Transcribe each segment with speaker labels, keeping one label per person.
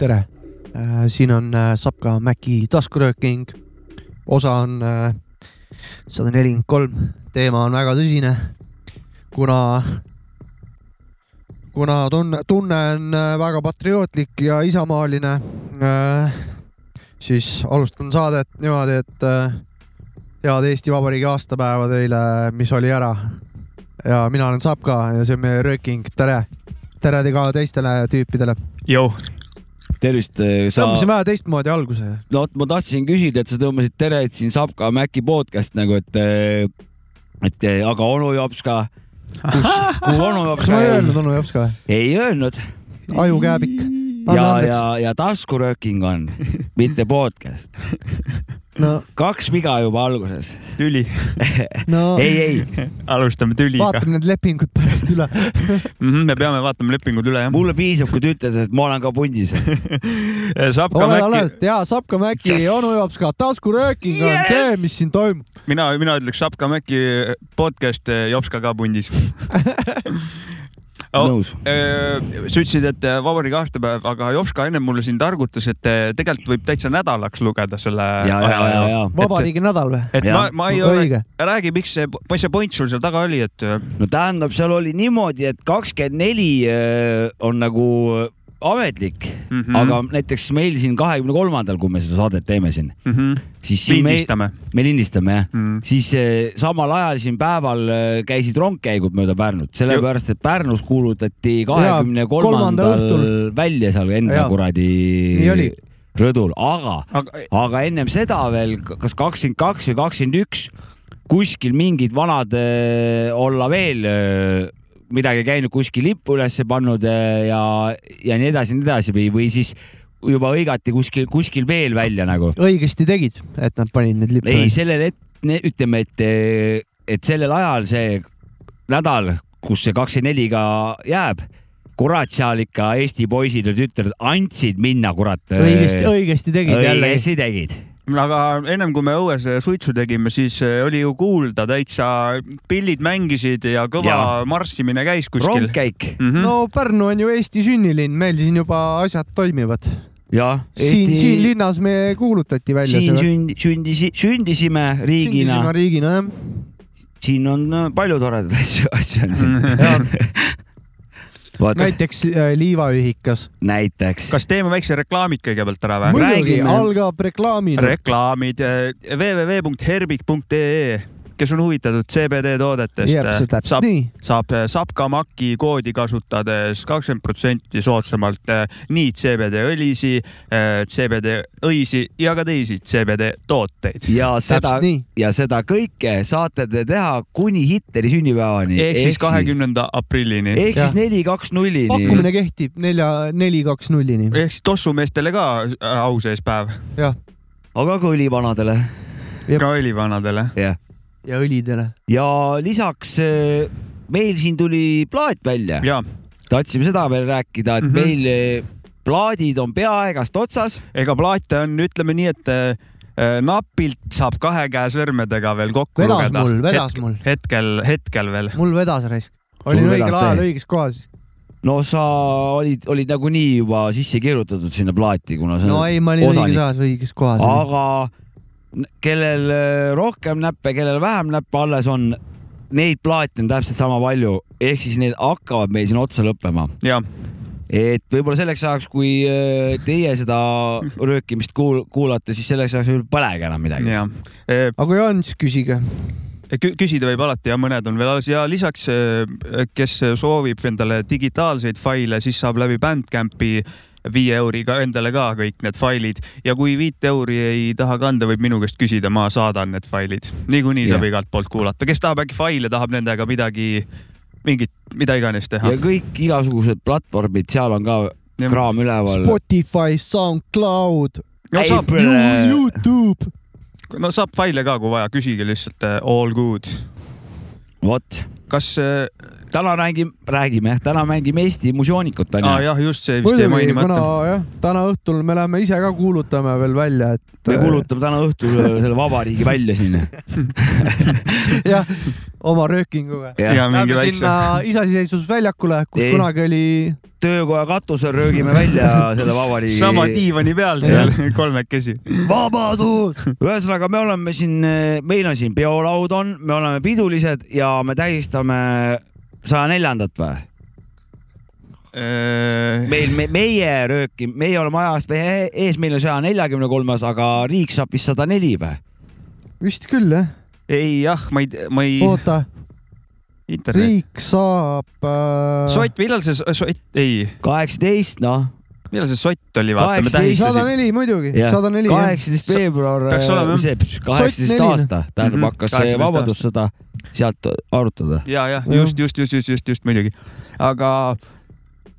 Speaker 1: tere , siin on äh, Sapka Maci taskurööking , osa on sada nelikümmend kolm , teema on väga tõsine , kuna , kuna tunne , tunne on äh, väga patriootlik ja isamaaline , siis alustan saadet niimoodi , et äh, head Eesti Vabariigi aastapäeva teile , mis oli ära . ja mina olen Sapka ja see on meie rööking , tere , tere te ka teistele tüüpidele
Speaker 2: Jou.
Speaker 3: tervist , sa ,
Speaker 1: tõmbasin vähe teistmoodi alguse .
Speaker 3: no vot , ma tahtsin küsida , et sa tõmbasid tere , et siin Sapka Maci podcast nagu , et , et äh, aga onu jops ka . kus , kuhu onu jops ka
Speaker 1: kas ma ei
Speaker 3: jäi ?
Speaker 1: öelnud onu jops ka ?
Speaker 3: ei öelnud
Speaker 1: ajukääbik . anna
Speaker 3: ja ,
Speaker 1: andeks
Speaker 3: ja , ja taskurööking on , mitte podcast .
Speaker 1: no, ,
Speaker 3: kaks viga juba alguses .
Speaker 2: tüli ,
Speaker 1: no
Speaker 3: ei , ei ,
Speaker 2: alustame tüliga .
Speaker 1: vaatame need lepingud pärast üle .
Speaker 2: me peame vaatama lepingud üle jah .
Speaker 3: mulle piisab , kui te ütlete , et ma olen ka pundis .
Speaker 2: Sapka
Speaker 1: oled ,
Speaker 2: Maci ,
Speaker 1: oled ja Sapka Mäki yes.
Speaker 3: Yes!
Speaker 1: ja onu jops ka , taskurööking yes. on
Speaker 3: Yes!
Speaker 1: see , mis siin toimub .
Speaker 2: mina , mina ütleks Sapka Maci podcast eh, Jopska ka pundis oh, .
Speaker 3: nõus .
Speaker 2: sa ütlesid , et eh, vabariigi aastapäev , aga Jopska ennem mulle siin targutas , et eh, tegelikult võib täitsa nädalaks lugeda selle
Speaker 3: ja , ja , ja ,
Speaker 2: aja .
Speaker 3: ja ,
Speaker 1: vabariigi nädal või ?
Speaker 2: et ma
Speaker 3: Jah. ,
Speaker 2: ma ei ole ,
Speaker 1: õige ,
Speaker 2: räägi , miks see , mis see point sul seal taga oli , et eh,
Speaker 3: no tähendab , seal oli niimoodi , et kakskümmend neli on nagu ametlik mm ,
Speaker 2: Mhm.
Speaker 3: -hmm. aga näiteks meil siin kahekümne kolmandal , kui me seda saadet teeme siin ,
Speaker 2: mm -hmm,
Speaker 3: siis siin me,
Speaker 2: lindistame
Speaker 3: me lindistame jah mm ,
Speaker 2: Mhm.
Speaker 3: -hmm. siis eh, samal ajal siin päeval eh, käisid rongkäigud mööda Pärnut , sellepärast et Pärnus kuulutati kahekümne
Speaker 1: kolmanda
Speaker 3: kolmandal
Speaker 1: õhtul.
Speaker 3: välja seal enda
Speaker 1: Jaa. Nii oli.
Speaker 3: kuradi rõdul , aga
Speaker 2: aga
Speaker 3: aga ennem seda veel , kas kakskümmend kaks või kakskümmend üks , kuskil mingid vanad äh, olla veel äh, midagi käinud , kuskil lippu üles pannud äh, ja , ja nii edasi ja nii edasi või , või siis juba hõigati kuskil , kuskil veel välja nagu .
Speaker 1: õigesti tegid , et nad panid need lipud
Speaker 3: ei ,. sellel het- , ütleme , et , et sellel ajal see nädal , kus see kakskümmend neliga jääb , kurat , seal ikka Eesti poisid ja tütred andsid minna , kurat .
Speaker 1: õigesti , õigesti tegid jälle .
Speaker 3: õigesti tegid
Speaker 2: aga ennem kui me õues eh, suitsu tegime , siis eh, oli ju kuulda täitsa , pillid mängisid ja kõva ja.
Speaker 3: Jaa.
Speaker 2: marssimine käis kuskil .
Speaker 3: rongkäik
Speaker 2: Mm -hmm.
Speaker 1: no Pärnu on ju Eesti sünnilinn , meil siin juba asjad toimivad .
Speaker 3: ja
Speaker 1: siin , siin linnas me kuulutati välja
Speaker 3: siin
Speaker 1: see .
Speaker 3: sünd, sündisi , sündisime riigina ,
Speaker 1: riigina jah .
Speaker 3: siin on äh, palju toredaid asju , asju on siin . vaata ,
Speaker 1: näiteks äh, liivaühikas .
Speaker 3: näiteks .
Speaker 2: kas teeme väikse reklaamid kõigepealt ära või ?
Speaker 1: muidugi ,
Speaker 3: räägime-
Speaker 1: algab reklaamina .
Speaker 2: reklaamid eh, www.herbik.ee , kes on huvitatud CBD
Speaker 1: jääb see
Speaker 2: toodetest ,
Speaker 1: täpselt
Speaker 2: saab ,
Speaker 1: nii .
Speaker 2: saab , saab ka Maci koodi kasutades kakskümmend protsenti soodsamalt eh, nii CBD õlisi , eh, CBD õisi ja ka teisi CBD tooteid .
Speaker 3: ja seda
Speaker 1: täpselt , nii .
Speaker 3: ja seda kõike saate te teha kuni Hitleri sünnipäevani .
Speaker 2: ehk siis . kahekümnenda aprillini .
Speaker 3: ehk siis
Speaker 1: Jah.
Speaker 3: neli , kaks , nullini .
Speaker 1: pakkumine kehtib nelja , neli , kaks , nullini .
Speaker 2: ehk siis tossumeestele ka äh, au sees päev ,
Speaker 3: aga ka õlivanadele
Speaker 2: ka õlivanadele .
Speaker 1: ja õlidele .
Speaker 3: ja lisaks äh, meil siin tuli plaat välja ,
Speaker 2: ja
Speaker 3: tahtsime seda veel rääkida , et
Speaker 2: Mhm.
Speaker 3: meil äh, plaadid on peaaegast otsas .
Speaker 2: ega plaate on , ütleme nii , et äh, napilt saab kahe käe sõrmedega veel kokku
Speaker 1: vedas
Speaker 2: lugeda .
Speaker 1: mul , vedas mul ,
Speaker 2: hetkel , hetkel veel .
Speaker 1: mul vedas raisk .
Speaker 3: Sul
Speaker 1: olin
Speaker 3: vedas
Speaker 1: õigel ajal
Speaker 3: täiega.
Speaker 1: õiges kohas .
Speaker 3: no sa olid , olid nagunii juba sisse kirjutatud sinna plaati , kuna sa
Speaker 1: no ei , ma olin
Speaker 3: osanik.
Speaker 1: õiges ajas õiges kohas .
Speaker 3: aga n- kellel äh, rohkem näppe , kellel vähem näppe alles on , neid plaate on täpselt sama palju , ehk siis need hakkavad meil siin otsa lõppema .
Speaker 2: ja ,
Speaker 3: et võib-olla selleks ajaks , kui äh, teie seda röökimist kuul- , kuulate , siis selleks ajaks võib-olla polegi enam midagi .
Speaker 2: ja . E-
Speaker 1: aga kui on , siis küsige .
Speaker 2: küsida võib alati ja mõned on veel alles ja lisaks , kes soovib endale digitaalseid faile , siis saab läbi Bandcampi viie euriga endale ka kõik need failid ja kui viit euri ei taha kanda , võib minu käest küsida , ma saadan need failid . niikuinii saab
Speaker 3: Jah.
Speaker 2: igalt poolt kuulata , kes tahab äkki faile , tahab nendega midagi , mingit , mida iganes teha
Speaker 3: ja . kõik igasugused platvormid , seal on ka
Speaker 2: Jah.
Speaker 3: kraam üleval .
Speaker 1: Spotify , SoundCloud ,
Speaker 2: no saab ,
Speaker 3: Apple.
Speaker 1: Youtube .
Speaker 2: no saab faile ka , kui vaja , küsige lihtsalt eh, all good .
Speaker 3: vot ,
Speaker 2: kas äh, ,
Speaker 3: täna räägime , räägime jah , täna mängime Eesti muusioonikut
Speaker 2: aa
Speaker 3: onju .
Speaker 2: jah , just see vist jäi
Speaker 1: muidugi , kuna
Speaker 2: mainimata .
Speaker 1: jah , täna õhtul me lähme ise ka kuulutame veel välja , et äh,
Speaker 3: me kuulutame täna õhtul selle vabariigi välja siin .
Speaker 1: jah , oma röökinguga .
Speaker 2: ja mingi
Speaker 1: Lähme
Speaker 2: väikse
Speaker 1: sinna . iseseisvusväljakule , kus
Speaker 3: Ei.
Speaker 1: kunagi oli
Speaker 3: töökoja katusel röögime välja selle vabariigi .
Speaker 2: sama diivani peal seal kolmekesi .
Speaker 3: vabadus . ühesõnaga , me oleme siin , meil on siin peolaud on , me oleme pidulised ja me tähistame saja neljandat või ? meil me, , meie rööki , meie oleme ajast veel ees , meil on saja neljakümne kolmas , aga riik saab vist sada neli või ?
Speaker 1: vist küll jah ,
Speaker 2: ei jah , ma ei , ma ei .
Speaker 1: oota ,
Speaker 2: internet .
Speaker 1: riik saab äh,
Speaker 2: sott , millal see s- sott , ei ,
Speaker 3: kaheksateist , noh ,
Speaker 2: millal see sott oli , vaata ,
Speaker 3: 18
Speaker 2: me
Speaker 1: sada
Speaker 2: tähistasime .
Speaker 1: neli muidugi ,
Speaker 3: Jah,
Speaker 1: sada neli jah ,
Speaker 3: kaheksateist veebruar , äh,
Speaker 2: peaks olema, jah.
Speaker 3: kaheksateist
Speaker 1: neline.
Speaker 3: aasta , tähendab
Speaker 2: Mhm,
Speaker 3: hakkas
Speaker 2: 18
Speaker 3: see vabadussõda sealt arutada .
Speaker 2: ja , jah , just , just , just , just , just , just muidugi . aga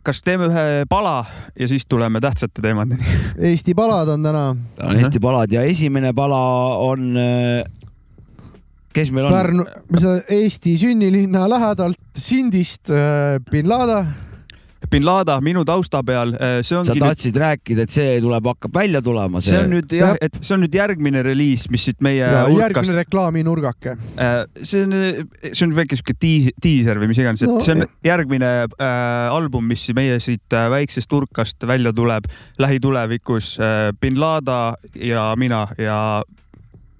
Speaker 2: kas teeme ühe pala ja siis tuleme tähtsate teemadeni ?
Speaker 1: Eesti palad on täna
Speaker 3: on Eesti palad ja esimene pala on , kes meil on ?
Speaker 1: Pärnu , mis see Eesti sünnilinna lähedalt Sindist äh, bin Lada ,
Speaker 2: bin Lada minu tausta peal , see
Speaker 3: sa
Speaker 2: ongi nüüd ,
Speaker 3: tahtsid rääkida , et see tuleb , hakkab välja tulema ,
Speaker 2: see on nüüd jah
Speaker 1: Jah. ,
Speaker 2: et see on nüüd järgmine reliis , mis siit meie hulkast ,
Speaker 1: järgmine reklaaminurgake .
Speaker 2: see on , see on väike siuke tiis- , diiser või mis iganes , et
Speaker 1: No,
Speaker 2: see on
Speaker 1: jah.
Speaker 2: järgmine äh, album , mis meie siit äh, väiksest hulkast välja tuleb lähitulevikus äh, . bin Lada ja mina ja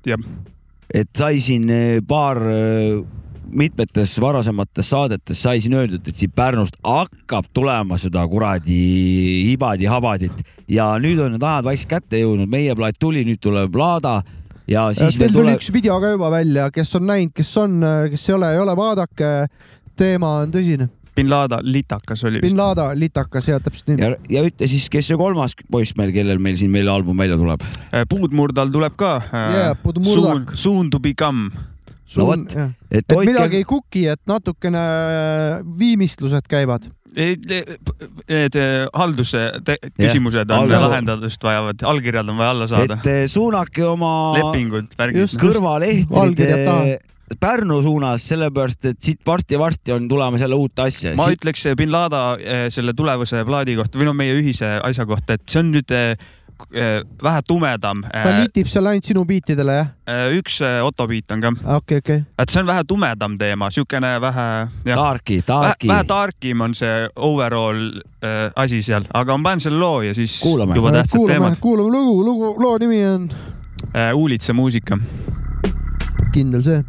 Speaker 3: et sai siin eh, paar eh, mitmetes varasemates saadetes sai siin öeldud , et siit Pärnust hakkab tulema seda kuradi ibadi-habadit ja nüüd on need ajad vaikselt kätte jõudnud , meie plaat tuli , nüüd tuleb Laada ja siis
Speaker 1: Teil
Speaker 3: veel
Speaker 1: tuli
Speaker 3: tuleb ,
Speaker 1: üks video ka juba välja , kes on näinud , kes on , kes ei ole , ei ole , vaadake . teema on tõsine ,
Speaker 2: bin Lada litakas oli
Speaker 1: bin
Speaker 2: vist .
Speaker 1: Lada , litakas ja täpselt nii .
Speaker 3: ja , ja ütle siis , kes see kolmas poiss meil , kellel meil siin meil album välja tuleb ?
Speaker 2: Äh, puudmurdal tuleb ka äh,
Speaker 1: jaa ,
Speaker 2: soon
Speaker 1: Pudmurdak ,.
Speaker 2: Soon to become .
Speaker 3: no
Speaker 1: suund
Speaker 3: vot ,
Speaker 1: jah .
Speaker 3: et
Speaker 1: et
Speaker 3: hoidke
Speaker 1: midagi , ei kuki , et natukene äh, viimistlused käivad .
Speaker 2: E, Need eh, halduse te- küsimused on
Speaker 3: haldus-
Speaker 2: lahendadust vajavad , allkirjad on vaja alla saada ,
Speaker 3: et eh, suunake oma
Speaker 2: lepingud , värgid .
Speaker 1: Just. Allkirjad taha.
Speaker 3: kõrvalehtrid Pärnu suunas , sellepärast et siit varsti-varsti on tulemas jälle uut asja .
Speaker 2: ma ütleks e, bin Lada eh, selle tulevase plaadi kohta või no meie ühise asja kohta , et see on nüüd eh, k- eh, vähe tumedam .
Speaker 1: ta litib seal ainult sinu biitidele jah ?
Speaker 2: üks eh, Otto beat on ka ,
Speaker 1: okei , okei .
Speaker 2: et see on vähe tumedam teema , siukene vähe , jah ,
Speaker 3: Tarki , Tarki .
Speaker 2: vähe tarkim on see overall eh, asi seal , aga ma panen selle loo ja siis
Speaker 3: Kuulame.
Speaker 2: juba tähtsad
Speaker 1: kuulame
Speaker 2: teemad ,.
Speaker 1: kuulame lugu , lugu , loo nimi on
Speaker 2: Uulitse muusika .
Speaker 1: kindel see .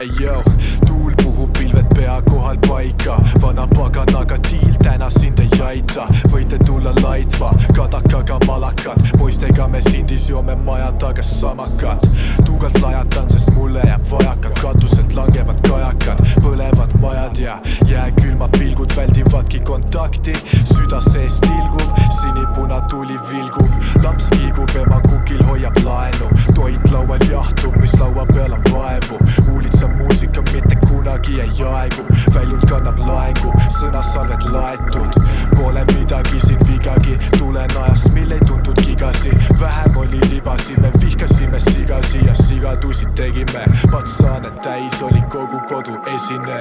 Speaker 4: Ei, Yo. tuul puhub pilved pea kohal paika , vana paganaga diil täna sind ei aita , võite tulla laitma , kadakaga malakad , poistega me sindis joome maja taga samakat . tuugalt lajatan , sest mulle jääb vajaka , katuselt langevad kajakad , põlevad majad ja jääkülmad pilgud väldivadki kontakti , süda sees tilgub , sinipuna tuli vilgub , laps kiigub , ema kukil hoiab laenu , toit laual jahtub , mis laua peal on vaevu , huulitsa muusika mitte kunagi ei aegu , väljund kannab laengu , sõnasalved laetud , pole midagi siin vigagi , tulen ajast , mil ei tuntud gigasi , vähem oli libasi , me vihkasime sigasi ja sigadusi tegime , patsaane täis oli kogu kodu esine ,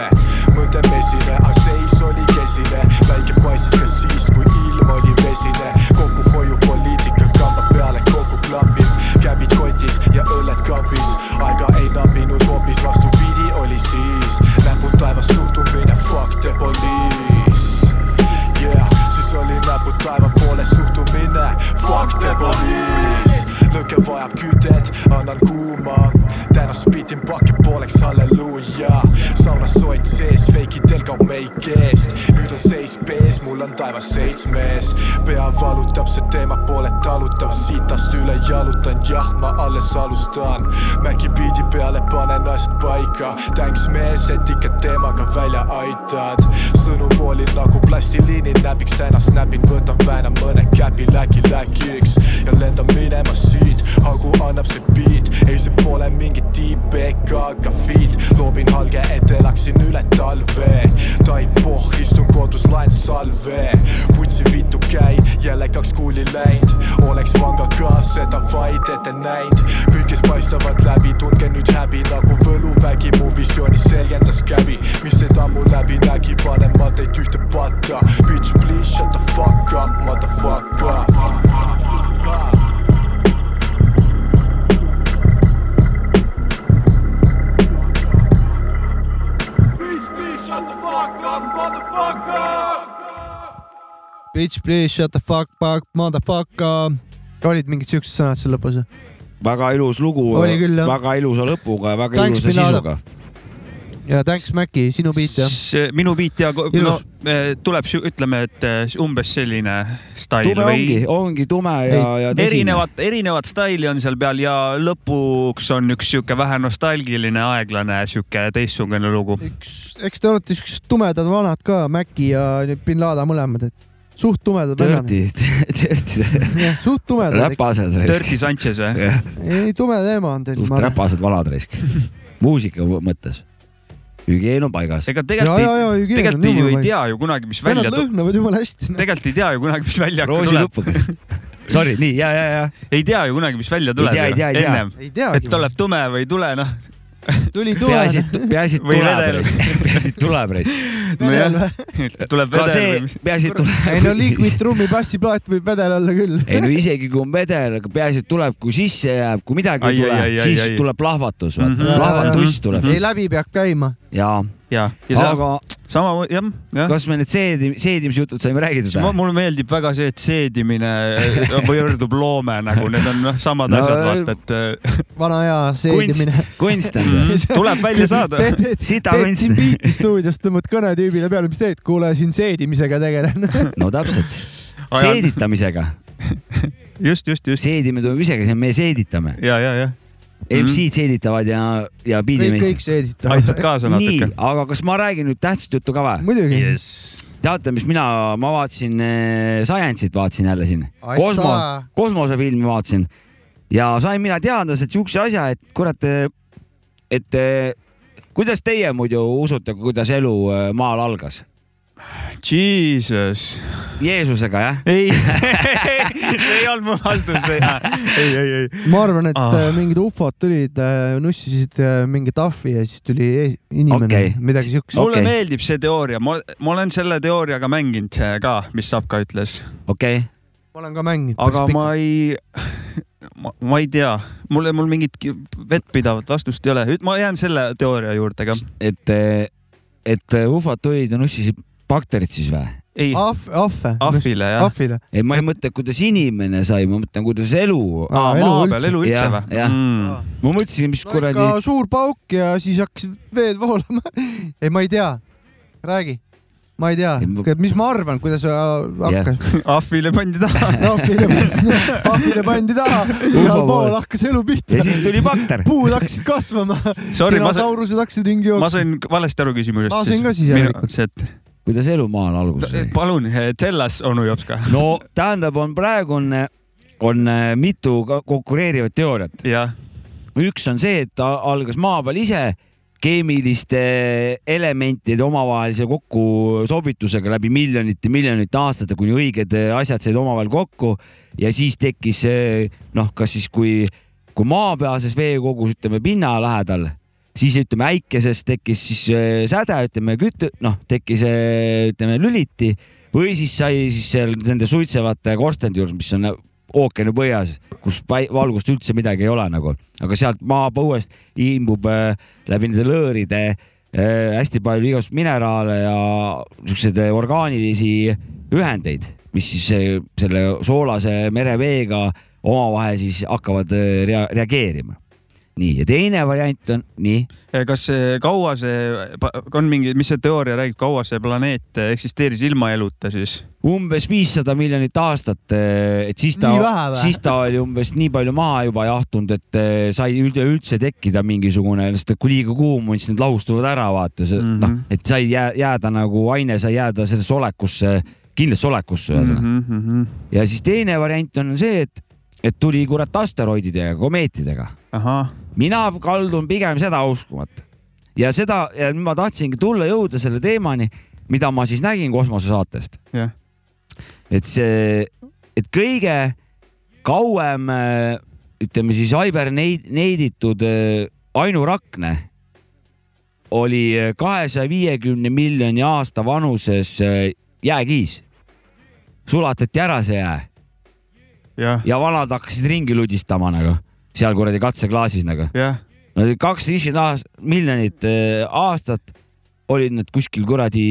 Speaker 4: mõte mesine , aga seis oli kesine , päike paisis ka siis , kui ilm oli vesine , kokkuhoiupoliitika kamba peale kokku klapib , käbid kotis ja õlled kapis , aega ei napinud hoopis vastupidi oli siis , näpud taevas suhtumine , fuck the police . Yeah, siis oli näpud taeva poole suhtumine , fuck the police . lõke vajab kütet , annan kuuma , täna spitin pakke pooleks , halleluuja . saunas soet sees , feikidel kaob meik eest , nüüd on seis pees , mul on taevas seitsmes . pea valutab , see teema pole talutav , sitast üle jalutan , jah , ma alles alustan . Maci biidi peale panen asjad paika , tänks mees , et ikka teemaga välja aitad . sõnu voolin nagu plastiliini näbiks , ennast näpin , võtan vääna mõne käpi läki-läkiks ja lendan minema siit , augu annab see beat , ei see pole mingi tiip ega ka feed , loobin halge , et elaksin üle talve . taipoh , istun kodus , laen salve , putsi vitu käi , jälle kaks kuuli läinud , oleks vanga ka seda jätab vaid ette näind kõigest paistavad läbi , tundke nüüd häbi nagu võluvägi mu visioonis selgendas käbi , mis see tammu läbi nägi , panema teid ühte patta . Bitch please shut the fuck up , motherfucker . Bitch please shut the fuck up , motherfucker .
Speaker 1: Bitch please shut the fuck back , motherfucker . olid mingid siuksed sõnad seal lõpus ?
Speaker 3: väga ilus lugu
Speaker 1: Oli küll, jah. ,
Speaker 3: väga ilusa lõpuga ja väga
Speaker 1: Thanks,
Speaker 3: ilusa
Speaker 1: Pinada.
Speaker 3: sisuga .
Speaker 1: ja thanks Maci , sinu biit jah ?
Speaker 2: see minu biit ja ko- no,
Speaker 1: Ilus.
Speaker 2: eh, tuleb , ütleme , et eh, umbes selline stail
Speaker 3: tume ongi
Speaker 2: või ,
Speaker 3: ongi tume ja , ja tõsine .
Speaker 2: erinevat , erinevat staili on seal peal ja lõpuks on üks sihuke vähe nostalgiline , aeglane , sihuke teistsugune lugu .
Speaker 1: üks , eks te olete siuksed tumedad vanad ka , Maci ja bin Laden mõlemad , et suht tumedad vennad .
Speaker 3: Dirty , dirty ,
Speaker 1: suht tumedad ,
Speaker 3: räpased raisk
Speaker 2: Dirty . Sanchez või ?
Speaker 3: suht
Speaker 1: ei tume teema on teil , ma arvan .
Speaker 3: räpased vanad raisk , muusika mõttes . hügieen on paigas .
Speaker 2: ega
Speaker 1: ja , ja ,
Speaker 2: tegelikult ei ,
Speaker 1: ja Jüri on
Speaker 2: tegelikult ei ju ei
Speaker 1: jumala palju .
Speaker 2: tea ju kunagi , mis välja
Speaker 1: vennad
Speaker 2: tuleb ,
Speaker 1: lõhnavad jumala hästi . noh.
Speaker 2: tegelikult ei tea ju kunagi , mis välja tuleb ,
Speaker 3: roosilupukas . Sorry , nii ja , ja , ja .
Speaker 2: ei tea ju kunagi , mis välja tuleb
Speaker 3: tea, ei tea, ei tea.
Speaker 2: ennem ,
Speaker 1: ei
Speaker 2: et
Speaker 1: teagi .
Speaker 2: tuleb tume või ei tule , noh ,
Speaker 1: tuli
Speaker 3: peaasi
Speaker 1: tume ., noh.
Speaker 3: peaasi , et
Speaker 2: Või
Speaker 3: tuleb
Speaker 2: vedel.
Speaker 3: raisk , peaasi , et tuleb raisk .
Speaker 1: vedel või ?
Speaker 2: tuleb
Speaker 3: ka
Speaker 2: vedel
Speaker 3: see
Speaker 2: või mis ,,
Speaker 3: peaasi , et tuleb .
Speaker 1: ei no liikmeid trummi bassiplaat võib vedel olla küll .
Speaker 3: ei no isegi kui on vedel , aga peaasi , et tuleb , kui sisse jääb , kui midagi
Speaker 2: Ai,
Speaker 3: ei tule
Speaker 2: ai, ai, , ai,
Speaker 3: siis
Speaker 2: ai.
Speaker 3: tuleb plahvatus , vaata
Speaker 2: Mhm.
Speaker 3: mm ,
Speaker 1: Jaa,
Speaker 3: plahvatus
Speaker 2: jaa.
Speaker 3: tuleb
Speaker 1: ei läbi peab käima .
Speaker 3: ja ,
Speaker 2: ja , ja see aga...
Speaker 3: aga
Speaker 2: sama , jah , jah .
Speaker 3: kas me need seedi- , seedimisjutud saime räägitud või ?
Speaker 2: mulle meeldib väga see , et seedimine võrdub loome nagu , need on noh , samad
Speaker 3: No, äh,
Speaker 2: no, asjad , vaata , et äh,
Speaker 1: vana hea
Speaker 3: kunst
Speaker 1: seedimine .,
Speaker 3: kunst on see .
Speaker 2: mm, tuleb välja saada .
Speaker 1: teed , teed ,
Speaker 3: sita
Speaker 1: teed siin
Speaker 3: kunst .
Speaker 1: biiti stuudios , tõmbad kõne tüübile peale , mis teed , kuule siin seedimisega tegelen .
Speaker 3: no täpselt , seeditamisega ,
Speaker 2: just , just , just
Speaker 3: seedimine toimub ise , me seeditame ,
Speaker 2: ja , ja , Mhm. ja
Speaker 3: MC-d seeditavad ja , ja
Speaker 1: kõik , kõik
Speaker 3: biidimeistrid .
Speaker 2: aitab
Speaker 1: seeditavad .
Speaker 2: kaasa
Speaker 3: nii
Speaker 2: natuke .,
Speaker 3: aga kas ma räägin nüüd tähtsat juttu ka või ?
Speaker 1: muidugi .
Speaker 2: jess .
Speaker 3: teate , mis mina , ma vaatasin äh, Science'it , vaatasin jälle siin , kosmo , kosmosefilmi vaatasin ja sain mina teada sealt siukse asja , et kurat , et äh, kuidas teie muidu usute , kuidas elu äh, maal algas ?
Speaker 2: Jesus .
Speaker 3: Jeesusega jah ?
Speaker 2: ei , ei olnud mu vastus . ei , ei , ei .
Speaker 1: ma arvan , et
Speaker 2: Ah.
Speaker 1: ah. mingid ufod tulid , nussisid äh, mingi tahvi ja siis tuli ees- inimene okay.
Speaker 3: Okei. ,
Speaker 1: midagi siukest
Speaker 3: Oh.
Speaker 1: oh. .
Speaker 2: mulle
Speaker 3: Okei.
Speaker 2: okay. meeldib see teooria , ma , ma olen selle teooriaga mänginud äh, ka , mis Sapka ütles ,
Speaker 3: okei okay. ,
Speaker 1: ma olen ka mänginud .
Speaker 2: aga ma ei , ma ei tea , mul , mul mingit ki- vettpidavat vastust ei ole , ma jään selle teooria juurde ka .
Speaker 3: et , et ufod tulid ja nussisid bakterid siis või ?
Speaker 2: ei ,
Speaker 1: ahv , ahve .
Speaker 3: Ah,
Speaker 2: ahvile jah .
Speaker 1: ahvile .
Speaker 3: ei , ma ei mõtle , kuidas inimene sai , ma mõtlen , kuidas elu .
Speaker 1: Ah, elu
Speaker 2: maa
Speaker 1: üldse.
Speaker 2: peal elu üldse
Speaker 3: Jah,
Speaker 2: või Mm.
Speaker 3: jah. ?
Speaker 1: no
Speaker 3: ma mõtlesin , mis kuradi
Speaker 1: ikka , suur pauk ja siis hakkasid veed voolama . ei , ma ei ea . räägi . ma ei tea
Speaker 3: Ei, ma- ,
Speaker 1: mis ma arvan , kuidas äh, hakkas yeah. .
Speaker 2: ahvile pandi taha .
Speaker 1: ahvile pandi , ahvile pandi taha , igal pool hakkas elu pihta
Speaker 3: ja . siis tuli bakter .
Speaker 1: puud hakkasid kasvama ,
Speaker 2: Sorry , ma sain ,
Speaker 1: dinosaurused hakkasid ringi
Speaker 2: ma
Speaker 1: jooksma .
Speaker 2: sain valesti aru küsimusest .
Speaker 1: Ma sain ka siis järelikult. .
Speaker 3: kuidas elu maal alguses sai ?
Speaker 2: palun , tell us , onu Jopska .
Speaker 3: no tähendab , on praegu on , on äh, mitu ka- konkureerivat teooriat .
Speaker 2: jah ,
Speaker 3: üks on see , et ta algas maa peal ise keemiliste elementide omavahelise kokkusobitusega läbi miljonite , miljonite aastate , kuni õiged äh, asjad said omavahel kokku ja siis tekkis äh, noh , kas siis kui , kui maapealses veekogus , ütleme pinna lähedal , siis ütleme äikeses tekkis siis äh, säde , ütleme kütü- , noh , tekkis äh, ütleme lüliti või siis sai siis seal nende suitsevate korstende juures , mis on äh, ookeani põhjas , kus pai- valgust üldse midagi ei ole nagu , aga sealt maapõuest imbub äh, läbi nende lõõride äh, hästi palju igasuguseid mineraale ja siukseid äh, orgaanilisi ühendeid , mis siis äh, selle soolase mereveega omavahel siis hakkavad äh, rea- reageerima . nii , ja teine variant on nii ,
Speaker 2: Eh, kas see- kaua see , on mingi , mis see teooria räägib , kaua see planeet eh, eksisteeris ilma eluta siis ?
Speaker 3: umbes viissada miljonit aastat , et siis ta
Speaker 1: Nii vähe või? ,
Speaker 3: siis ta oli umbes nii palju maha juba jahtunud , et eh, sai üleüldse tekkida mingisugune , sest et kui liiga kuum on , siis need lahustuvad ära , vaata see mm
Speaker 2: Mhm.
Speaker 3: -hmm. noh , et sai jää, jääda nagu aine sai jääda sellesse olekusse , kindlasse olekusse ühesõnaga
Speaker 2: Mhm,
Speaker 3: mm
Speaker 2: ahah ,
Speaker 3: -hmm. ja siis teine variant on see , et , et tuli kurat asteroididega , komeetidega . mina kaldun pigem seda uskuma , et ja seda , ja nüüd ma tahtsingi tulla , jõuda selle teemani , mida ma siis nägin kosmosesaatest .
Speaker 2: jah .
Speaker 3: et see , et kõige kauem äh, ütleme siis hiberneiditud äh, ainurakne oli äh, kahesaja viiekümne miljoni aasta vanuses äh, jääkiis . sulatati ära see jää
Speaker 2: jah ,
Speaker 3: ja vanad hakkasid ringi ludistama nagu seal kuradi katseklaasis nagu .
Speaker 2: jah ,
Speaker 3: Nad olid kakssada viiskümmend miljonit äh, aastat olid nad kuskil kuradi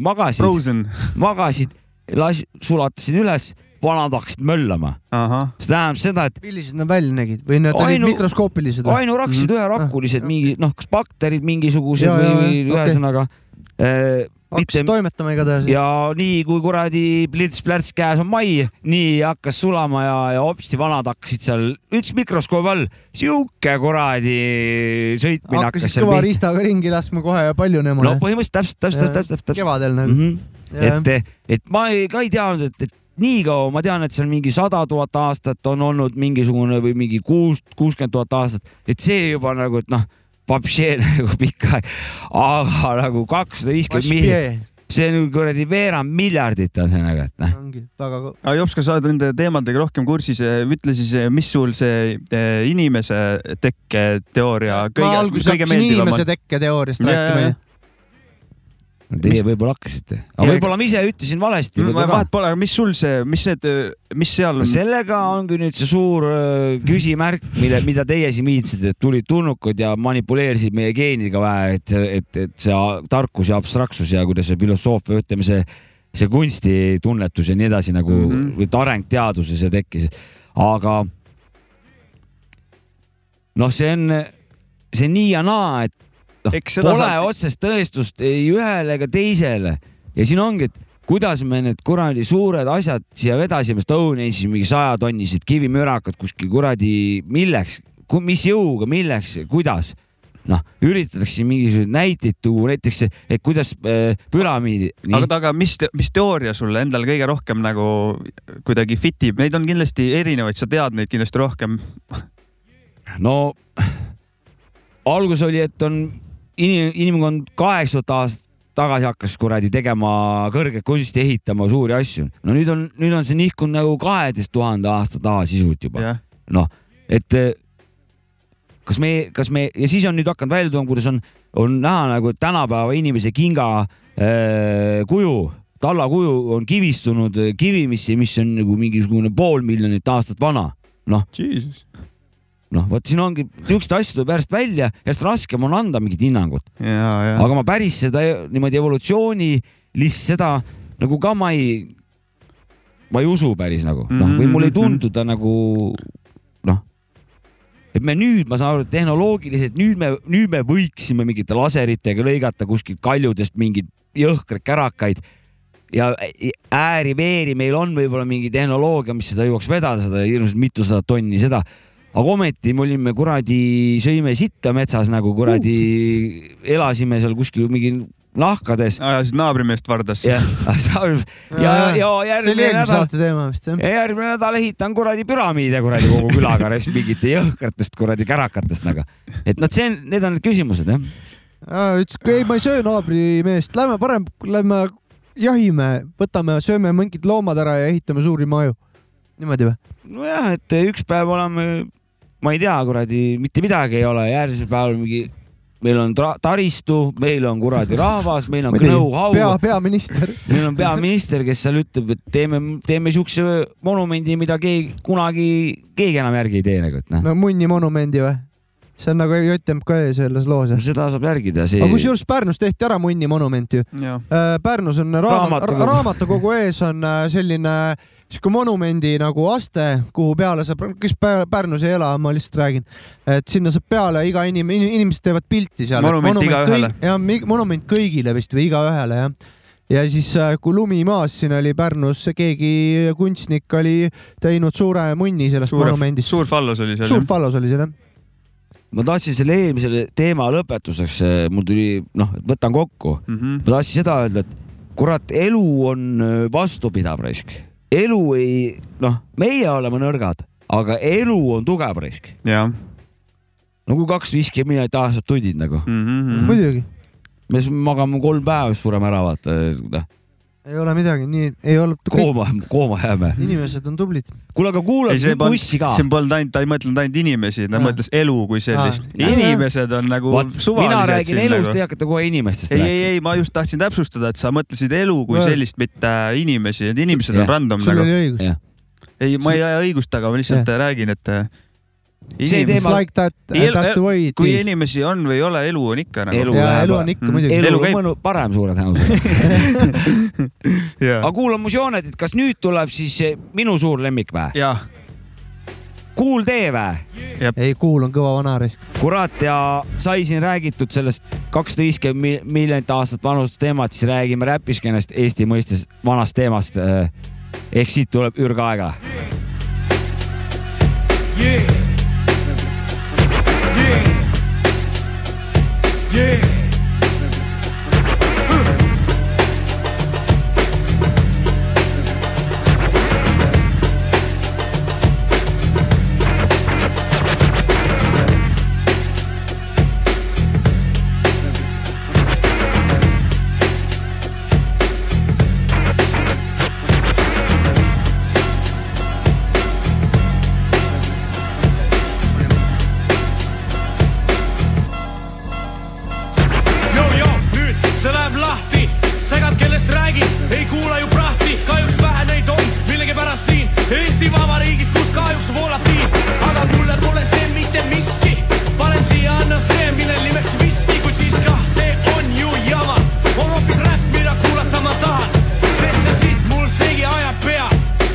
Speaker 3: magasid ,
Speaker 2: Frozen ,
Speaker 3: magasid , las- , sulatasid üles , vanad hakkasid möllama .
Speaker 2: ahah ,
Speaker 3: see tähendab seda , et
Speaker 1: millised nad välja nägid või nad olid
Speaker 3: Ainu-
Speaker 1: mikroskoopilised või ?
Speaker 3: ainuraksid mm. , üherakkulised ,
Speaker 1: Ah,
Speaker 3: mingi noh , kas bakterid mingisugused
Speaker 1: Jaa,
Speaker 3: ja,
Speaker 1: jaa,
Speaker 3: või , või
Speaker 1: jaa, okei.
Speaker 3: ühesõnaga okay. . mitte
Speaker 1: hakkasid toimetama igatahes .
Speaker 3: ja nii kui kuradi plits-plärts käes on mai , nii hakkas sulama ja , ja hopsti vanad hakkasid seal , üks mikroskoobi all , sihuke kuradi sõitmine hakkas
Speaker 1: hakkasid
Speaker 3: seal
Speaker 1: kõva
Speaker 3: pihta .
Speaker 1: riistaga ringi laskma kohe ja palju nemad
Speaker 3: no põhimõtteliselt täpselt , täpselt ,
Speaker 1: Jaa.
Speaker 3: täpselt , täpselt ,
Speaker 1: kevadel nagu .
Speaker 3: täpselt . et , et ma ei, ka ei teadnud , et , et nii kaua , ma tean , et seal mingi sada tuhat aastat on olnud mingisugune või mingi kuus , kuuskümmend tuhat aastat , et see juba nagu , et noh , vapšee nagu pikka , aga nagu kakssada viiskümmend miljonit , see on ju kuradi veerand miljardit on see nagu , et noh .
Speaker 1: ongi väga ,
Speaker 2: aga Ah, Jops , kas sa oled nende teemadega rohkem kursis , ütle siis , mis sul see eh, inimese tekketeooria
Speaker 1: ma
Speaker 2: kõige ,
Speaker 1: alguses
Speaker 2: kõige
Speaker 1: hakkasin
Speaker 2: meeldivam
Speaker 1: inimese
Speaker 2: on ?
Speaker 1: tekketeooriast
Speaker 2: Jaa,
Speaker 1: rääkima
Speaker 2: jaa,
Speaker 1: ja
Speaker 3: Teie võib-olla hakkasite , aga
Speaker 2: Jaa,
Speaker 3: võib-olla ma ise ütlesin valesti võib-olla
Speaker 2: Mm, vahet
Speaker 3: ka .
Speaker 2: pole , aga mis sul see , mis need , mis seal ,
Speaker 3: sellega ongi nüüd see suur öö, küsimärk , mille , mida teie siin viitsite , et tulid tulnukud ja manipuleerisid meie geeniga vähe , et , et , et see a- tarkus ja abstraktsus ja kuidas see filosoofia , ütleme see , see kunstitunnetus ja nii edasi nagu mm
Speaker 2: Mhm.
Speaker 3: -hmm. või et areng teaduses ja tekkis , aga noh , see on , see on nii ja naa , et noh
Speaker 2: Eks , seda
Speaker 3: pole
Speaker 2: saab-
Speaker 3: otsest tõestust ei ühele ega teisele ja siin ongi , et kuidas me need kuradi suured asjad siia vedasime , Stone Age'is mingi sajatonnised kivimürakad kuskil kuradi , milleks , mis jõuga , milleks , kuidas ? noh , üritatakse siin mingisuguseid näiteid tuua , näiteks , et kuidas äh, püramiidi .
Speaker 2: aga , aga mis , mis teooria sulle endale kõige rohkem nagu kuidagi fit ib , neid on kindlasti erinevaid , sa tead neid kindlasti rohkem .
Speaker 3: no algus oli , et on inim- , inimkond kaheksasada aastat tagasi hakkas kuradi tegema kõrget kunsti , ehitama suuri asju . no nüüd on , nüüd on see nihkunud nagu kaheteist tuhande aasta taha sisuliselt juba .
Speaker 2: jah ,
Speaker 3: noh , et eh, kas me , kas me ja siis on nüüd hakanud välja tulema , kuidas on , on näha nagu et tänapäeva inimese kinga äh, kuju , talla kuju on kivistunud eh, kivimisse , mis on nagu mingisugune pool miljonit aastat vana
Speaker 2: jesus .
Speaker 3: noh , vot siin ongi , niisuguseid asju tuleb järjest välja , järjest raskem on anda mingit hinnangut ,
Speaker 2: ja , ja ,
Speaker 3: aga ma päris seda niimoodi evolutsiooni , lihtsalt seda nagu ka ma ei , ma ei usu päris nagu noh , või mulle ei tundu ta nagu noh , et me nüüd , ma saan aru , et tehnoloogiliselt nüüd me , nüüd me võiksime mingite laseritega lõigata kuskilt kaljudest mingeid jõhkraid kärakaid ja ääri-veeri meil on võib-olla mingi tehnoloogia , mis seda jõuaks vedada , seda hirmsat mitusada tonni seda , aga ometi me olime kuradi , sõime sitta metsas nagu kuradi uh. , elasime seal kuskil mingi nahkades
Speaker 2: ajasid naabrimeest vardasse
Speaker 3: ja , ja , ja
Speaker 1: see
Speaker 3: järgmine
Speaker 1: oli eelmise
Speaker 3: nädal ,
Speaker 1: saate teema vist jah ?
Speaker 3: ja järgmine nädal ehitan kuradi püramiide kuradi kogu külaga rest mingite jõhkratest kuradi kärakatest nagu . et noh , see on , need on need küsimused jah .
Speaker 1: ütles , et ei , ma ei söö naabrimeest , lähme parem , lähme jahime , võtame , sööme mingid loomad ära ja ehitame suuri maju . niimoodi või ?
Speaker 3: nojah , et eh, üks päev oleme , ma ei tea , kuradi mitte midagi ei ole , järgmisel päeval mingi , meil on tra- taristu , meil on kuradi rahvas , meil on know-how ,
Speaker 1: pea , peaminister .
Speaker 3: meil on peaminister , kes seal ütleb , et teeme , teeme siukse monumendi , mida keegi kunagi , keegi enam järgi ei tee nagu , et noh no. ,
Speaker 1: no Munni monumendi või ? see on nagu JMK selles loos .
Speaker 3: seda saab järgida , see
Speaker 1: aga kusjuures Pärnus tehti ära Munni monument ju .
Speaker 2: ja. .
Speaker 1: Äh, Pärnus on raamat,
Speaker 3: Raamatukogu.
Speaker 1: raamatukogu ees on äh, selline sihuke monumendi nagu aste , kuhu peale saab , kes Pä- Pärnus ei ela , ma lihtsalt räägin , et sinna saab peale iga inimene , inimesed teevad pilti seal .
Speaker 2: Monument igaühele. .
Speaker 1: ja mi- monument kõigile vist või igaühele jah . ja siis , kui lumi maas siin oli Pärnus , keegi kunstnik oli teinud suure munni sellest
Speaker 2: suur
Speaker 1: suure, , monumendist .
Speaker 2: suur fallus oli seal .
Speaker 1: suur fallos oli seal jah .
Speaker 3: Mhm. ma tahtsin selle eelmisele teema lõpetuseks , mul tuli , noh , võtan kokku
Speaker 2: jah .
Speaker 3: ma tahtsin seda öelda , et kurat , elu on öö, vastupidav raisk , elu ei , noh , meie oleme nõrgad , aga elu on tugev raisk .
Speaker 2: jah .
Speaker 3: nagu kaks viiskümmend miljonit aastat
Speaker 2: Mhm,
Speaker 3: tundid nagu ,
Speaker 1: muidugi .
Speaker 3: me siis magame kolm päeva , siis sureme ära , vaata , noh .
Speaker 1: ei ole midagi , nii ei olnud .
Speaker 3: kooma , koomajääme .
Speaker 1: inimesed on tublid .
Speaker 3: kuule , aga
Speaker 2: ei , see
Speaker 3: kuulame
Speaker 2: polnud ,
Speaker 3: bussi ka
Speaker 2: see . polnud ainult , ta ei mõtelnud ainult inimesi , ta
Speaker 1: Aa.
Speaker 2: mõtles elu kui sellist
Speaker 1: Aa. .
Speaker 2: inimesed on nagu
Speaker 3: Vot , mina
Speaker 2: suvalised
Speaker 3: räägin
Speaker 2: siin
Speaker 3: elust ,
Speaker 2: nagu
Speaker 3: te . hakkate kohe inimestest
Speaker 2: ei , ei
Speaker 3: rääkima .,
Speaker 2: ei , ma just tahtsin täpsustada , et sa mõtlesid elu kui
Speaker 1: Jah.
Speaker 2: sellist , mitte inimesi , et inimesed on
Speaker 3: Jah.
Speaker 2: random
Speaker 1: sul
Speaker 2: nagu .
Speaker 1: oli õigus .
Speaker 2: ei , ma ei aja õigust taga , ma lihtsalt räägin , et . äh,
Speaker 3: See
Speaker 1: It's
Speaker 3: teema-
Speaker 1: like that ,
Speaker 2: Elu-
Speaker 1: that's the way it
Speaker 2: äh, kui
Speaker 1: is .
Speaker 2: inimesi on või ei ole , elu on ikka nagu .
Speaker 3: Elu
Speaker 1: ja
Speaker 3: läheb-
Speaker 1: elu on ikka
Speaker 2: Mm.
Speaker 1: muidugi .
Speaker 3: elu
Speaker 2: Elu
Speaker 3: on
Speaker 2: käib.
Speaker 3: mõnu , parem suure tõenäosusega .
Speaker 2: ja
Speaker 3: aga , kuulame mu joonetit , kas nüüd tuleb siis eh, minu suur lemmik või ?
Speaker 2: ja ,
Speaker 3: Kuul tee või ?
Speaker 1: ei , kuul on kõva vana risk .
Speaker 3: kurat ja sai siin räägitud sellest kakssada viiskümmend miljonit aastat vanust teemat , siis räägime räpiskeenest Eesti mõistes vanast teemast . ehk siit tuleb ürgaega .
Speaker 4: Yeah. Yeah. Yeah. Huh.
Speaker 5: joo joo , nüüd see läheb lahti , segad , kellest räägid , ei kuula ju prahti , kahjuks vähe neid on millegipärast siin Eesti Vabariigis , kus kahjuks voolab piin , aga mulle pole see mitte miski , panen siia anna see , mille nimeks viski , kuid siis kah see on ju jama , on hoopis räpp , mida kuulata ma tahan , sest see sitt mul segi ajab pea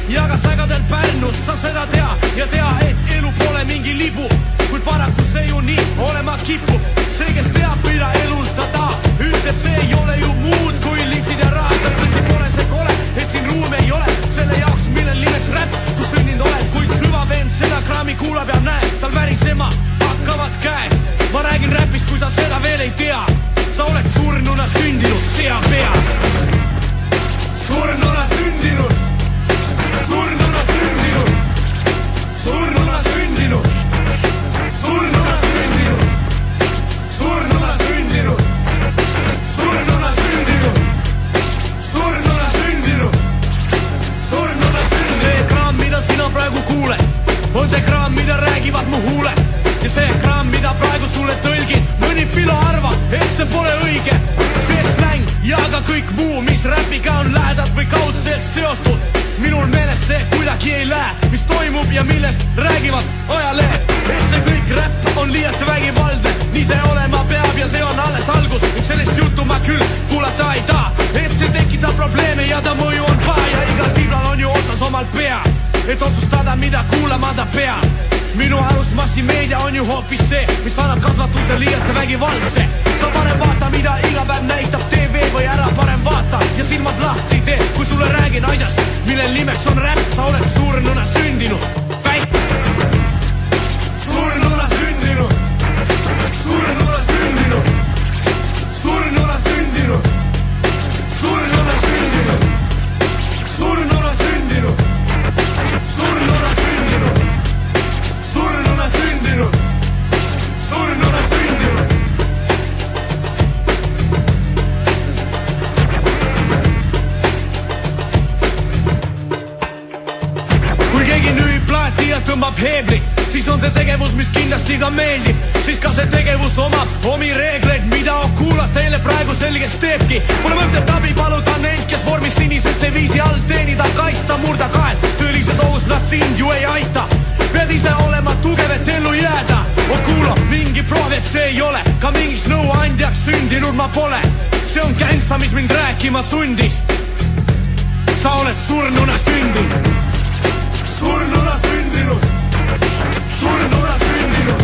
Speaker 5: ja ka sägadel Pärnus sa seda tea ja tea , et elu pole mingi libu , kuid paraku see ju nii olema kipub . see , kes teab , mida elult ta tahab , ütleb , see ei ole ju muud kui litsid ja rahad , kas tõesti pole see kole , et siin ruumi ei ole selle jaoks , millel nimeks räpp , kus sündinud olen , kuid süvavend seda kraami kuulab ja näeb , tal värisema hakkavad käed . ma räägin räpist , kui sa seda veel ei tea , sa oled surnuna sündinud sea peal . surnuna sündinud surnuna sündinud , surnuna sündinud , surnuna sündinud , surnuna sündinud , surnuna sündinud , surnuna sündinud , surnuna sündinud . see kraam , mida sina praegu kuuled , on see kraam , mida räägivad mu huuled ja see kraam , mida praegu sulle tõlgin , mõni filo arvab , et see pole õige , see släng ja ka kõik muu , mis räpiga on lähedalt või kaudselt seotud minul meelest see kuidagi ei lähe , mis toimub ja millest räägivad ajalehed . et see kõik räpp on liialt vägivaldne , nii see olema peab ja see on alles algus . sellist juttu ma küll kuulata ei taha , et see tekitab probleeme ja ta mõju on paha ja igal tiblal on ju otsas omal pea , et otsustada , mida kuulama ta peab . minu arust massimeedia on ju hoopis see , mis annab kasvatuse liialt vägivaldse . sa parem vaata , mida iga päev näitab tv või ära parem vaata ja silmad lahti tee , kui sulle räägin asjast , mille nimeks on räpp , sa oled surnuna sündinud . pätt . surnuna sündinud , surnuna sündinud , surnuna sündinud , surnuna sündinud , surnuna sündinud , surnuna sündinud , surnuna sündinud , surnuna sündinud . kui keegi nüüd plaati ja tõmbab heebli , siis on see tegevus , mis kindlasti ka meeldib , siis ka see tegevus omab omi reegleid , mida Okulat teile praegu selgeks teebki . Pole mõtet abi paluda neilt , kes vormis sinisest deviisi all teenida , kaitsta , murda kael , tõelises ohus nad sind ju ei aita . pead ise olema tugev , et ellu jääda . Okula mingi prohvet see ei ole , ka mingiks nõuandjaks sündinud ma pole . see on gängsta , mis mind rääkima sundis . sa oled surnuna sündinud . surnuna sündinud , surnuna sündinud ,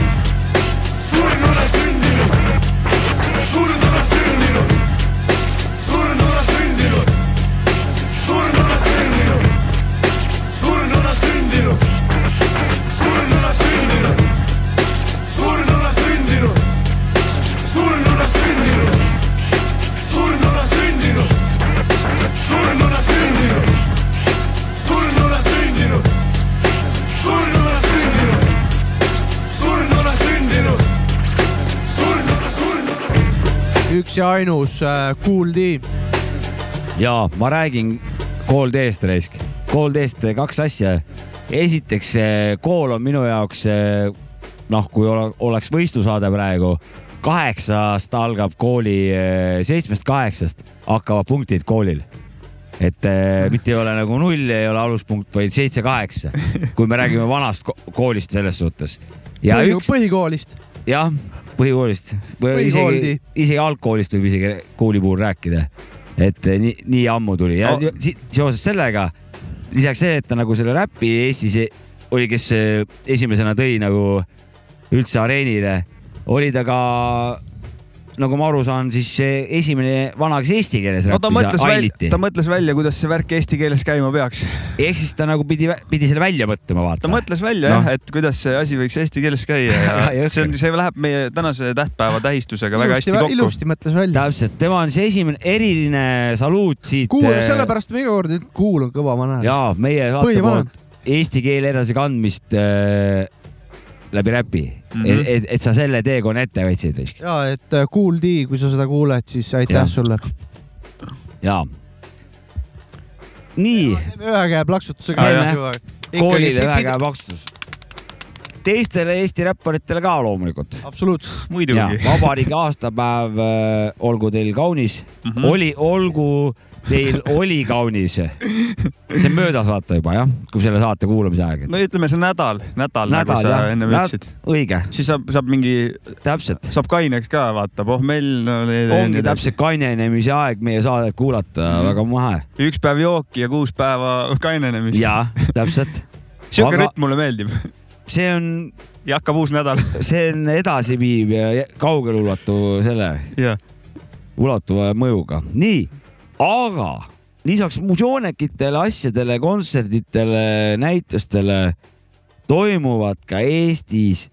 Speaker 5: surnuna sündinud , surnuna sündinud , surnuna sündinud , surnuna sündinud , surnuna sündinud , surnuna sündinud , surnuna sündinud , surnuna sündinud , surnuna sündinud , surnuna sündinud , surnuna sündinud surnuna sündinud , surnuna sündinud , surnuna , surnuna .
Speaker 1: üks ja ainus äh, Kool D .
Speaker 3: ja ma räägin Cold Eest raisk , Cold Eest eh, kaks asja . esiteks , Cool on minu jaoks eh, noh , kui ole, oleks võistlusaade praegu , kaheksast algab kooli , seitsmest kaheksast hakkavad punktid koolil et eh, mitte ei ole nagu null , ei ole aluspunkt , vaid seitse-kaheksa , kui me räägime vanast ko- koolist selles suhtes . ja
Speaker 1: Põhi-
Speaker 3: üks ,
Speaker 1: põhikoolist .
Speaker 3: jah , põhikoolist või isegi
Speaker 1: Põhikooli. ,
Speaker 3: isegi algkoolist võib isegi kooli puhul rääkida . et äh, nii , nii ammu tuli ja
Speaker 2: Au-
Speaker 3: no. seoses sellega , lisaks see , et ta nagu selle räpi Eestis oli , kes äh, esimesena tõi nagu üldse areenile , oli ta ka nagu ma aru saan , siis esimene vana , kes eesti keeles
Speaker 2: no ta mõtles
Speaker 3: räppis ,
Speaker 2: välja ,
Speaker 3: Ailiti
Speaker 2: ta . mõtles välja , kuidas see värk eesti keeles käima peaks .
Speaker 3: ehk siis ta nagu pidi , pidi selle välja mõtlema ,
Speaker 2: ta
Speaker 3: vaata .
Speaker 2: mõtles välja
Speaker 3: Noh.
Speaker 2: jah , et kuidas see asi võiks eesti keeles käia
Speaker 3: Väga ei
Speaker 2: ja
Speaker 3: oska.
Speaker 2: see on , see läheb meie tänase tähtpäeva tähistusega väga
Speaker 1: ilusti
Speaker 2: hästi , kokku .
Speaker 1: ilusti mõtles välja .
Speaker 3: täpselt , tema on see esimene eriline saluut siit .
Speaker 1: kuul , sellepärast ma iga kord ütlen , kuul on kõva vana .
Speaker 3: jaa , meie saate
Speaker 1: Põhivanem.
Speaker 3: poolt eesti keele edasikandmist äh, läbi räpi mm ,
Speaker 2: Mhm.
Speaker 3: -hmm. et , et sa selle teekonna ette võtsid vist .
Speaker 1: ja et äh, kuuldi , kui sa seda kuuled , siis
Speaker 3: Jah.
Speaker 1: aitäh sulle .
Speaker 3: jaa . nii ,
Speaker 1: teeme ühe käe plaksutusega
Speaker 2: Jaa, .
Speaker 3: koolile väga hea paksus . teistele Eesti räpparitele ka loomulikult .
Speaker 1: absoluutselt .
Speaker 3: jaa
Speaker 2: muidugi ,.
Speaker 3: vabariigi aastapäev , olgu teil kaunis mm , -hmm. oli , olgu teil oli kaunis . see on möödas vaata juba jah , kui selle saate kuulamise aeg .
Speaker 2: no ütleme , see nädal , nädal , nagu sa ennem ütlesid ..
Speaker 3: õige ,
Speaker 2: siis saab , saab mingi ,
Speaker 3: täpselt .
Speaker 2: saab kaineks ka vaata , pohmell no, .
Speaker 3: ongi . täpselt kainenemise aeg meie saadet kuulata mm , -hmm. väga mahe .
Speaker 2: üks päev jooki ja kuus päeva kainenemist .
Speaker 3: jaa , täpselt .
Speaker 2: siuke
Speaker 3: Aga-
Speaker 2: aga... rütm mulle meeldib
Speaker 3: see on ,
Speaker 2: ja hakkab uus nädal
Speaker 3: see on edasiviiv ja jä- kaugelulatuv selle ,
Speaker 2: ja
Speaker 3: ulatuva mõjuga . nii , aga lisaks muusioonekitele , asjadele , kontserditele , näitustele toimuvad ka Eestis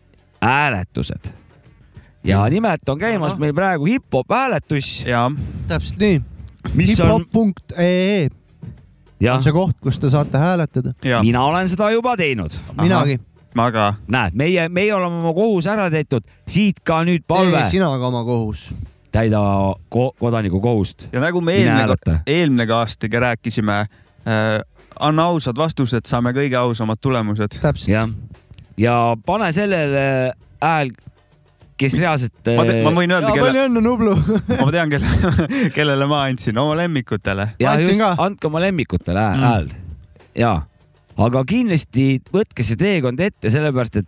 Speaker 3: hääletused . ja nimelt on käimas meil praegu hip-hop hääletus ,
Speaker 2: Mm. ja
Speaker 1: täpselt nii .
Speaker 3: mis on ,
Speaker 1: hiphop.ee
Speaker 3: jah
Speaker 1: E on , see koht , kus te saate hääletada .
Speaker 2: ja
Speaker 3: mina olen seda juba teinud
Speaker 1: minagi .
Speaker 2: aga
Speaker 3: näed , meie , meie oleme oma kohuse ära tehtud , siit ka nüüd palve
Speaker 1: tee sina ka oma kohus .
Speaker 3: täida ko kodaniku kohust .
Speaker 2: ja nagu me
Speaker 3: Mine hääleta.
Speaker 2: eelmine , eelmine aastaga rääkisime äh, , anna ausad vastused , saame kõige ausamad tulemused .
Speaker 1: täpselt .
Speaker 3: jah , ja pane sellele hääl , kes reaalselt äh,
Speaker 2: ma , ma võin
Speaker 1: ja
Speaker 2: öelda ,
Speaker 1: palju
Speaker 2: kelle ,
Speaker 1: õnne , Nublu .
Speaker 2: ma tean , kelle , kellele ma andsin , oma lemmikutele .
Speaker 3: ja
Speaker 1: andsin
Speaker 3: just
Speaker 1: ka. ,
Speaker 3: andke oma lemmikutele hää-
Speaker 2: Mm.
Speaker 3: hääl mm. . ja , aga kindlasti võtke see teekond ette , sellepärast et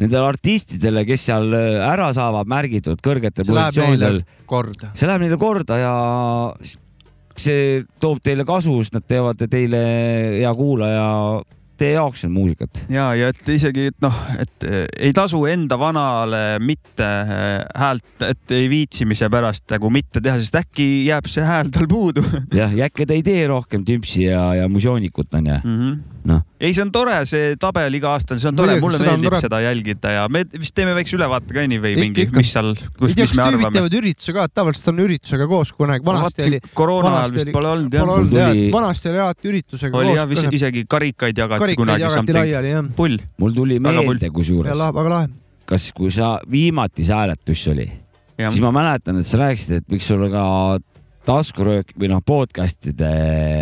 Speaker 3: nendele artistidele , kes seal äh, ära saavad märgitud kõrgetel
Speaker 1: see läheb
Speaker 3: positsioonidel
Speaker 1: neile , korda .
Speaker 3: see läheb neile korda ja s- see toob teile kasu , sest nad teevad teile , hea kuulaja , teie jaoks on muusikat .
Speaker 2: ja , ja et isegi , et noh , et äh, ei tasu enda vanale mitte äh, häält , et ei viitsimise pärast nagu mitte teha , sest äkki jääb see hääl tal puudu mm .
Speaker 3: jah , ja äkki te ei tee rohkem tümpsi ja , ja musionikut onju .
Speaker 2: -hmm.
Speaker 3: Noh.
Speaker 2: ei , see on tore , see tabel iga-aastane , see on tore ,
Speaker 1: Muidugi,
Speaker 2: mulle
Speaker 1: seda on
Speaker 2: meeldib
Speaker 1: tore.
Speaker 2: seda jälgida ja me vist teeme väikse ülevaate ka anyway
Speaker 1: Ikka,
Speaker 2: mingi ,
Speaker 1: ikka.
Speaker 2: mis seal ,
Speaker 1: ei
Speaker 2: kus ,
Speaker 1: tea ,
Speaker 2: mis
Speaker 1: kas
Speaker 2: me
Speaker 1: tüübid
Speaker 2: arvame .
Speaker 1: teevad üritusega ka , et tavaliselt on üritusega koos kunagi , vanasti oli ,
Speaker 2: koroona ajal
Speaker 1: vanasti
Speaker 2: vist
Speaker 1: oli-
Speaker 2: pole olnud jah
Speaker 1: pole . olnud
Speaker 3: Mul
Speaker 1: jah ,
Speaker 3: tuli-
Speaker 1: et vanasti oli alati üritusega
Speaker 2: oli jah ,
Speaker 1: koos .
Speaker 2: isegi karikaid jagati
Speaker 1: karikaid
Speaker 2: kunagi .
Speaker 1: jagati laiali jah .
Speaker 2: pull .
Speaker 3: mul tuli
Speaker 2: Väga
Speaker 3: meelde
Speaker 1: ja
Speaker 3: kusjuures ,
Speaker 1: lahe , väga lahe .
Speaker 3: kas , kui sa viimati see hääletus oli ,
Speaker 2: jah
Speaker 3: siis , ma mäletan , et sa rääkisid , et võiks olla ka taskuröök või noh , podcast'ide .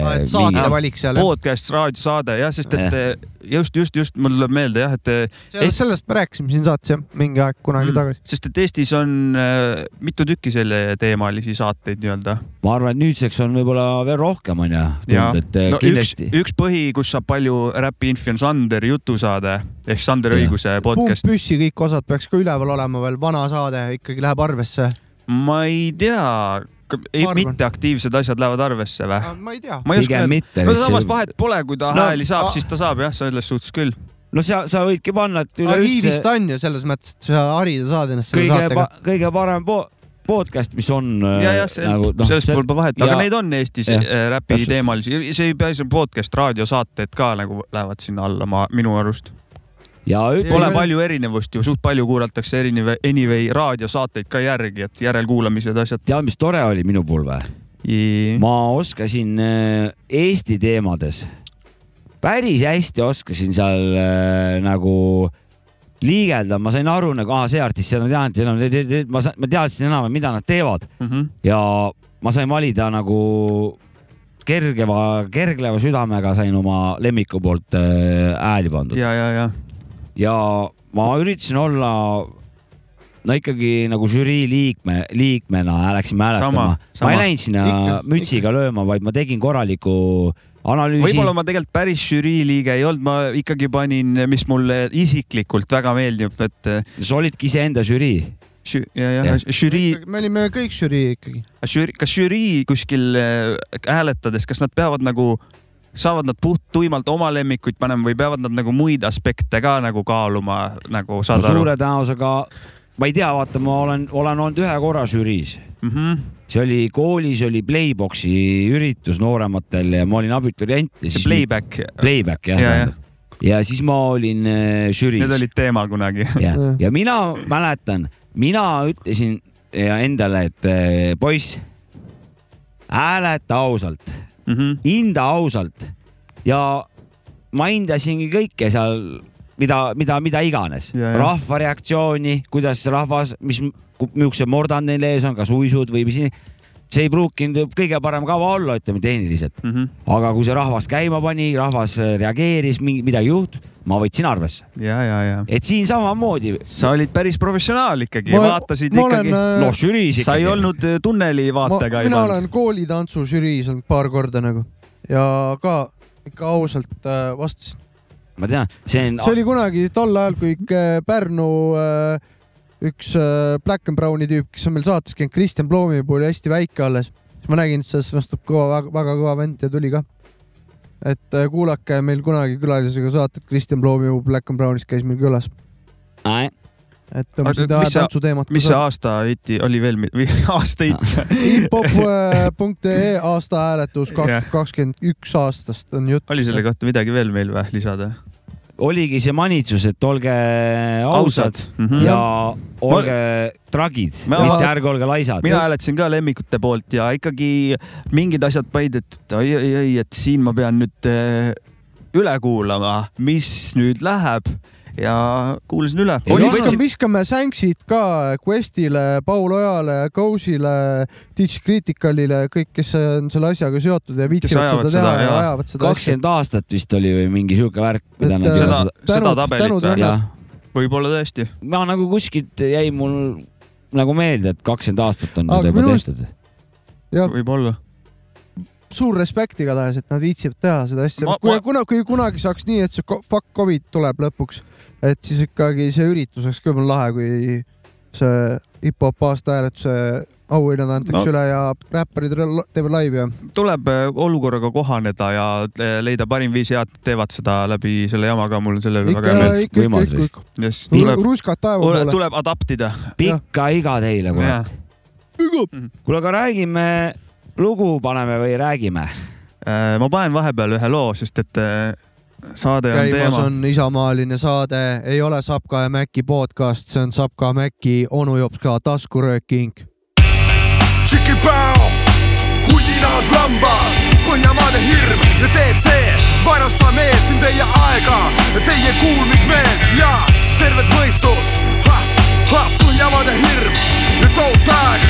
Speaker 1: Ah, et saate valik seal .
Speaker 2: podcast , raadiosaade jah , sest et eh, just , just , just mul tuleb meelde jah , et eh,
Speaker 1: Sellest- sellest me rääkisime siin saates jah , mingi aeg kunagi
Speaker 2: Mm.
Speaker 1: tagasi .
Speaker 2: sest et Eestis on äh, mitu tükki selleteemalisi saateid nii-öelda .
Speaker 3: ma arvan , et nüüdseks on võib-olla veel rohkem onju ,
Speaker 2: Jaa.
Speaker 3: tundub , et
Speaker 2: no
Speaker 3: no,
Speaker 2: üks ,
Speaker 3: kindlasti .
Speaker 2: üks põhi , kus saab palju räpi infi on Sander jutusaade ehk Sander
Speaker 3: Jah.
Speaker 2: Õiguse
Speaker 1: pump
Speaker 2: podcast .
Speaker 1: püssi , kõik osad peaks ka üleval olema veel , vana saade ikkagi läheb arvesse .
Speaker 2: ma ei tea ,
Speaker 1: Ma arvan. Äh,
Speaker 2: mitteaktiivsed asjad lähevad arvesse või ?
Speaker 1: ma ei tea .
Speaker 2: ma ei oska
Speaker 3: pigem
Speaker 2: öelda .
Speaker 3: mitte .
Speaker 2: no samas vahet pole , kui ta
Speaker 3: No,
Speaker 2: hääli saab
Speaker 1: a- ,
Speaker 2: siis ta saab jah , selles suhtes küll .
Speaker 3: no sa , sa võidki panna , et üleüldse
Speaker 1: arhiivist on ju selles mõttes , et sa harida saad ennast selle
Speaker 3: kõige
Speaker 1: saatega .,
Speaker 3: kõige parem po podcast , mis on eh,
Speaker 2: ja , ja see, nagu, no, sellest mul pole vahet , aga
Speaker 3: noh, ja-
Speaker 2: neid on Eestis
Speaker 3: jah,
Speaker 2: äh, räpi
Speaker 3: täpselt.
Speaker 2: teemalisi , see ei pea , see on podcast , raadiosaated ka nagu lähevad sinna alla , ma , minu arust .
Speaker 3: ja ütle
Speaker 2: Pole
Speaker 1: Ei, ,
Speaker 2: palju erinevust ju , suht palju kuulatakse anyway , anyway raadiosaateid ka järgi , et järelkuulamised , asjad .
Speaker 3: tead , mis tore oli minu puhul või ? ma oskasin äh, Eesti teemades , päris hästi oskasin seal äh, nagu liigelda , ma sain aru nagu , aa , see artist , seda ma tean , seda ma tean ,
Speaker 2: Mhm.
Speaker 3: ma sa- ma teadsin enam-vähem , mida nad teevad
Speaker 2: Mm -hmm.
Speaker 3: ja ma sain valida nagu kergeva , kergleva südamega sain oma lemmiku poolt äh, hääli pandud
Speaker 2: ja , ja , ja
Speaker 3: ja ma üritasin olla no ikkagi nagu žürii liikme , liikmena läksin hääletama
Speaker 2: Sama, .
Speaker 3: ma
Speaker 2: sama.
Speaker 3: ei läinud sinna
Speaker 1: Ikka,
Speaker 3: mütsiga lööma , vaid ma tegin korraliku analüüsi
Speaker 2: võib-olla ma tegelikult päris žürii liige ei olnud , ma ikkagi panin , mis mulle isiklikult väga meeldib , et eh,
Speaker 3: sa olidki iseenda žürii .
Speaker 2: žü- ja , ja
Speaker 3: Jah.
Speaker 2: žürii ,
Speaker 1: me olime kõik žürii ikkagi .
Speaker 2: žürii , kas žürii kuskil eh, hääletades , kas nad peavad nagu , saavad nad puht tuimalt oma lemmikuid panema või peavad nad nagu muid aspekte ka nagu kaaluma , nagu
Speaker 3: no
Speaker 2: saad aru
Speaker 3: suure tõenäosusega , ma ei tea , vaata , ma olen , olen olnud ühe korra žüriis ,
Speaker 2: mm ? -hmm.
Speaker 3: see oli koolis oli Playboxi üritus noorematel ja ma olin abiturient .
Speaker 2: see playback ,
Speaker 3: playback jah
Speaker 2: Ja,
Speaker 3: ja, . Ja. ja siis ma olin äh, žüriis
Speaker 2: need olid teema kunagi .
Speaker 3: ja , ja mina mäletan , mina ütlesin ja endale , et äh, poiss , hääleta ausalt ,
Speaker 2: Mm -hmm.
Speaker 3: hinda ausalt ja ma hindasingi kõike seal , mida , mida , mida iganes ,
Speaker 2: Ja, ja.
Speaker 3: rahva reaktsiooni , kuidas rahvas , mis , milline mordand neil ees on , kas uisud või mis , see ei pruukinud kõige parem kava olla , ütleme tehniliselt ,
Speaker 2: Mm -hmm.
Speaker 3: aga kui see rahvas käima pani , rahvas reageeris , midagi juhtus , ma võtsin arvesse ,
Speaker 2: ja , ja , ja
Speaker 3: et siin samamoodi
Speaker 2: sa olid päris professionaal ikkagi , vaatasid
Speaker 1: ma
Speaker 2: ikkagi ,
Speaker 1: olen, äh,
Speaker 3: noh , žüriis
Speaker 2: sa ei olnud eh, tunneli
Speaker 1: ma,
Speaker 2: vaatega .
Speaker 1: mina olen koolitantsu žüriis olnud paar korda nagu ja ka ikka ausalt äh, vastasin .
Speaker 3: ma tean , see on
Speaker 1: see , oli kunagi tol ajal , kui ikka Pärnu äh, üks äh, Black and Browni tüüp , kes on meil saates käinud , Kristjan Ploomi puhul oli hästi väike alles , siis ma nägin , et sellest vastub kõva , väga kõva vend ja tuli ka . et äh, kuulake meil kunagi külalisega saatet , Kristjan Ploomi Black and Brownis käis meil külas , et tõmbasin
Speaker 2: Aga
Speaker 1: ta
Speaker 2: mis sa-
Speaker 1: tantsuteemat .
Speaker 2: mis see aasta hiti oli veel , või aasta hit
Speaker 1: hiphop.ee äh, aastahääletus
Speaker 2: Jah.
Speaker 1: kaks tuhat kakskümmend üks aastast on jutt .
Speaker 2: oli selle kohta midagi veel meil või lisada ?
Speaker 3: oligi see manitsus , et olge ausad
Speaker 2: mina
Speaker 3: ja olge tragid ,
Speaker 2: Mhm. Ma-
Speaker 3: mitte ärge olge laisad .
Speaker 2: hääletasin ka lemmikute poolt ja ikkagi mingid asjad paid , et oi , oi , oi , et siin ma pean nüüd eh, üle kuulama , mis nüüd läheb ja kuulasin üle .
Speaker 3: Ei
Speaker 2: oli ,
Speaker 3: osanud-
Speaker 2: võtsin
Speaker 1: viskame , viskame sänksid ka Questile , Paul Ojale , Ghostile , Teach Criticalile , kõik , kes on selle asjaga seotud ja viitsivad
Speaker 2: ajavad
Speaker 1: seda teha
Speaker 2: seda,
Speaker 1: ja
Speaker 2: jaa.
Speaker 1: ajavad seda asja .
Speaker 3: kakskümmend aastat vist oli või mingi sihuke värk , mida
Speaker 1: Et,
Speaker 3: nad
Speaker 1: äh,
Speaker 2: seda
Speaker 3: seda ,
Speaker 1: tänud-
Speaker 2: seda tabelit
Speaker 1: tänud,
Speaker 2: või
Speaker 1: Janne. ?
Speaker 3: jah ,
Speaker 2: võib-olla tõesti .
Speaker 3: ma nagu kuskilt jäi mul nagu meelde , et kakskümmend aastat on
Speaker 1: Aga
Speaker 3: seda juba
Speaker 1: minu arust-
Speaker 3: tehtud .
Speaker 2: võib-olla .
Speaker 1: suur respekt igatahes , et nad viitsivad teha seda asja
Speaker 2: Ma- .
Speaker 1: kui
Speaker 2: ma-
Speaker 1: kuna , kui kunagi saaks nii , et see ko- fuck covid tuleb lõpuks , et siis ikkagi see üritus oleks ka võib-olla lahe , kui see hip-hop aastahääletuse auhinnad antakse
Speaker 2: No.
Speaker 1: üle ja räpparid rel- teevad laivi ja
Speaker 2: tuleb eh, olukorraga kohaneda ja eh, leida parim viis ja teevad seda läbi selle jama ka , mul on selle üle
Speaker 1: ikka
Speaker 2: väga hea , meel .
Speaker 1: ikka ,
Speaker 3: Võimas
Speaker 1: ikka , ikka ,
Speaker 2: jess , tuleb ,
Speaker 1: ruskad taeva poole .
Speaker 2: tuleb adaptida .
Speaker 3: pikka iga teile , kurat .
Speaker 2: Mhm.
Speaker 3: kuule , aga räägime lugu paneme või räägime ?
Speaker 2: Äh, ma panen vahepeal ühe loo , sest et äh, saade on
Speaker 1: käimas
Speaker 2: teema .
Speaker 1: on isamaaline saade , ei ole Sapka ja Mäkki podcast , see on Sapka ja Mäkki , onu jops ka taskurööking .
Speaker 4: Tšikipäo , hundinaas lambad , Põhjamaade hirm ja TT , varastame siin teie aega , teie kuulmismeelt ja tervet mõistust . Põhjamaade hirm ja tohutu aeg ,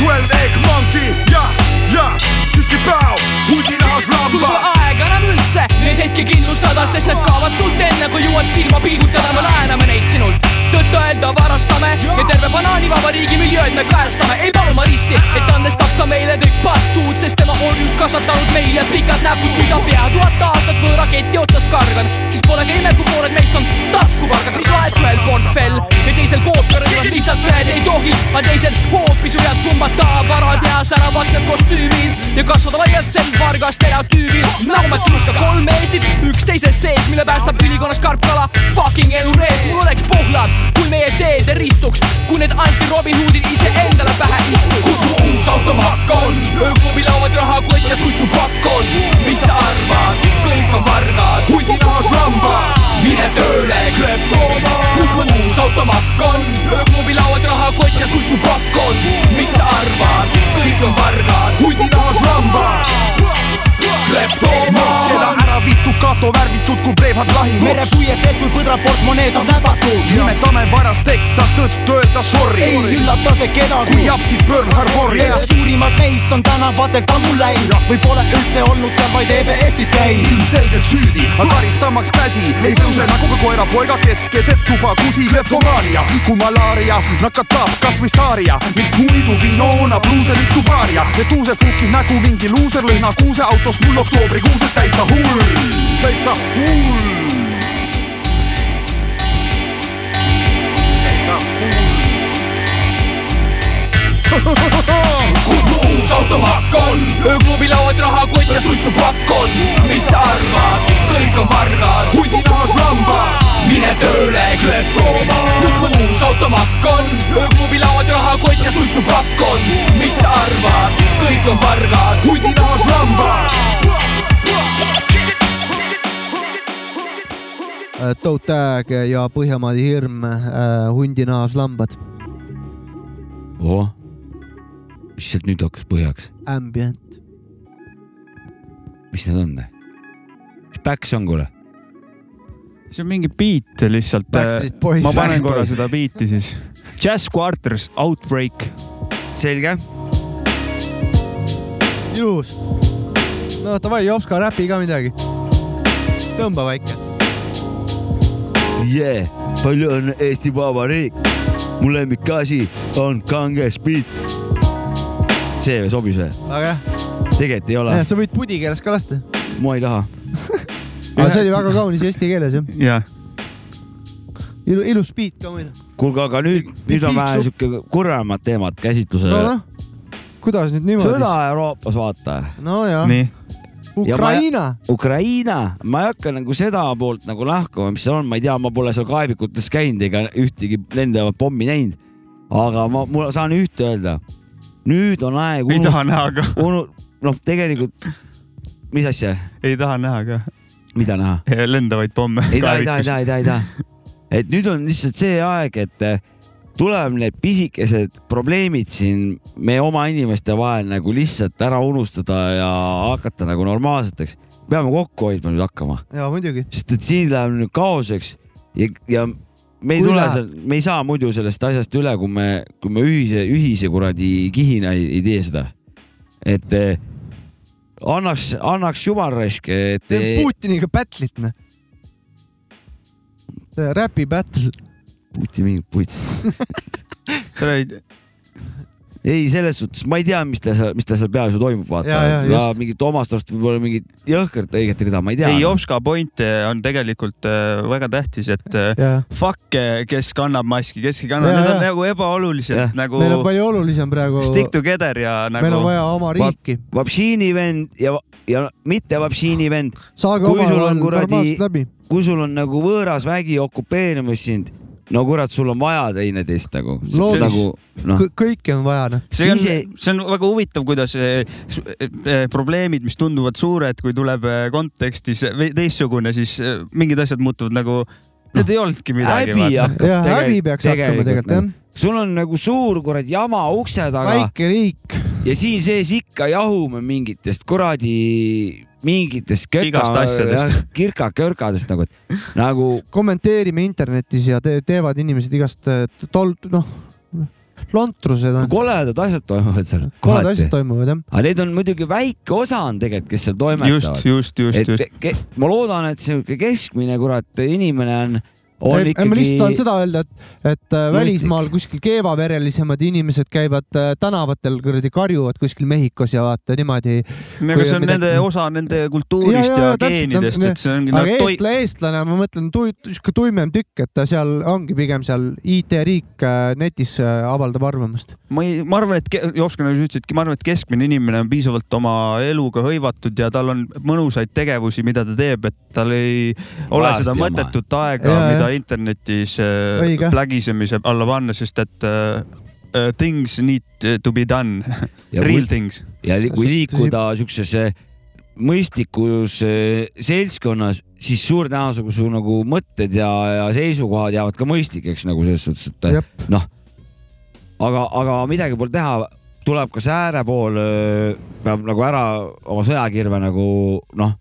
Speaker 4: twelve egg monkey ja , ja tšikipäo , hundinaas
Speaker 6: sul pole
Speaker 4: lambad .
Speaker 6: aega enam üldse neid hetki kindlustada , sest nad kaovad sult enne , kui jõuad silma piigutada , me laename neid sinult . tõtt-öelda varastame ja terve banaanivabariigi miljööd me käestame , ei paluma risti , et andestaks ta meile kõik patud , sest tema orjus kasvatanud meile pikad näpud , kui sa pea tuhat aastat võõra keti otsas kargad , siis pole ka ime , kui pooled meist on taskupargad , mis vahet ühel portfell ja teisel kooperil on lihtsalt ühed ei tohi , aga teised hoopis võivad pumbata vara teha säravaks need kostüümid ja kasvada laialt sel vargas stereotüübil . Naumet tunnustab kolm Eestit üksteise sees , mille päästab ülikonnas karpkala fucking elu rees . mul oleks pohlad , kui meie teed ei ristuks , kui need anti Robin Hoodid iseendale pähe istuks . kus mu uus automakk on , ööklubilauad , rahakott ja suitsupakk on . mis sa arvad , kõik on vargad , hundinaas lambad , mine tööle , kleptooma . kus mu uus automakk on , ööklubilauad , rahakott ja suitsupakk on . mis sa arvad , kõik on vargad , hundinaas lambad . kleptooma .
Speaker 4: keda ära vitud , kato värvitud , kui
Speaker 7: teevad lahinguks merepuiesteelt kui põdraportmonee saab näpakuks nimetame varasteks , saab tõttu öelda sorry ei üllata see kedagi , kui japsid Pearl Harbori suurimad neist on tänavatel tammu läinud või pole üldse olnud seal , vaid EBS-is käinud ilmselgelt süüdi , aga karistamaks käsi ei tõuse nagu ka koerapoega kes keset tuba kusib leptomaania kui malaaria nakatab kasvõi staaria miks muidu Vinona bluuseritu paaria ja tuusefukis nägu mingi luuser lõhna kuuseautost mul oktoobrikuuses täitsa hull , täitsa hull .
Speaker 5: kus mu uus automakk on ? ööklubi lauad rahakott ja suitsupakk on . mis sa arvad , kõik on vargad , hunditaas lambad . mine tööle , kleptooma . kus mu uus automakk on ? ööklubi lauad rahakott ja suitsupakk on . mis sa arvad , kõik on vargad , hunditaas lambad .
Speaker 1: Toe Tag Äh, ja Põhjamaade hirm , hundi naas lambad ,
Speaker 3: ohoh , mis sealt nüüd hakkas põhjaks ,
Speaker 1: ambient ,
Speaker 3: mis need on ? mis Päks on , kuule ?
Speaker 2: see on mingi beat lihtsalt .
Speaker 1: Backstreet Boys.
Speaker 2: äh, ma panen
Speaker 3: Backstreet
Speaker 2: korra
Speaker 3: Boys.
Speaker 2: seda beat'i siis . Jazz Quarters , Outbreak .
Speaker 8: selge .
Speaker 1: ilus . no davai , Jopska räpi ka midagi . tõmba väike .
Speaker 3: yeah. . palju on Eesti Vabariik , mu lemmikasi on kange spiit . see sobis või ?
Speaker 1: väga
Speaker 3: tegelikult ei ole
Speaker 1: hea ,, sa võid pudi keeles ka lasta .
Speaker 3: ma ei taha .
Speaker 1: aga see oli väga kaunis eesti keeles jah .
Speaker 2: jah ,
Speaker 1: ilu , ilus beat ka muide .
Speaker 3: kuulge , aga nüüd , nüüd on vähe
Speaker 1: piiksu.
Speaker 3: siuke kurvemad teemad käsitlusele
Speaker 1: no
Speaker 3: no, .
Speaker 1: noh , kuidas nüüd niimoodi ?
Speaker 3: sõda Euroopas , vaata .
Speaker 1: no ja ,
Speaker 2: nii .
Speaker 1: Ukraina ,
Speaker 3: Ukraina , ma ei hakka nagu seda poolt nagu lahkama , mis seal on , ma ei tea , ma pole seal kaevikutes käinud ega ühtegi lendavat pommi näinud . aga ma , ma saan ühte öelda . nüüd on aeg
Speaker 2: ei
Speaker 3: unustada
Speaker 2: taha , näha ka ,
Speaker 3: unu- , noh , tegelikult , mis asja ,
Speaker 2: ei taha näha ka
Speaker 3: mida näha ?
Speaker 2: lendavaid pomme .
Speaker 3: ei taha , ei taha , ei taha , ei taha , ei taha . et nüüd on lihtsalt see aeg , et eh, tuleb need pisikesed probleemid siin meie oma inimeste vahel nagu lihtsalt ära unustada ja hakata nagu normaalseteks . peame kokku hoidma nüüd hakkama ,
Speaker 1: jaa muidugi .
Speaker 3: sest et siin läheb nüüd kaoseks ja , ja me ei
Speaker 1: Kui
Speaker 3: tule
Speaker 1: läheb-
Speaker 3: seal , me ei saa muidu sellest asjast üle , kui me , kui me ühise , ühise kuradi kihina ei, ei tee seda . et eh, annaks , annaks jumal raisk , et . eh,
Speaker 1: teen Putiniga battle'it noh . räpi battle ,
Speaker 3: Putin mingi puts
Speaker 2: sa olid ,
Speaker 3: ei , selles suhtes ma ei tea , mis ta seal , mis ta seal peas ju toimub , vaata
Speaker 1: Ja, ja, .
Speaker 3: ja
Speaker 1: just.
Speaker 3: mingit omast arust võib-olla mingit jõhkrat õiget rida , ma ei tea . noh.
Speaker 2: ei Jopska point eh, on tegelikult äh, väga tähtis , et äh,
Speaker 1: jaa .
Speaker 2: fuck , kes kannab maski , kes ei kanna ,
Speaker 1: Jaa,
Speaker 2: need on
Speaker 1: jaa.
Speaker 2: nagu ebaolulised
Speaker 3: Jah.
Speaker 2: nagu
Speaker 1: meil on palju olulisem praegu ,
Speaker 2: stick together ja
Speaker 1: meil
Speaker 2: nagu
Speaker 1: on vaja oma riiki .
Speaker 3: Vapšiini vend ja , ja mitte Vapšiini vend ,
Speaker 1: saage
Speaker 3: Kui sul on
Speaker 1: omavahel
Speaker 3: kuradi-
Speaker 1: normaalselt läbi .
Speaker 3: kui sul on nagu võõras vägi okupeerimas sind , no kurat , sul on vaja teineteist nagu .
Speaker 1: Loomulikult.
Speaker 3: nagu noh ,
Speaker 1: kõike on vaja noh .
Speaker 2: see on ,
Speaker 3: Siis-
Speaker 2: see on väga huvitav , kuidas eh, su- eh, eh, probleemid , mis tunduvad suured , kui tuleb eh, kontekstis ve- teistsugune , siis eh, mingid asjad muutuvad nagu , need ei olnudki midagi .
Speaker 3: häbi hakkab
Speaker 1: jaa ,
Speaker 3: tegel-
Speaker 1: häbi peaks hakkama tegelikult jah .
Speaker 3: sul on nagu suur kuradi jama ukse taga
Speaker 1: väike riik ,
Speaker 3: ja siin sees ikka jahume mingitest kuradi , mingitest
Speaker 2: Igast asjadest. ,
Speaker 3: kirka-körkadest nagu , et nagu
Speaker 1: kommenteerime internetis ja te teevad inimesed igast äh, tol- , noh , lontrused on ,
Speaker 3: koledad asjad toimuvad seal .
Speaker 1: koledad asjad toimuvad jah .
Speaker 3: aga neid on muidugi väike osa on tegelikult , kes seal
Speaker 2: just ,
Speaker 3: toimetavad .
Speaker 2: just , just , just .
Speaker 3: et ke, ma loodan , et sihuke keskmine kurat inimene on , on
Speaker 1: ei , ma lihtsalt tahan
Speaker 3: ikkagi ,
Speaker 1: seda öelda , et , et äh, välismaal kuskil keevaverelisemad inimesed käivad äh, tänavatel kuradi karjuvad kuskil Mehhikos ja vaata niimoodi .
Speaker 2: aga
Speaker 1: kui
Speaker 2: Nagu see on
Speaker 1: midagi- Mm.
Speaker 2: nende osa nende kultuurist
Speaker 1: Jaa, jaa,
Speaker 2: ja,
Speaker 1: jaa, täpselt,
Speaker 2: geenidest ,
Speaker 1: nad-
Speaker 2: et see ongi
Speaker 1: aga
Speaker 2: nagu toi- ,
Speaker 1: eestla- , eestlane , ma mõtlen , sihuke tuimem tükk , et ta seal ongi pigem seal IT-riik äh, netis äh, avaldab arvamust .
Speaker 2: ma ei , ma arvan , et ke- Jopska nagu sa ütlesid , ma arvan , et keskmine inimene on piisavalt oma eluga hõivatud ja tal on mõnusaid tegevusi , mida ta teeb , et tal ei ole
Speaker 3: Vajast
Speaker 2: seda
Speaker 3: jama.
Speaker 2: mõttetut aega
Speaker 1: Jaa, ,
Speaker 2: mida
Speaker 1: jah.
Speaker 2: internetis
Speaker 1: Õige.
Speaker 2: äh, plägisemise alla panna , sest et äh, äh, things need to be done ,
Speaker 3: Ja
Speaker 2: real
Speaker 3: kui-
Speaker 2: things .
Speaker 3: ja li, kui liikuda siuksesse mõistlikus eh, seltskonnas , siis suure tõenäosusega su nagu mõtted ja , ja seisukohad jäävad ka mõistlikeks nagu selles suhtes , et
Speaker 1: jah ,
Speaker 2: Noh,
Speaker 3: aga , aga midagi pole teha , tuleb eh, ka see äärepool , peab nagu ära oma sõjakirve nagu noh ,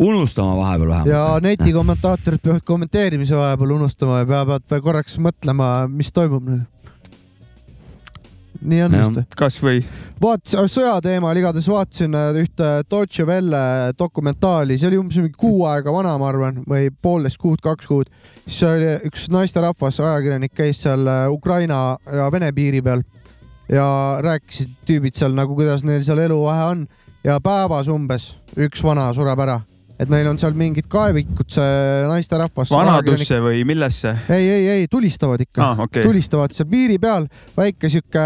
Speaker 3: unustama vahepeal vähemalt .
Speaker 1: ja netikommentaatorid peavad kommenteerimise vahepeal unustama ja peavad korraks mõtlema , mis toimub nagu . nii on vist .
Speaker 2: kasvõi
Speaker 1: vaatasin , sõja teemal igatahes vaatasin äh, ühte Deutsche Welle dokumentaali , see oli umbes mingi kuu aega vana , ma arvan , või poolteist kuud , kaks kuud . siis oli üks naisterahvas , ajakirjanik käis seal äh, Ukraina ja Vene piiri peal ja rääkisid tüübid seal nagu , kuidas neil seal eluvahe on ja päevas umbes üks vana sureb ära , et neil on seal mingid kaevikud , see naisterahvas .
Speaker 2: vanadusse või millesse ?
Speaker 1: ei , ei , ei tulistavad ikka
Speaker 2: Ah, okei.
Speaker 1: tulistavad seal piiri peal , väike sihuke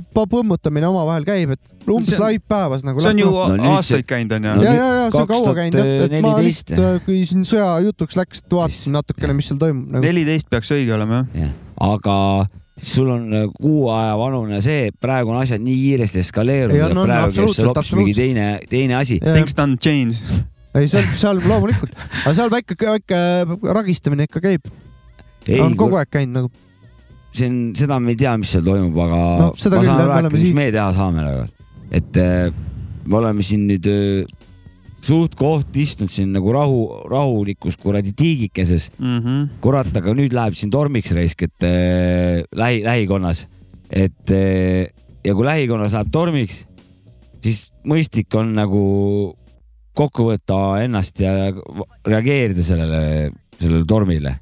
Speaker 1: p- põmmutamine omavahel käib , et umbes
Speaker 2: See on-
Speaker 1: laip päevas nagu .
Speaker 2: see on ju
Speaker 3: No nüüd see-
Speaker 2: aastaid käinud onju
Speaker 1: ja ,
Speaker 3: no
Speaker 1: ja ,
Speaker 3: nüüd
Speaker 1: ja see on kaua käinud , et , et ma
Speaker 3: 2014.
Speaker 1: lihtsalt , kui siin sõjajutuks läks , et vaatasin natukene , mis seal toimub nagu. .
Speaker 2: neliteist peaks õige olema jah .
Speaker 3: jah , aga sul on äh, kuu aja vanune see , praegu on asjad nii kiiresti eskaleerunud
Speaker 1: Ei, on,
Speaker 3: ja
Speaker 1: on,
Speaker 3: praegu käib seal
Speaker 1: absoluutselt,
Speaker 3: hoopis mingi teine , teine asi .
Speaker 2: Things don't change .
Speaker 1: ei , seal , seal loomulikult , aga seal väike , väike ragistamine ikka käib , on kogu aeg käinud nagu .
Speaker 3: see on , seda me ei tea , mis seal toimub , aga
Speaker 1: No, seda
Speaker 3: ma
Speaker 1: küll,
Speaker 3: saan
Speaker 1: jah, me
Speaker 3: rääkida ,
Speaker 1: oleme
Speaker 3: mis
Speaker 1: siin-
Speaker 3: meie teha saame nagu , et eh, me oleme siin nüüd eh, suht-koht istunud siin nagu rahu , rahulikus kuradi tiigikeses ,
Speaker 2: Mhm.
Speaker 3: kurat , aga nüüd läheb siin tormiks raisk , et eh, lähi , lähikonnas , et eh, ja kui lähikonnas läheb tormiks , siis mõistlik on nagu kokku võtta ennast ja reageerida sellele , sellele tormile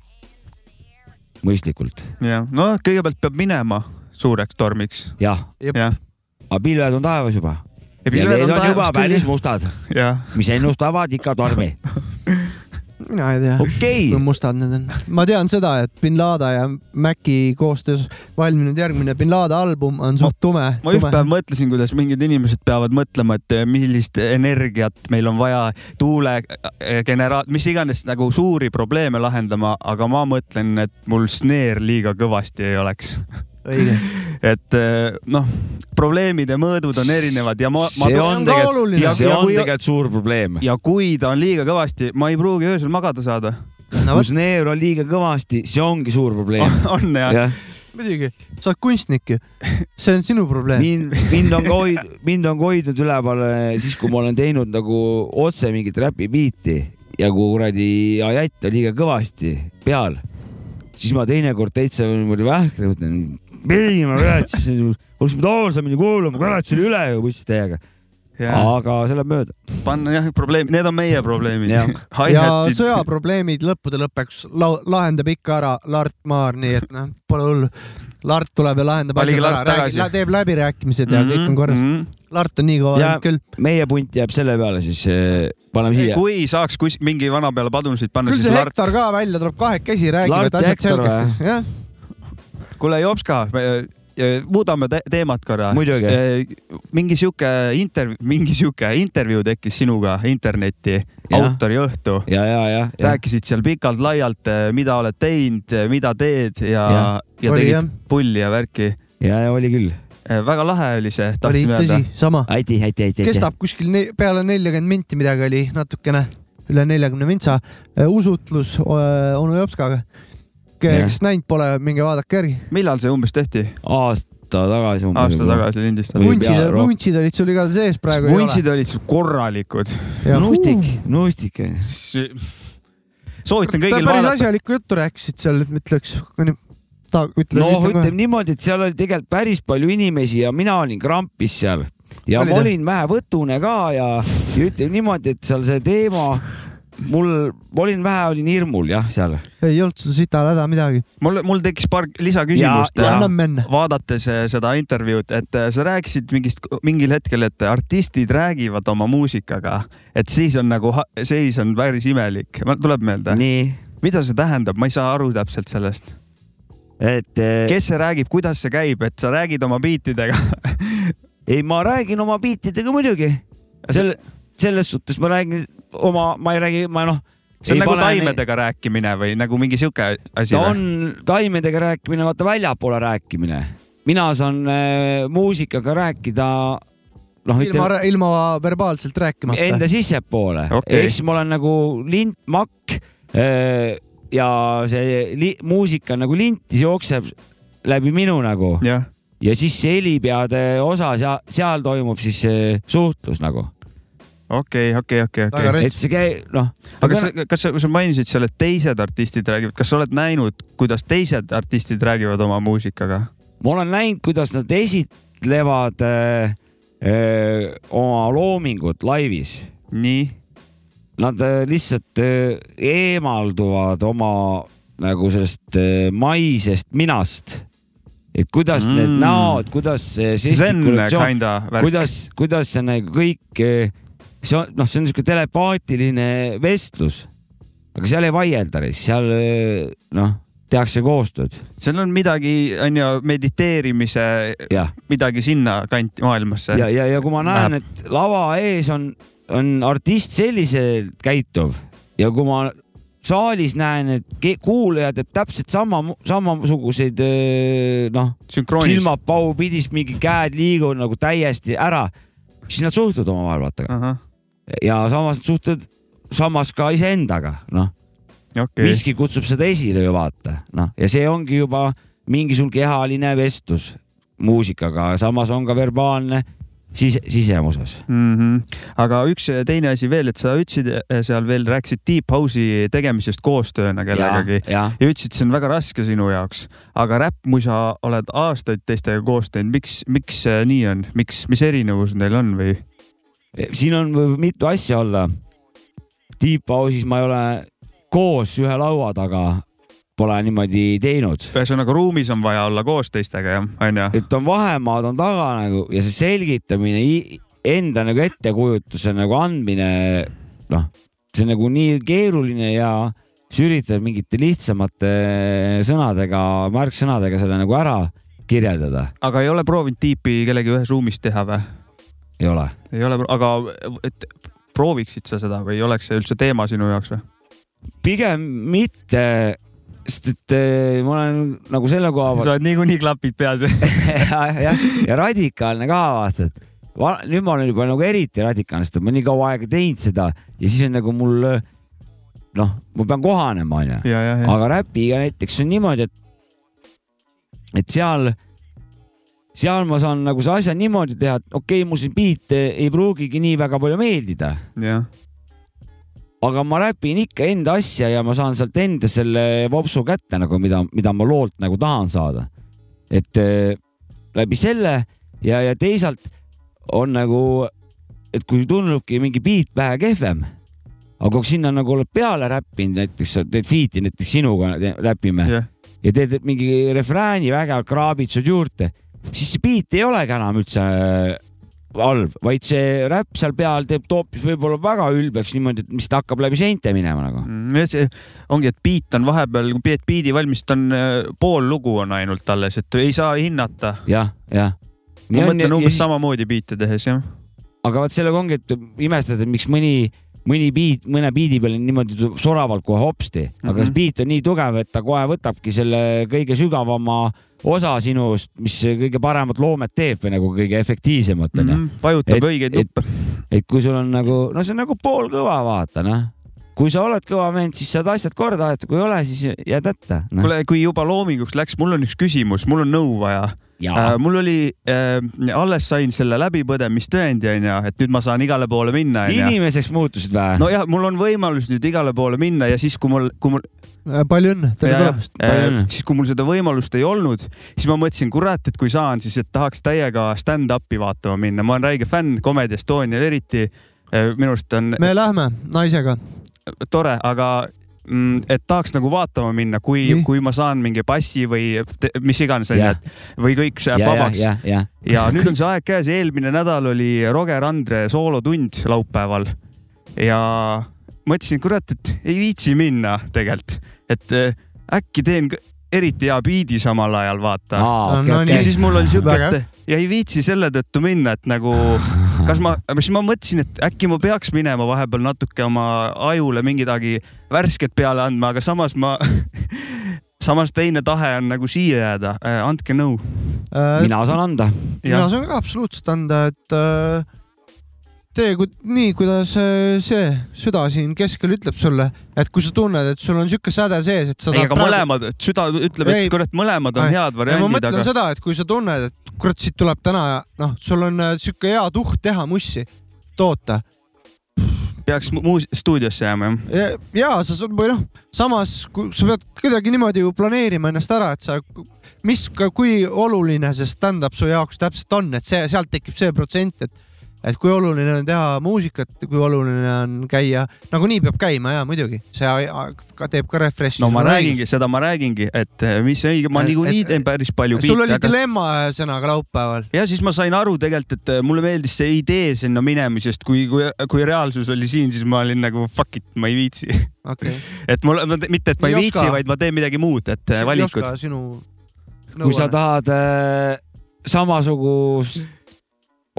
Speaker 3: mõistlikult ,
Speaker 2: jah , no kõigepealt peab minema suureks tormiks .
Speaker 3: jah
Speaker 2: jah ,
Speaker 3: aga pilved on taevas juba .
Speaker 2: Ja
Speaker 3: ja
Speaker 2: pilved
Speaker 3: need
Speaker 2: on
Speaker 3: on, on juba
Speaker 2: taevas
Speaker 3: päris
Speaker 2: küll.
Speaker 3: mustad ,
Speaker 2: jah .
Speaker 3: mis ennustavad ikka tormi .
Speaker 1: mina ei tea ,
Speaker 3: okei
Speaker 1: kui , mustad need on . ma tean seda , et bin Laden ja Maci koostöös valminud järgmine bin Laden album on suht tume .
Speaker 2: ma ükspäev mõtlesin , kuidas mingid inimesed peavad mõtlema , et eh, millist energiat meil on vaja tuulegeneraat- , mis iganes nagu suuri probleeme lahendama , aga ma mõtlen , et mul snare liiga kõvasti ei oleks .
Speaker 1: õige .
Speaker 2: et eh, noh , probleemide mõõdud on erinevad ja ma , ma
Speaker 3: see on
Speaker 1: ka
Speaker 3: tegelikult ,
Speaker 1: oluline.
Speaker 3: see
Speaker 2: Ja
Speaker 3: on
Speaker 2: kui-
Speaker 3: tegelikult suur probleem .
Speaker 2: ja kui ta on liiga kõvasti , ma ei pruugi öösel magada saada .
Speaker 1: no
Speaker 3: kui
Speaker 1: vot ,
Speaker 3: sneer on liiga kõvasti , see ongi suur probleem .
Speaker 2: on jah ja. ?
Speaker 3: jah ,
Speaker 1: muidugi , sa oled kunstnik ju , see on sinu probleem .
Speaker 3: mind , mind on ka hoid- , mind on ka hoidnud üleval eh, siis , kui ma olen teinud nagu otse mingit räpi biiti ja kui kuradi ajatt on liiga kõvasti peal , siis ma teinekord täitsa niimoodi vähkri mõtlen , ei ma kuratsin , oleks pidanud hoolsamini kuulama , kuratsin üle ju bussi teiega ,
Speaker 2: Ja.
Speaker 3: aga see läheb mööda .
Speaker 2: panna jah , probleem , need on meie probleemid
Speaker 3: Jah. .
Speaker 1: ja sõjaprobleemid lõppude lõpuks lau- lahendab ikka ära Lart Maar , nii et noh , pole hullu . Lart tuleb ja lahendab
Speaker 2: Valige
Speaker 1: asjad ära
Speaker 2: Lart , tagasi.
Speaker 1: räägib , teeb läbirääkimised ja kõik on korras .
Speaker 2: -hmm.
Speaker 1: Lart on nii kõva
Speaker 3: Ja-
Speaker 1: vend küll .
Speaker 3: meie punt jääb selle peale , siis eh, paneme
Speaker 2: Ei,
Speaker 3: siia .
Speaker 2: kui saaks kus, mingi vana peale padunusid panna ,
Speaker 1: küll
Speaker 2: siis
Speaker 1: see
Speaker 2: Lart
Speaker 1: Hektor . ka välja tuleb , kahekesi räägivad
Speaker 3: Lart ja
Speaker 1: asjad
Speaker 3: Hektor
Speaker 1: selgeks . jah ,
Speaker 2: kuule , Jopska , muudame te teemat korra .
Speaker 3: Muidugi.
Speaker 2: mingi sihuke intervjuu , mingi sihuke intervjuu tekkis sinuga internetti ,
Speaker 3: Jah.
Speaker 2: autoriõhtu .
Speaker 3: ja , ja , ja, ja. ,
Speaker 2: rääkisid seal pikalt-laialt , mida oled teinud , mida teed ja, ja. , ja
Speaker 1: Oli,
Speaker 2: tegid
Speaker 1: jah.
Speaker 2: pulli ja värki .
Speaker 3: ja , ja oli küll .
Speaker 2: väga lahe oli see ,
Speaker 1: oli
Speaker 2: tahtsin öelda
Speaker 1: tõsi ., sama .
Speaker 3: aitäh , aitäh , aitäh .
Speaker 1: kestab kuskil ne- peale neljakümmend minti midagi oli natukene , üle neljakümne vintsa . usutlus öö, onu Jopskaga . kes näinud pole , minge vaadake järgi .
Speaker 2: millal see umbes tehti ?
Speaker 3: aasta tagasi umbes .
Speaker 2: aasta tagasi lindistatud .
Speaker 3: Või
Speaker 1: vuntsid
Speaker 3: pea- , rohkem.
Speaker 1: vuntsid olid sul igatahes ees praegu .
Speaker 2: vuntsid olid sul korralikud .
Speaker 3: nuustik , nuustik on ju .
Speaker 2: soovitan kõigil
Speaker 1: ta päris
Speaker 2: vaadata .
Speaker 1: asjalikku juttu rääkisid seal , ütleks , ta ütle .
Speaker 3: noh , ütleme niimoodi , et seal oli tegelikult päris palju inimesi ja mina olin krampis seal ja
Speaker 1: Olid,
Speaker 3: ma
Speaker 1: jah?
Speaker 3: olin vähe võtune ka ja , ja ütleme niimoodi , et seal see teema , mul , ma olin vähe , olin hirmul jah , seal .
Speaker 1: ei olnud sul sita häda midagi .
Speaker 2: mul , mul tekkis paar lisaküsimust .
Speaker 3: Ja-
Speaker 1: anname enne .
Speaker 2: vaadates eh, seda intervjuud , et eh, sa rääkisid mingist , mingil hetkel , et artistid räägivad oma muusikaga , et siis on nagu ha- seis on päris imelik , tuleb meelde .
Speaker 3: nii ,
Speaker 2: mida see tähendab , ma ei saa aru täpselt sellest ,
Speaker 3: et eh,
Speaker 2: kes see räägib , kuidas see käib , et sa räägid oma biitidega
Speaker 3: ei , ma räägin oma biitidega muidugi . selle , selles suhtes ma räägin oma , ma ei räägi , ma noh .
Speaker 2: see on nagu taimedega rääkimine või nagu mingi sihuke asi
Speaker 3: ta
Speaker 2: või ?
Speaker 3: on taimedega rääkimine , vaata väljapoole rääkimine . mina saan äh, muusikaga rääkida , noh ,
Speaker 1: ilma
Speaker 3: ütleme ,
Speaker 1: ilma verbaalselt rääkimata .
Speaker 3: enda sissepoole
Speaker 2: Okei.
Speaker 3: ehk siis ma olen nagu lint , makk äh, ja see li, muusika nagu lintis jookseb läbi minu nagu
Speaker 2: jah ,
Speaker 3: ja siis see helipeade osa , seal toimub siis äh, suhtlus nagu .
Speaker 2: okei , okei , okei ,
Speaker 1: Väga
Speaker 2: okei .
Speaker 1: rets-
Speaker 3: et see käi- , noh .
Speaker 2: aga kas sa , kas sa , kui sa mainisid seal , et teised artistid räägivad , kas sa oled näinud , kuidas teised artistid räägivad oma muusikaga ?
Speaker 3: ma olen näinud , kuidas nad esitlevad äh, äh, oma loomingut laivis .
Speaker 2: nii ,
Speaker 3: Nad äh, lihtsalt äh, eemalduvad oma nagu sellest äh, maisest minast . et kuidas mm. need
Speaker 2: Mm.
Speaker 3: näod , kuidas see
Speaker 2: zen
Speaker 3: žestikulatsioon ,
Speaker 2: kinda värk .
Speaker 3: kuidas , kuidas see nagu kõik , see on , noh , see on niisugune telepaatiline vestlus . aga seal ei vaielda , seal äh, noh , tehakse koostööd ,
Speaker 2: seal on midagi , onju , mediteerimise ,
Speaker 3: jah
Speaker 2: midagi sinna kanti maailmasse .
Speaker 3: ja , ja , ja kui ma näen , et lava ees E on , on artist selliselt käituv ja kui ma saalis näen , et ke- kuulaja teeb täpselt sama , samasuguseid öö, noh ,
Speaker 2: sünkroonis .
Speaker 3: silmad pahupidis , mingi käed liiguvad nagu täiesti ära , siis nad suhtlevad omavahel vaata
Speaker 2: okei ,
Speaker 3: ja samas nad suhtlevad , samas ka iseendaga , noh , miski kutsub seda esile ju vaata , noh , ja see ongi juba mingisugune kehaline vestlus muusikaga , samas on ka verbaalne sise , sisemuses
Speaker 2: mm . -hmm. aga üks teine asi veel , et sa ütlesid eh, seal veel , rääkisid Deep House'i tegemisest koostööna kellegagi ja,
Speaker 3: jah ,
Speaker 2: ja ütlesid , see on väga raske sinu jaoks , aga räppmuisa oled aastaid teistega koos teinud , miks , miks eh, nii on , miks , mis erinevus neil on või ?
Speaker 3: Eh, siin on või- mitu asja olla . Deep House'is ma ei ole koos ühe laua taga , pole niimoodi teinud ,
Speaker 2: ühesõnaga ruumis on vaja olla koos teistega jah , onju .
Speaker 3: et on vahemaad on taga nagu ja see selgitamine , enda nagu ettekujutuse nagu andmine , noh , see on nagu nii keeruline ja sa üritad mingite lihtsamate sõnadega , märksõnadega selle nagu ära kirjeldada ,
Speaker 2: aga ei ole proovinud Deepi kellegi ühes ruumis teha või ?
Speaker 3: ei ole .
Speaker 2: ei ole , aga et prooviksid sa seda või oleks see üldse teema sinu jaoks või ?
Speaker 3: pigem mitte , sest et eh, ma olen nagu selle koha peal
Speaker 2: sa oled niikuinii klapid peas .
Speaker 3: ja, ja, ja radikaalne ka vaata , et va, nüüd ma olen juba nagu eriti radikaalne , sest et ma nii kaua aega teinud seda ja siis on nagu mul noh , ma pean kohanema onju ,
Speaker 2: ja , ja , ja .
Speaker 3: aga räpiga näiteks on niimoodi , et et seal , seal ma saan nagu see asja niimoodi teha , et okei okay, , mul siin beat ei pruugigi nii väga palju meeldida ,
Speaker 2: jah ,
Speaker 3: aga ma räpin ikka enda asja ja ma saan sealt enda selle vopsu kätte nagu , mida , mida ma loolt nagu tahan saada . et äh, läbi selle ja , ja teisalt on nagu , et kui tundubki mingi beat vähe kehvem , aga kui sinna nagu oled peale räppinud , näiteks sa teed feat'i näiteks sinuga te- räpime
Speaker 2: jah .
Speaker 3: ja teed mingi refrääni väga kraabitsud juurde , siis see beat ei olegi enam üldse äh, halb , vaid see räpp seal peal teeb ta hoopis võib-olla väga ülbeks niimoodi , et mis ta hakkab läbi seinte minema nagu .
Speaker 2: Mm, ja see ongi , et beat on vahepeal , kui beat biidi valmis , ta on äh, pool lugu on ainult alles , et ei saa hinnata .
Speaker 3: jah , jah .
Speaker 2: ma mõtlen umbes . samamoodi biite tehes jah .
Speaker 3: aga vot sellega ongi , et imestad , et miks mõni , mõni beat , mõne beat'i peal on niimoodi tu- soravalt kohe hopsti , aga mm -hmm.
Speaker 2: Mhm.
Speaker 3: see beat on nii tugev , et ta kohe võtabki selle kõige sügavama osa sinust , mis kõige paremat loomet teeb või nagu kõige efektiivsemat onju .
Speaker 2: Mhm. vajutab
Speaker 3: Et-
Speaker 2: et, õigeid
Speaker 3: et-
Speaker 2: nuppe .
Speaker 3: et kui sul on nagu , no see on nagu poolkõva , vaata noh . kui sa oled kõva vend , siis saad asjad korda aetud , kui ei ole , siis jääd hätta noh. no. .
Speaker 2: kuule , kui juba loominguks läks , mul on üks küsimus , mul on nõu vaja . Äh, mul oli äh, , alles sain selle läbipõdemistõendi onju , et nüüd ma saan igale poole minna onju .
Speaker 3: inimeseks muutusid või no. ?
Speaker 2: nojah , mul on võimalus nüüd igale poole minna ja siis , kui mul , kui mul ,
Speaker 1: Äh, palju õnne , tere
Speaker 2: Ja-
Speaker 1: tulemast .
Speaker 2: ja-
Speaker 3: Palju
Speaker 2: äh,
Speaker 3: õnne.
Speaker 2: siis kui mul seda võimalust ei olnud , siis ma mõtlesin , kurat , et kui saan , siis et tahaks täiega stand-up'i vaatama minna , ma olen räige fänn Comedy Estonial eriti . minu arust on
Speaker 1: me lähme naisega .
Speaker 2: tore , aga mm, et tahaks nagu vaatama minna , kui
Speaker 1: Nii. ,
Speaker 2: kui ma saan mingi passi või te, mis iganes
Speaker 3: Jah.
Speaker 2: onju , et või kõik see
Speaker 3: ja , ja ,
Speaker 2: vabaks ja,
Speaker 3: ja , ja ,
Speaker 2: ja. ja nüüd on see aeg käes , eelmine nädal oli Roger Andre soolotund laupäeval ja mõtlesin , kurat , et ei viitsi minna tegelikult , et eh, äkki teen kõ- eriti hea biidi samal ajal , vaata .
Speaker 1: No
Speaker 3: okei ,
Speaker 1: nii,
Speaker 2: ja
Speaker 3: okei .
Speaker 2: siis mul oli siuke ,
Speaker 1: Väga
Speaker 2: et ja ei viitsi selle tõttu minna , et nagu kas ma , siis ma mõtlesin , et äkki ma peaks minema vahepeal natuke oma ajule mingidagi värsket peale andma , aga samas ma , samas teine tahe on nagu siia jääda . andke nõu .
Speaker 1: mina
Speaker 3: mina saan anda .
Speaker 2: jah ,
Speaker 1: Äh, saan ka absoluutselt anda , et äh, tee ku- nii , kuidas äh, see süda siin keskel ütleb sulle , et kui sa tunned , et sul on sihuke säde sees , et sa
Speaker 2: ei ,
Speaker 1: tahad
Speaker 2: aga . mõlemad , süda ütleb ,
Speaker 1: Ei.
Speaker 2: et kurat , mõlemad on
Speaker 1: Ei.
Speaker 2: head
Speaker 1: ja ma
Speaker 2: variandid ,
Speaker 1: mõtlen
Speaker 2: aga
Speaker 1: seda , et kui sa tunned , et kurat , siit tuleb täna , noh , sul on äh, sihuke hea tuhk teha mussi , toota ,
Speaker 2: peaks mu- muus- , stuudiosse jääma , jah ?
Speaker 1: ja, ja sa sa- või noh , samas kui- sa pead kuidagi niimoodi ju planeerima ennast ära , et sa , mis , kui oluline see stand-up su jaoks täpselt on , et see , sealt tekib see protsent , et et kui oluline on teha muusikat , kui oluline on käia , nagunii peab käima ja muidugi , see a- a- ka teeb ka refresh'i .
Speaker 2: no ma räägingi , seda ma räägingi , et eh, mis õige , ma
Speaker 1: Et-
Speaker 2: niikuinii
Speaker 1: Äh, et-
Speaker 2: teen päris palju
Speaker 1: sul
Speaker 2: biite ,
Speaker 1: oli
Speaker 2: aga
Speaker 1: dilemma ühesõnaga laupäeval .
Speaker 2: ja siis ma sain aru tegelikult , et eh, mulle meeldis see idee sinna minemisest , kui , kui , kui reaalsus oli siin , siis ma olin nagu fuck it , ma ei viitsi .
Speaker 1: okei okay. ,
Speaker 2: et mul , mitte et ma ei
Speaker 1: Ei
Speaker 2: viitsi
Speaker 1: oska. ,
Speaker 2: vaid ma teen midagi muud , et eh, valikud .
Speaker 1: sinu .
Speaker 3: kui sa tahad äh, samasugust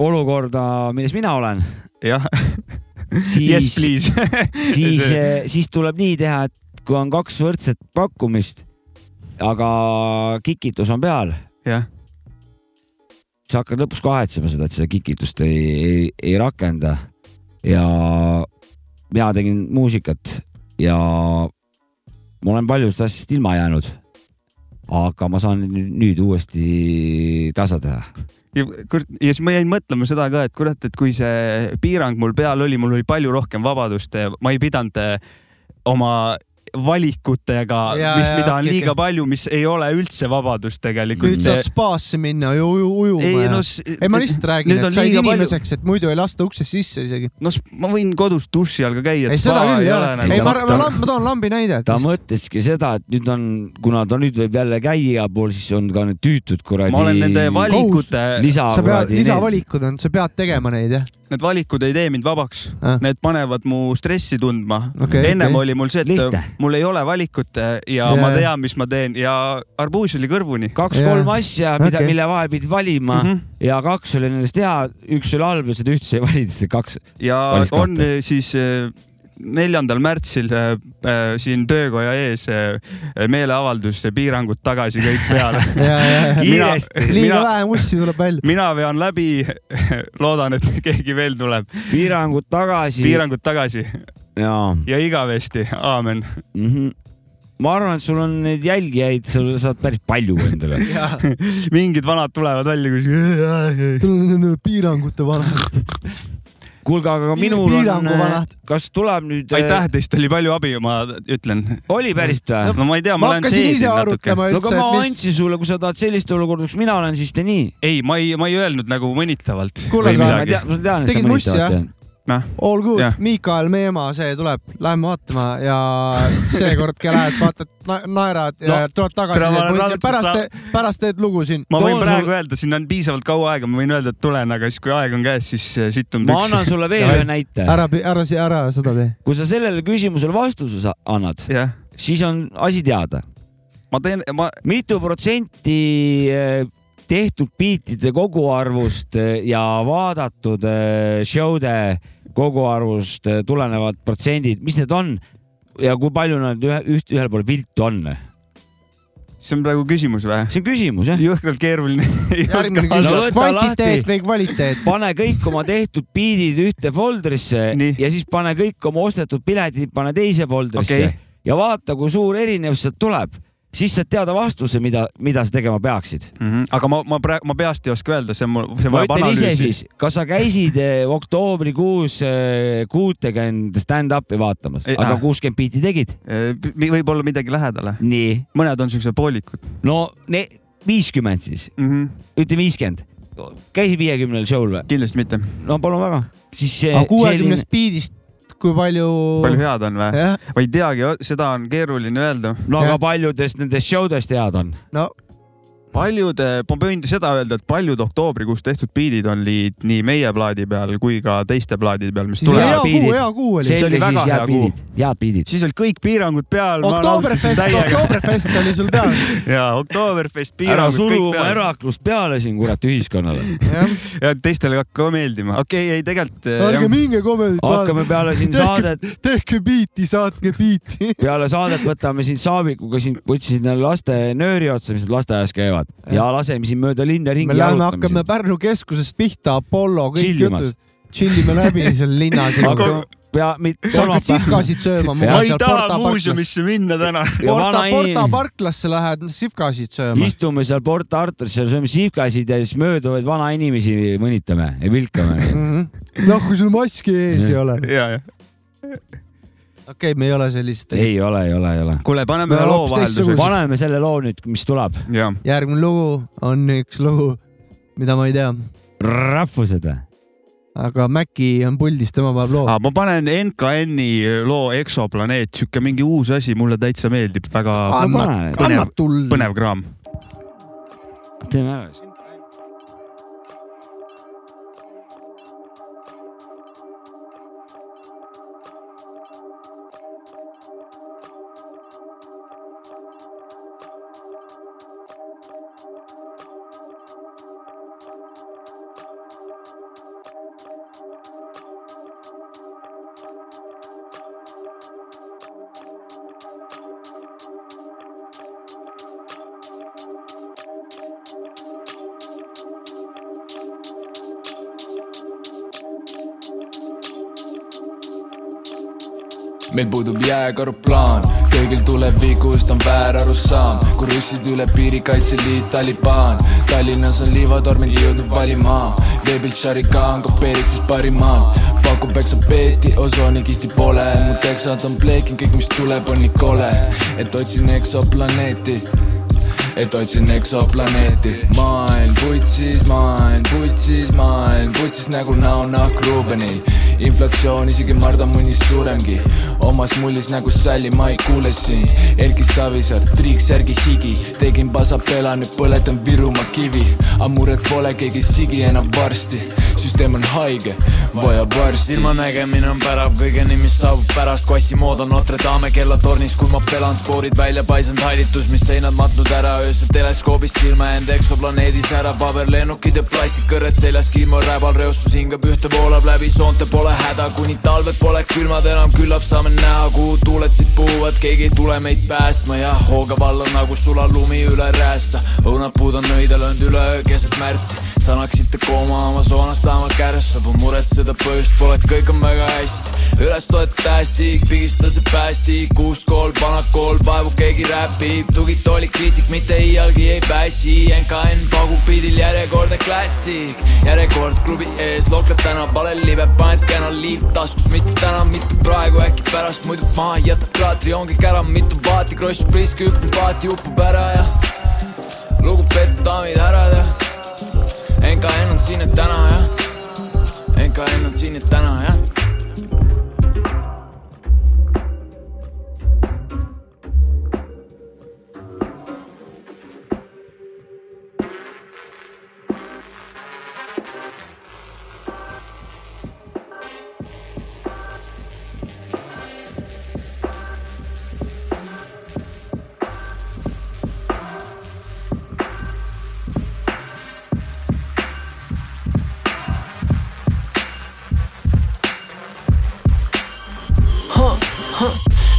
Speaker 3: olukorda , milles mina olen ,
Speaker 2: jah , yes
Speaker 3: siis ,
Speaker 2: please .
Speaker 3: siis , siis tuleb nii teha , et kui on kaks võrdset pakkumist , aga kikitus on peal ,
Speaker 2: jah ,
Speaker 3: sa hakkad lõpus kahetsema seda , et seda kikitust ei, ei , ei rakenda . ja mina tegin muusikat ja ma olen paljudest asjast ilma jäänud . aga ma saan nüüd uuesti tasa teha .
Speaker 2: ja kurat , ja siis ma jäin mõtlema seda ka , et kurat , et kui see piirang mul peal oli , mul oli palju rohkem vabadust , ma ei pidanud eh, oma valikutega ,
Speaker 1: Jaa,
Speaker 2: mis ,
Speaker 1: jaa,
Speaker 2: mida on
Speaker 1: okei,
Speaker 2: liiga
Speaker 1: okei.
Speaker 2: palju , mis ei ole üldse vabadust tegelikult
Speaker 1: nüüd . saad spaasse minna ja uju , ujuma
Speaker 2: ei no
Speaker 1: ja . ei , ma lihtsalt räägin ,
Speaker 2: nüüd
Speaker 1: et
Speaker 2: on
Speaker 1: said
Speaker 2: liiga palju ,
Speaker 1: inimeseks , et muidu ei lasta uksest sisse isegi .
Speaker 2: no s- ma võin kodus duši all ka käia .
Speaker 1: ei , seda küll jah . ei , ma , ma,
Speaker 2: nagu .
Speaker 1: ma toon lambi näide .
Speaker 3: ta mõtleski seda , et nüüd on , kuna ta nüüd võib jälle käia igal pool , siis on ka need tüütud kuradi .
Speaker 2: ma olen nende valikute ,
Speaker 3: lisa
Speaker 1: sa pead ,
Speaker 3: kuradi .
Speaker 1: lisavalikud on , sa pead tegema neid jah .
Speaker 2: need valikud ei tee mind vabaks
Speaker 1: Ah. .
Speaker 2: Need panevad mu stressi tundma .
Speaker 1: Okei,
Speaker 2: ennem
Speaker 1: okei.
Speaker 2: oli mul see , et
Speaker 3: Lihtne.
Speaker 2: mul ei ole valikut ja yeah. ma tean , mis ma teen ja arbuus oli kõrvuni .
Speaker 3: kaks-kolm
Speaker 1: Jaa.
Speaker 3: asja , mida
Speaker 1: Okei.
Speaker 3: okay. , mille vahel pidid valima mm
Speaker 2: Mhm.
Speaker 3: -hmm. ja kaks oli nendest hea , üks oli halb ja seda ühte sa ei valinud , seda kaks .
Speaker 2: ja
Speaker 3: Valis
Speaker 2: on
Speaker 3: kahte.
Speaker 2: eh, siis eh, neljandal märtsil eh, eh, siin töökoja ees eh, meeleavaldus , piirangud tagasi kõik peale .
Speaker 1: ja , ja , ja .
Speaker 2: Kiiresti.
Speaker 1: liiga
Speaker 2: Mina-
Speaker 1: vähe mussi tuleb välja .
Speaker 2: mina vean läbi , loodan , et keegi veel tuleb ,
Speaker 3: piirangud tagasi .
Speaker 2: piirangud tagasi
Speaker 3: jaa
Speaker 2: ja igavesti , aamen .
Speaker 3: mm . -hmm. ma arvan , et sul on neid jälgijaid , sa saad päris palju endale .
Speaker 2: mingid vanad tulevad välja kuskil .
Speaker 1: tul on nende piirangute vanad .
Speaker 3: kuulge , aga ka minul on
Speaker 1: Piirangu vanad. ,
Speaker 3: kas tuleb nüüd ?
Speaker 2: aitäh , teist oli palju abi , ma ütlen .
Speaker 3: oli päriselt või ?
Speaker 2: no ma ei tea , ma
Speaker 1: ma
Speaker 2: lähen
Speaker 1: hakkasin ise
Speaker 2: seesin natuke .
Speaker 1: arutlema
Speaker 3: no aga
Speaker 1: üldse ,
Speaker 3: ma
Speaker 1: et mis .
Speaker 3: andsin sulle , kui sa tahad sellist olukorda , kus mina olen , siis tee nii .
Speaker 2: ei , ma ei , ma ei öelnud nagu mõnitavalt .
Speaker 1: Kuule, aga
Speaker 3: ma tean , ma tean , et
Speaker 1: Tegid
Speaker 3: sa
Speaker 1: mussi, jah?
Speaker 3: mõnitad .
Speaker 1: All good
Speaker 2: Noh, Jah. ,
Speaker 1: Miikael Meemaa , see tuleb , läheme vaatama ja seekord , kui lähed , vaatad , naerad ja
Speaker 2: No,
Speaker 1: tuled
Speaker 2: tere, ma olen
Speaker 1: tagasi
Speaker 2: raudselt .
Speaker 1: pärast , pärast teed lugu siin .
Speaker 2: ma võin
Speaker 3: Toon
Speaker 2: praegu
Speaker 3: sulle-
Speaker 2: öelda , siin on piisavalt kaua aega , ma võin öelda , et tulen , aga siis , kui aeg on käes , siis äh, sitt on
Speaker 3: ma annan
Speaker 2: püksi .
Speaker 3: sulle veel
Speaker 2: Davai.
Speaker 3: ühe näite .
Speaker 1: ära , ära , ära seda tee .
Speaker 3: kui sa sellele küsimusele vastuse sa- annad ,
Speaker 2: jah ,
Speaker 3: siis on asi teada .
Speaker 2: ma teen , ma ,
Speaker 3: mitu protsenti eh, tehtud biitide koguarvust eh, ja vaadatud eh, show'de koguarvust eh, tulenevad protsendid , mis need on ja kui palju nad ühe , üht , ühel pool viltu on ?
Speaker 2: see on praegu küsimus või ?
Speaker 3: see on küsimus jah .
Speaker 2: jõhkralt keeruline .
Speaker 1: järgmine
Speaker 3: No
Speaker 1: küsimus ,
Speaker 3: võta
Speaker 1: kvantiteet
Speaker 3: lahti.
Speaker 1: või kvaliteet ?
Speaker 3: pane kõik oma tehtud biidid ühte folder'isse
Speaker 2: Nii.
Speaker 3: ja siis pane kõik oma ostetud piletid , pane teise folder'isse
Speaker 2: Okei.
Speaker 3: okay. ja vaata , kui suur erinevus sealt tuleb , siis saad teada vastuse , mida , mida sa tegema peaksid .
Speaker 2: Mhm. aga ma , ma praegu , ma peast ei oska öelda , see on mul , see
Speaker 3: ma
Speaker 2: vajab
Speaker 3: ütlen ise
Speaker 2: analüüsi .
Speaker 3: siis , kas sa käisid eh, oktobrikuus kuutekümmend stand-up'i vaatamas ,
Speaker 2: Ei, Eh,
Speaker 3: aga
Speaker 2: äh.
Speaker 3: kuuskümmend biiti tegid ?
Speaker 2: võib-olla midagi lähedale .
Speaker 3: nii ,
Speaker 2: mõned on siuksed poolikud
Speaker 3: no viiskümmend siis ,
Speaker 2: mm . -hmm.
Speaker 3: ütle viiskümmend . käisid viiekümnel show'l või ?
Speaker 2: kindlasti mitte .
Speaker 3: no palun väga . siis see
Speaker 1: aga . kuuekümne speedist , kui palju ?
Speaker 2: palju head on või ?
Speaker 1: jah ,
Speaker 2: ma ei teagi , seda on keeruline öelda .
Speaker 3: no aga
Speaker 1: jah.
Speaker 3: paljudest nendest show dest head on .
Speaker 1: no
Speaker 2: paljud , ma võin seda öelda , et paljud oktoobrikuus tehtud biidid olid nii meie plaadi peal kui ka teiste plaadide peal , mis
Speaker 1: siis oli
Speaker 3: hea
Speaker 2: tulevad
Speaker 1: hea .
Speaker 3: piirid.
Speaker 1: kuu , hea kuu oli
Speaker 2: See .
Speaker 3: selge
Speaker 2: oli väga
Speaker 3: siis
Speaker 2: hea
Speaker 3: head piidid , head piidid .
Speaker 2: siis olid kõik piirangud peal .
Speaker 1: Oktoberfest , Oktoberfest oli sul peal .
Speaker 2: ja Oktoberfest
Speaker 3: ära
Speaker 2: piirangud
Speaker 3: suru
Speaker 2: kõik
Speaker 3: oma
Speaker 2: peal .
Speaker 3: eraklust peale siin kurat ühiskonnale .
Speaker 2: ja teistele hakkab ka meeldima , okei okay, , ei tegelikult
Speaker 1: ärge
Speaker 2: jah,
Speaker 1: minge komedit
Speaker 3: hakkame
Speaker 1: vaatama ,
Speaker 3: peale siin
Speaker 1: Tehke-
Speaker 3: saadet ,
Speaker 1: tehke biiti , saatke biiti .
Speaker 3: peale saadet võtame siin Saavikuga siin , võtsin neile laste nööri otsa , mis nad lasteaias käivad ja laseme siin mööda linna ringi .
Speaker 1: me läheme , hakkame Pärnu keskusest pihta , Apollo , kõik
Speaker 3: Chillimas.
Speaker 1: jutud . tšillime läbi seal linnas .
Speaker 3: hakkame pea , mitte
Speaker 1: sa hakkad
Speaker 3: kolmapäeval .
Speaker 1: sihvkasid sööma .
Speaker 2: ma ei taha . muuseumisse minna täna .
Speaker 3: ja
Speaker 1: Porta , Porta
Speaker 3: vanainimene ,
Speaker 1: parklasse lähed sihvkasid sööma .
Speaker 3: istume seal Port Arturis , seal sööme sihvkasid ja siis mööduvaid
Speaker 1: Mhm.
Speaker 3: vanainimesi mõnitame ja vilkame .
Speaker 1: noh , kui sul maski ees ei ole .
Speaker 2: ja , ja
Speaker 1: okei , me ei ole sellist .
Speaker 3: ei ole , ei ole , ei ole .
Speaker 2: kuule , paneme
Speaker 1: Me
Speaker 2: ühe loo
Speaker 1: hoopis
Speaker 2: vahelduseks .
Speaker 1: teistsugused.
Speaker 3: paneme selle loo nüüd , mis tuleb .
Speaker 2: jah ,
Speaker 1: järgmine lugu on üks lugu , mida ma ei tea ,
Speaker 3: rahvused või ?
Speaker 1: aga Maci on puldis , tema paneb loo .
Speaker 2: ma panen NKN-i loo Eksoplaneet , sihuke mingi uus asi , mulle täitsa meeldib , väga
Speaker 3: Anna-
Speaker 2: põnev-
Speaker 1: annab tuld .
Speaker 2: põnev kraam .
Speaker 3: teeme ära siis .
Speaker 8: meil puudub jääkaruplaan , kõigil tulevikust on väär arusaam , kui russid üle piiri Kaitseliit , Taliban . Tallinnas on liivatormid jõudnud valima , veebilt Sharikan kopeeriks siis parima . pakub eksopeeti , osoonikisti pole , mu teksad on pleekinud , kõik , mis tuleb , on nii kole , et otsin eksoplaneeti et otsin eksoplaneeti . maailm putsis , maailm putsis , maailm putsis nagu näonahk Rubeni . inflatsioon isegi mardamunnis suuremgi , omas mullis nagu salli , ma ei kuule siin . Erki Savisaar , Triik Särgi higi , tegin pasapela , nüüd põletan Virumaa kivi . aga muret pole , keegi ei sigi enam varsti , süsteem on haige , vajab varsti .
Speaker 9: silmanägemine on pärav kõigeni , mis saabub pärast , kui assimood on Notre Dame kellatornis , kui ma pelan spoorid välja , paisanud hallitus , mis seinad matnud ära , öösel teleskoobis silma end eksoplaneedis ära , paberlennukid ja plastikkõrred seljas , kiimor räbal , reostus hingab ühte , voolab läbi soonte , pole häda , kuni talved pole külmad enam , küllap saame näha , kuhu tuuled siit puhuvad , keegi ei tule meid päästma ja hoogav alla nagu sulalumi üle räästa , õunapuud on nõidel olnud üleöö keset märtsi , sa naksite kooma oma soonast vähemalt kärssa , pole muretseda põhjust pole , kõik on väga hästi . üles toetada hästi , pigista see päästi , kuus kool , vanad kool , vaevu keegi räpib , tugitooli kriitik mitte iialgi ei pääsi , NKN pagub pildil järjekordne klassik , järjekord klubi ees , lokleb täna valel libe , paned kena liiv taskus , mitte täna , mitte praegu , äkki pärast , muidu maha jätab kraatri , ongi kära , mitu paati , kross priisk , hüppab paati , upub ära ja lugupeetud daamid , härrad ja NKN on siin , et täna jah , NKN on siin , et täna jah .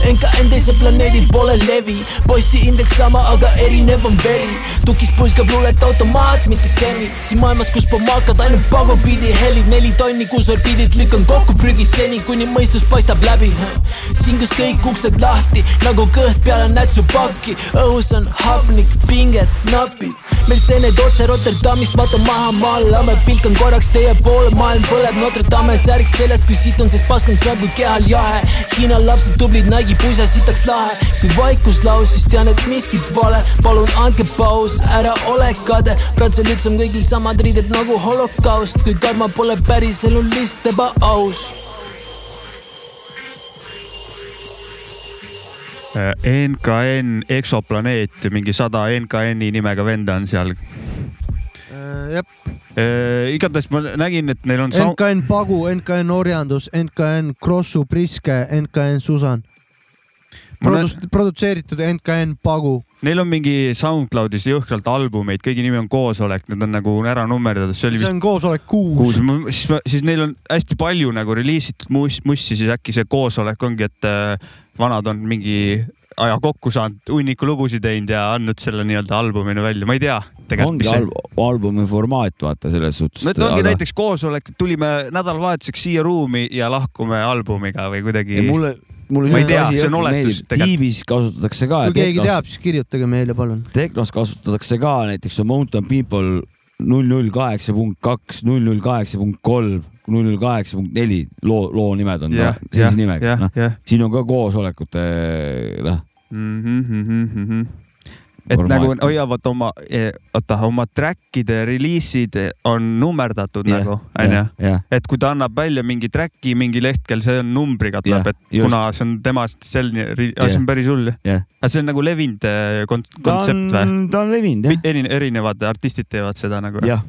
Speaker 10: NKN teisel planeedil pole levi , posti indeks sama , aga erinev on veri . tukis puiskab luulet automaat , mitte semi . siin maailmas , kus pomaakad ainult pagupidi helib , neli tonni , kus orbiidid lükkan kokku prügis seni , kuni mõistus paistab läbi . siin , kus kõik uksed lahti nagu kõht peale nätsupakki , õhus on hapnik , pinget napib . meil seened otse Rotterdamist , vaata maha maallame , pilk on korraks teie poole , maailm põleb Notre Dame särk seljas , kui siit on , siis paskand saab kui kehal jahe . Hiina lapsed tublid , Nike'i pusa sitaks lahe . kui vaikus laus , siis tean , et miskit vale . palun andke paus , ära ole kade . prantsal üldse on kõigil samad riided nagu holokaust , kui karma pole päris elu lihtsalt ebaaus .
Speaker 2: Äh, NKN Eksoplaneet , mingi sada NKN-i nimega venda on seal .
Speaker 1: jah ,
Speaker 2: igatahes ma nägin , et neil on sound-
Speaker 1: NKN Pagu , NKN Orjandus , NKN Krossu Priske , NKN Susan .
Speaker 2: Ma näen-
Speaker 1: Produs- , produtseeritud NKN Pagu .
Speaker 2: Neil on mingi SoundCloudis jõhkralt albumeid , kõigi nimi on Koosolek , need on nagu ära nummerdatud , see oli
Speaker 1: see
Speaker 2: vist
Speaker 1: on koosolek
Speaker 2: kuus
Speaker 1: kuus .,
Speaker 2: siis , siis neil on hästi palju nagu reliisitud muss- , mussi , siis äkki see koosolek ongi , et äh, vanad on mingi aja kokku saanud , hunniku lugusid teinud ja andnud selle nii-öelda albumina välja , ma ei tea .
Speaker 3: ongi al albumi formaat , vaata selles suhtes .
Speaker 2: no et ongi aga... näiteks koosolek , tulime nädalavahetuseks siia ruumi ja lahkume albumiga või kuidagi .
Speaker 3: mulle , mulle .
Speaker 2: Ma ei tea, see on oletus tegelikult.
Speaker 3: tiivis kasutatakse ka .
Speaker 1: kui keegi teab , siis kirjutage meile , palun .
Speaker 3: Tehnos kasutatakse ka näiteks on Mountain People null null kaheksa punkt kaks , null null kaheksa punkt kolm , null kaheksa punkt neli loo , loo nimed on
Speaker 2: Jah,
Speaker 3: yeah, sellise
Speaker 2: jah,
Speaker 3: yeah, nimega
Speaker 2: jah,
Speaker 3: yeah, , noh
Speaker 2: jah. Mhm,
Speaker 3: yeah. , siin on ka koosolekute , noh ,
Speaker 2: et
Speaker 3: Formaat.
Speaker 2: nagu hoiavad oma , oota , oma track'ide reliisid on nummerdatud
Speaker 3: Jah,
Speaker 2: yeah, nagu ,
Speaker 3: jah,
Speaker 2: onju
Speaker 3: jah. .
Speaker 2: et kui ta annab välja mingi track'i mingil hetkel , see on numbriga tuleb
Speaker 3: Jah,
Speaker 2: yeah, , et kuna
Speaker 3: just.
Speaker 2: see on temast selline ,
Speaker 3: Jah.
Speaker 2: see on päris hull jah
Speaker 3: Jah.
Speaker 2: aga see on nagu levinud eh, kon-
Speaker 3: ta
Speaker 2: kontsept või ?
Speaker 3: on , ta on levinud jah ,
Speaker 2: Erine, erinevad artistid teevad seda nagu
Speaker 3: jah ,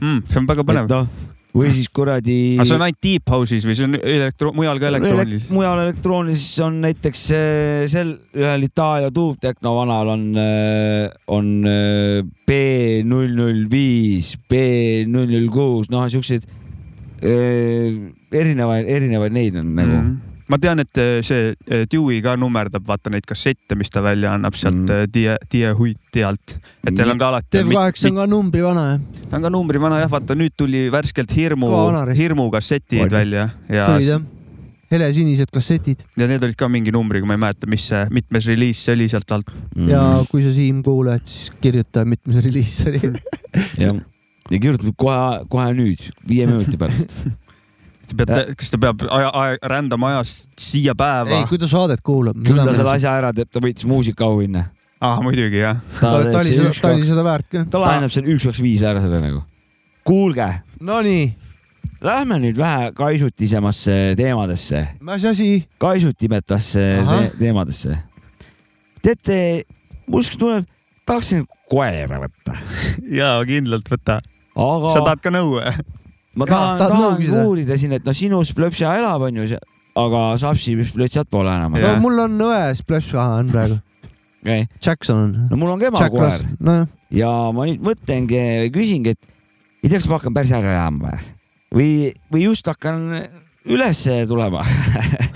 Speaker 2: mm, . see on väga põnev
Speaker 3: et . noh , või siis kuradi .
Speaker 2: aga see on ainult deep house'is või see on elektro- , mujal ka elektroonilis ?
Speaker 3: mujal elektroonilises on näiteks eh, sel ühel Itaalia tuubtehno vanal on , on eh, B null null viis , B null null kuus , noh , siukseid eh, erinevaid , erinevaid neid on nagu mm .
Speaker 2: Mhm. ma tean , et eh, see eh, Dewey ka nummerdab , vaata neid kassette , mis ta välja annab sealt
Speaker 3: Mhm.
Speaker 2: mm. Die , Die Huiti alt . et teil on ka alati .
Speaker 1: Dev8 on ka numbri vana jah .
Speaker 2: ta on ka numri vana jah , vaata nüüd tuli värskelt Hirmu
Speaker 1: Kõva vanarist. ,
Speaker 2: Hirmu kassetid
Speaker 3: Oli.
Speaker 2: välja ja ,
Speaker 1: tulid jah ? helesinised kassetid
Speaker 2: ja need olid ka mingi numbriga , ma ei mäleta , mis see , mitmes reliis see oli sealt alt .
Speaker 3: -hmm.
Speaker 1: ja kui sa Siim kuuled , siis kirjuta , mitmes reliis see oli .
Speaker 3: ja, ja kirjutatud kohe , kohe nüüd , viie minuti pärast .
Speaker 2: sa pead , kas ta peab aja , aja , rändama ajast siia
Speaker 1: ei
Speaker 2: päeva ,?
Speaker 1: kui ta saadet kuulab .
Speaker 3: küll ta selle asja ära teeb , ta võitis muusikaauhinna .
Speaker 2: ah muidugi jah .
Speaker 1: ta ta oli seda , ta oli
Speaker 3: ta
Speaker 1: seda väärt ka .
Speaker 3: lahendab selle üks , kaks , viis ära selle nagu . kuulge ,
Speaker 1: Nonii ,
Speaker 3: lähme nüüd vähe kaisutisemasse teemadesse
Speaker 1: mis asi ?
Speaker 3: kaisutimetasse
Speaker 1: Ahah.
Speaker 3: te teemadesse . teate , mul siukene tunne , et tahaksin koera võtta ,
Speaker 2: ja kindlalt võta .
Speaker 3: aga
Speaker 2: sa tahad ka nõu ?
Speaker 3: ma
Speaker 1: Jaa,
Speaker 3: tahan ,
Speaker 1: tahad nõu
Speaker 3: tahan
Speaker 1: küsida?
Speaker 3: uurida siin , et noh , sinu splöpsia elab , onju , aga sapsi splötsiat pole enam .
Speaker 1: no
Speaker 2: Jah.
Speaker 1: mul on õe Splash-aha on praegu ,
Speaker 3: no
Speaker 1: Jackson on .
Speaker 3: mul on ka ema
Speaker 1: Jack
Speaker 3: koer
Speaker 1: Russell , nojah ,
Speaker 3: ja ma nüüd mõtlengi , küsingi , et ei tea , kas ma hakkan päris ära jääma või , või , või just hakkan üles tulema .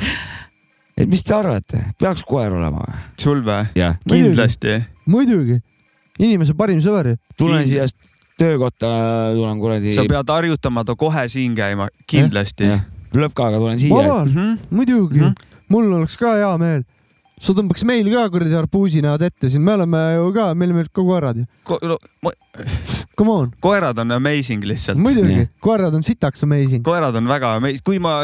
Speaker 3: et mis te arvate , peaks koer olema või ?
Speaker 2: sul või ?
Speaker 3: jah .
Speaker 2: kindlasti .
Speaker 1: muidugi , inimese parim sõber ju .
Speaker 3: tulen siia töökotta , tulen kuradi .
Speaker 2: sa pead harjutama ta kohe siin käima , kindlasti .
Speaker 3: plõpkaga tulen siia .
Speaker 1: vabalt ,
Speaker 2: Mhm.
Speaker 1: muidugi
Speaker 2: Mhm. ,
Speaker 1: mul oleks ka hea meel . sa tõmbaks meil ka kuradi harpuusi näod ette siin , me oleme ju ka , me oleme ka koerad ju .
Speaker 2: Ko- no, ma-
Speaker 1: Come on ,
Speaker 2: koerad on amazing lihtsalt .
Speaker 1: muidugi
Speaker 3: Nii. ,
Speaker 1: koerad on sitaks amazing .
Speaker 2: koerad on väga amazing , kui ma ,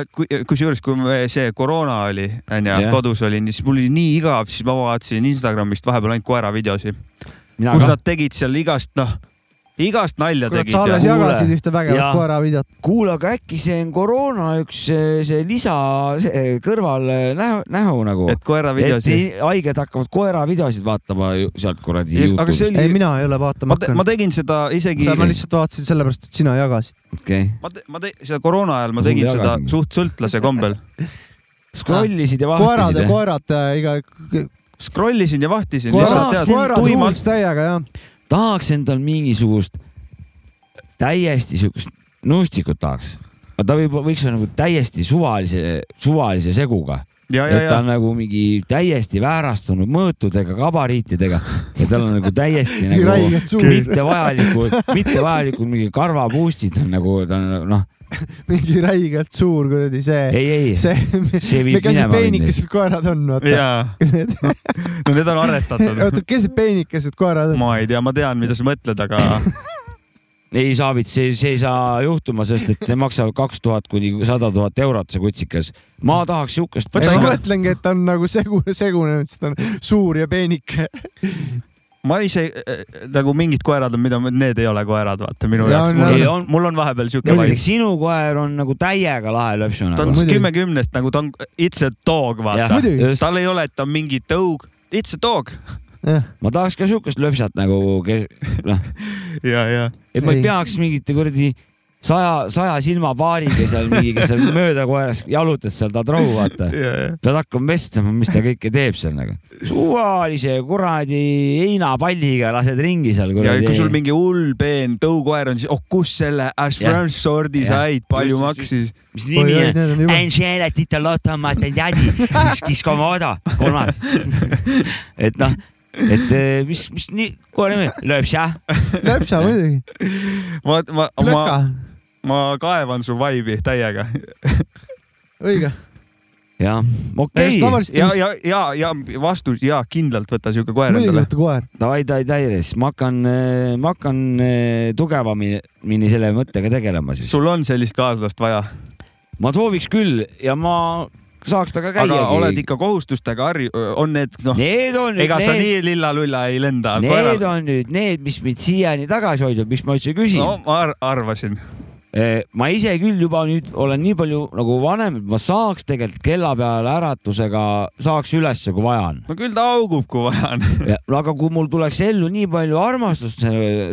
Speaker 2: kusjuures , kui me- see koroona oli , onju
Speaker 3: Jah. ,
Speaker 2: kodus olin , siis mul oli nii igav , siis ma vaatasin Instagramist vahepeal ainult koera videosid ,
Speaker 3: mina
Speaker 2: kus
Speaker 3: ka .
Speaker 2: nad tegid seal igast , noh , igast nalja
Speaker 1: kurat ,
Speaker 2: tegid
Speaker 1: sa alles
Speaker 2: ja
Speaker 3: jah.
Speaker 1: jagasid
Speaker 3: Kuule.
Speaker 1: ühte vägevat
Speaker 3: Jaa.
Speaker 1: koeravideot .
Speaker 3: kuule , aga äkki see on koroona üks eh, see lisa see kõrval eh, näo , näo nagu .
Speaker 2: et koera
Speaker 3: et
Speaker 2: videosid .
Speaker 3: ei- haiged hakkavad koera videosid vaatama ju- sealt kuradi
Speaker 2: aga see
Speaker 3: Youtube'ist .
Speaker 1: ei ,
Speaker 2: oli ,
Speaker 1: mina ei ole vaatama
Speaker 2: ma, te, ma
Speaker 1: hakanud .
Speaker 2: tegin seda isegi ,
Speaker 1: ma lihtsalt vaatasin sellepärast , et sina jagasid .
Speaker 3: okei ,
Speaker 2: ma , ma te, seda koroona ajal ma
Speaker 3: Ma sulle
Speaker 2: tegin seda
Speaker 3: jagasingi.
Speaker 2: suht sõltlase kombel .
Speaker 3: scrollisid ja
Speaker 1: koerad
Speaker 3: vahtisid eh?
Speaker 1: ja . koerad äh, iga ,
Speaker 2: scroll isin ja vahtisin .
Speaker 1: koerad , koerad
Speaker 2: tuimalt
Speaker 1: hullult täiega jah .
Speaker 3: tahaks endal mingisugust täiesti siukest nuustikut tahaks . aga ta võib , võiks olla nagu täiesti suvalise , suvalise seguga .
Speaker 2: ja , ja ,
Speaker 3: et ta
Speaker 2: ja
Speaker 3: on nagu mingi täiesti väärastunud mõõtudega , gabariitidega ja tal on nagu täiesti
Speaker 1: mingi
Speaker 3: nagu
Speaker 1: räigelt suur ,
Speaker 3: mittevajalikud , mittevajalikud mingi karvapuustid on nagu ta on noh ,
Speaker 1: mingi räigelt suur kuradi see ,
Speaker 3: ei , ei ,
Speaker 1: Eh, see ,
Speaker 3: see viib
Speaker 1: kes need
Speaker 3: minema mind .
Speaker 1: peenikesed koerad on , vaata .
Speaker 2: ja , no need on aretatud .
Speaker 1: oota , kes need peenikesed koerad on ?
Speaker 2: ma ei tea , ma tean , mida sa mõtled , aga
Speaker 3: ei Saavit , see , see ei saa juhtuma , sest et see maksab kaks tuhat kuni sada tuhat eurot see kutsikas . ma tahaks siukest .
Speaker 2: Mm. Võta
Speaker 1: ei , ma
Speaker 2: ikka-
Speaker 1: mõtlengi , et ta on nagu segu , segunenud , sest ta on suur ja peenike .
Speaker 2: ma ise äh, nagu mingid koerad on , mida ma- need ei ole koerad , vaata minu
Speaker 1: Ja
Speaker 2: jaoks
Speaker 1: on- .
Speaker 3: ei,
Speaker 2: mul on
Speaker 3: on- ,
Speaker 2: mul on vahepeal siuke
Speaker 3: näiteks
Speaker 2: vaid .
Speaker 3: sinu koer on nagu täiega lahe löpsu
Speaker 2: ta on
Speaker 3: nagu .
Speaker 1: Muidugi.
Speaker 2: kümme kümnest nagu ta on , it's a dog , vaata
Speaker 1: Muidugi. .
Speaker 2: tal ei ole , et ta on mingi tõug , it's a dog .
Speaker 3: ma tahaks ka siukest löpsat nagu , kes noh ,
Speaker 2: ja , ja .
Speaker 3: et ma ei
Speaker 1: Ei.
Speaker 3: peaks mingite kuradi saja , saja silmapaariga seal mingi , kes seal mööda koeras jalutad seal , tahad rahu vaata . pead hakkama vestlema , mis ta kõike teeb seal nagu . suvalise kuradi heinapalliga lased ringi seal
Speaker 2: ja kui sul
Speaker 3: kuradi .
Speaker 2: mingi hull peen tõukoer on , siis oh kus selle , as
Speaker 3: Jah.
Speaker 2: first sordi
Speaker 3: Jah.
Speaker 2: said , palju maksis ?
Speaker 3: mis nimi on ?
Speaker 1: ei ,
Speaker 3: Angela Titoloto Matendadi , Skis Komodo , kolmas . et noh , et eh, mis , mis nii , kohe nimi , Lööpša .
Speaker 1: läpsa muidugi ,
Speaker 2: ma , ma , ma
Speaker 1: plöka ,,
Speaker 2: ma kaevan su vaibi täiega .
Speaker 1: õige .
Speaker 3: jah , okei
Speaker 1: tavaliselt
Speaker 2: ja ,
Speaker 1: mis-
Speaker 2: ja , ja , ja vastus ja kindlalt võta siuke koer
Speaker 1: muidugi
Speaker 2: endale .
Speaker 1: võtta koer .
Speaker 3: davai , davai , davai , siis ma hakkan , ma hakkan eh, tugevamini selle mõttega tegelema siis .
Speaker 2: sul on sellist kaaslast vaja ,
Speaker 3: ma sooviks küll ja ma saaks temaga
Speaker 2: aga oled
Speaker 3: käiagi .
Speaker 2: ikka kohustustega harju- , on need noh ,
Speaker 3: Need on
Speaker 2: ega sa
Speaker 3: need ,
Speaker 2: nii lilla-lulla ei lenda .
Speaker 3: need on nüüd need , mis mind siiani tagasi hoidnud , miks ma üldse küsin
Speaker 2: no ma ar arvasin ,
Speaker 3: Eh, ma ise küll juba nüüd olen nii palju nagu vanem , et ma saaks tegelikult kella peale äratusega saaks ülesse , kui vaja on .
Speaker 2: no küll ta augub , kui vaja on .
Speaker 3: no aga kui mul tuleks ellu nii palju armastust ,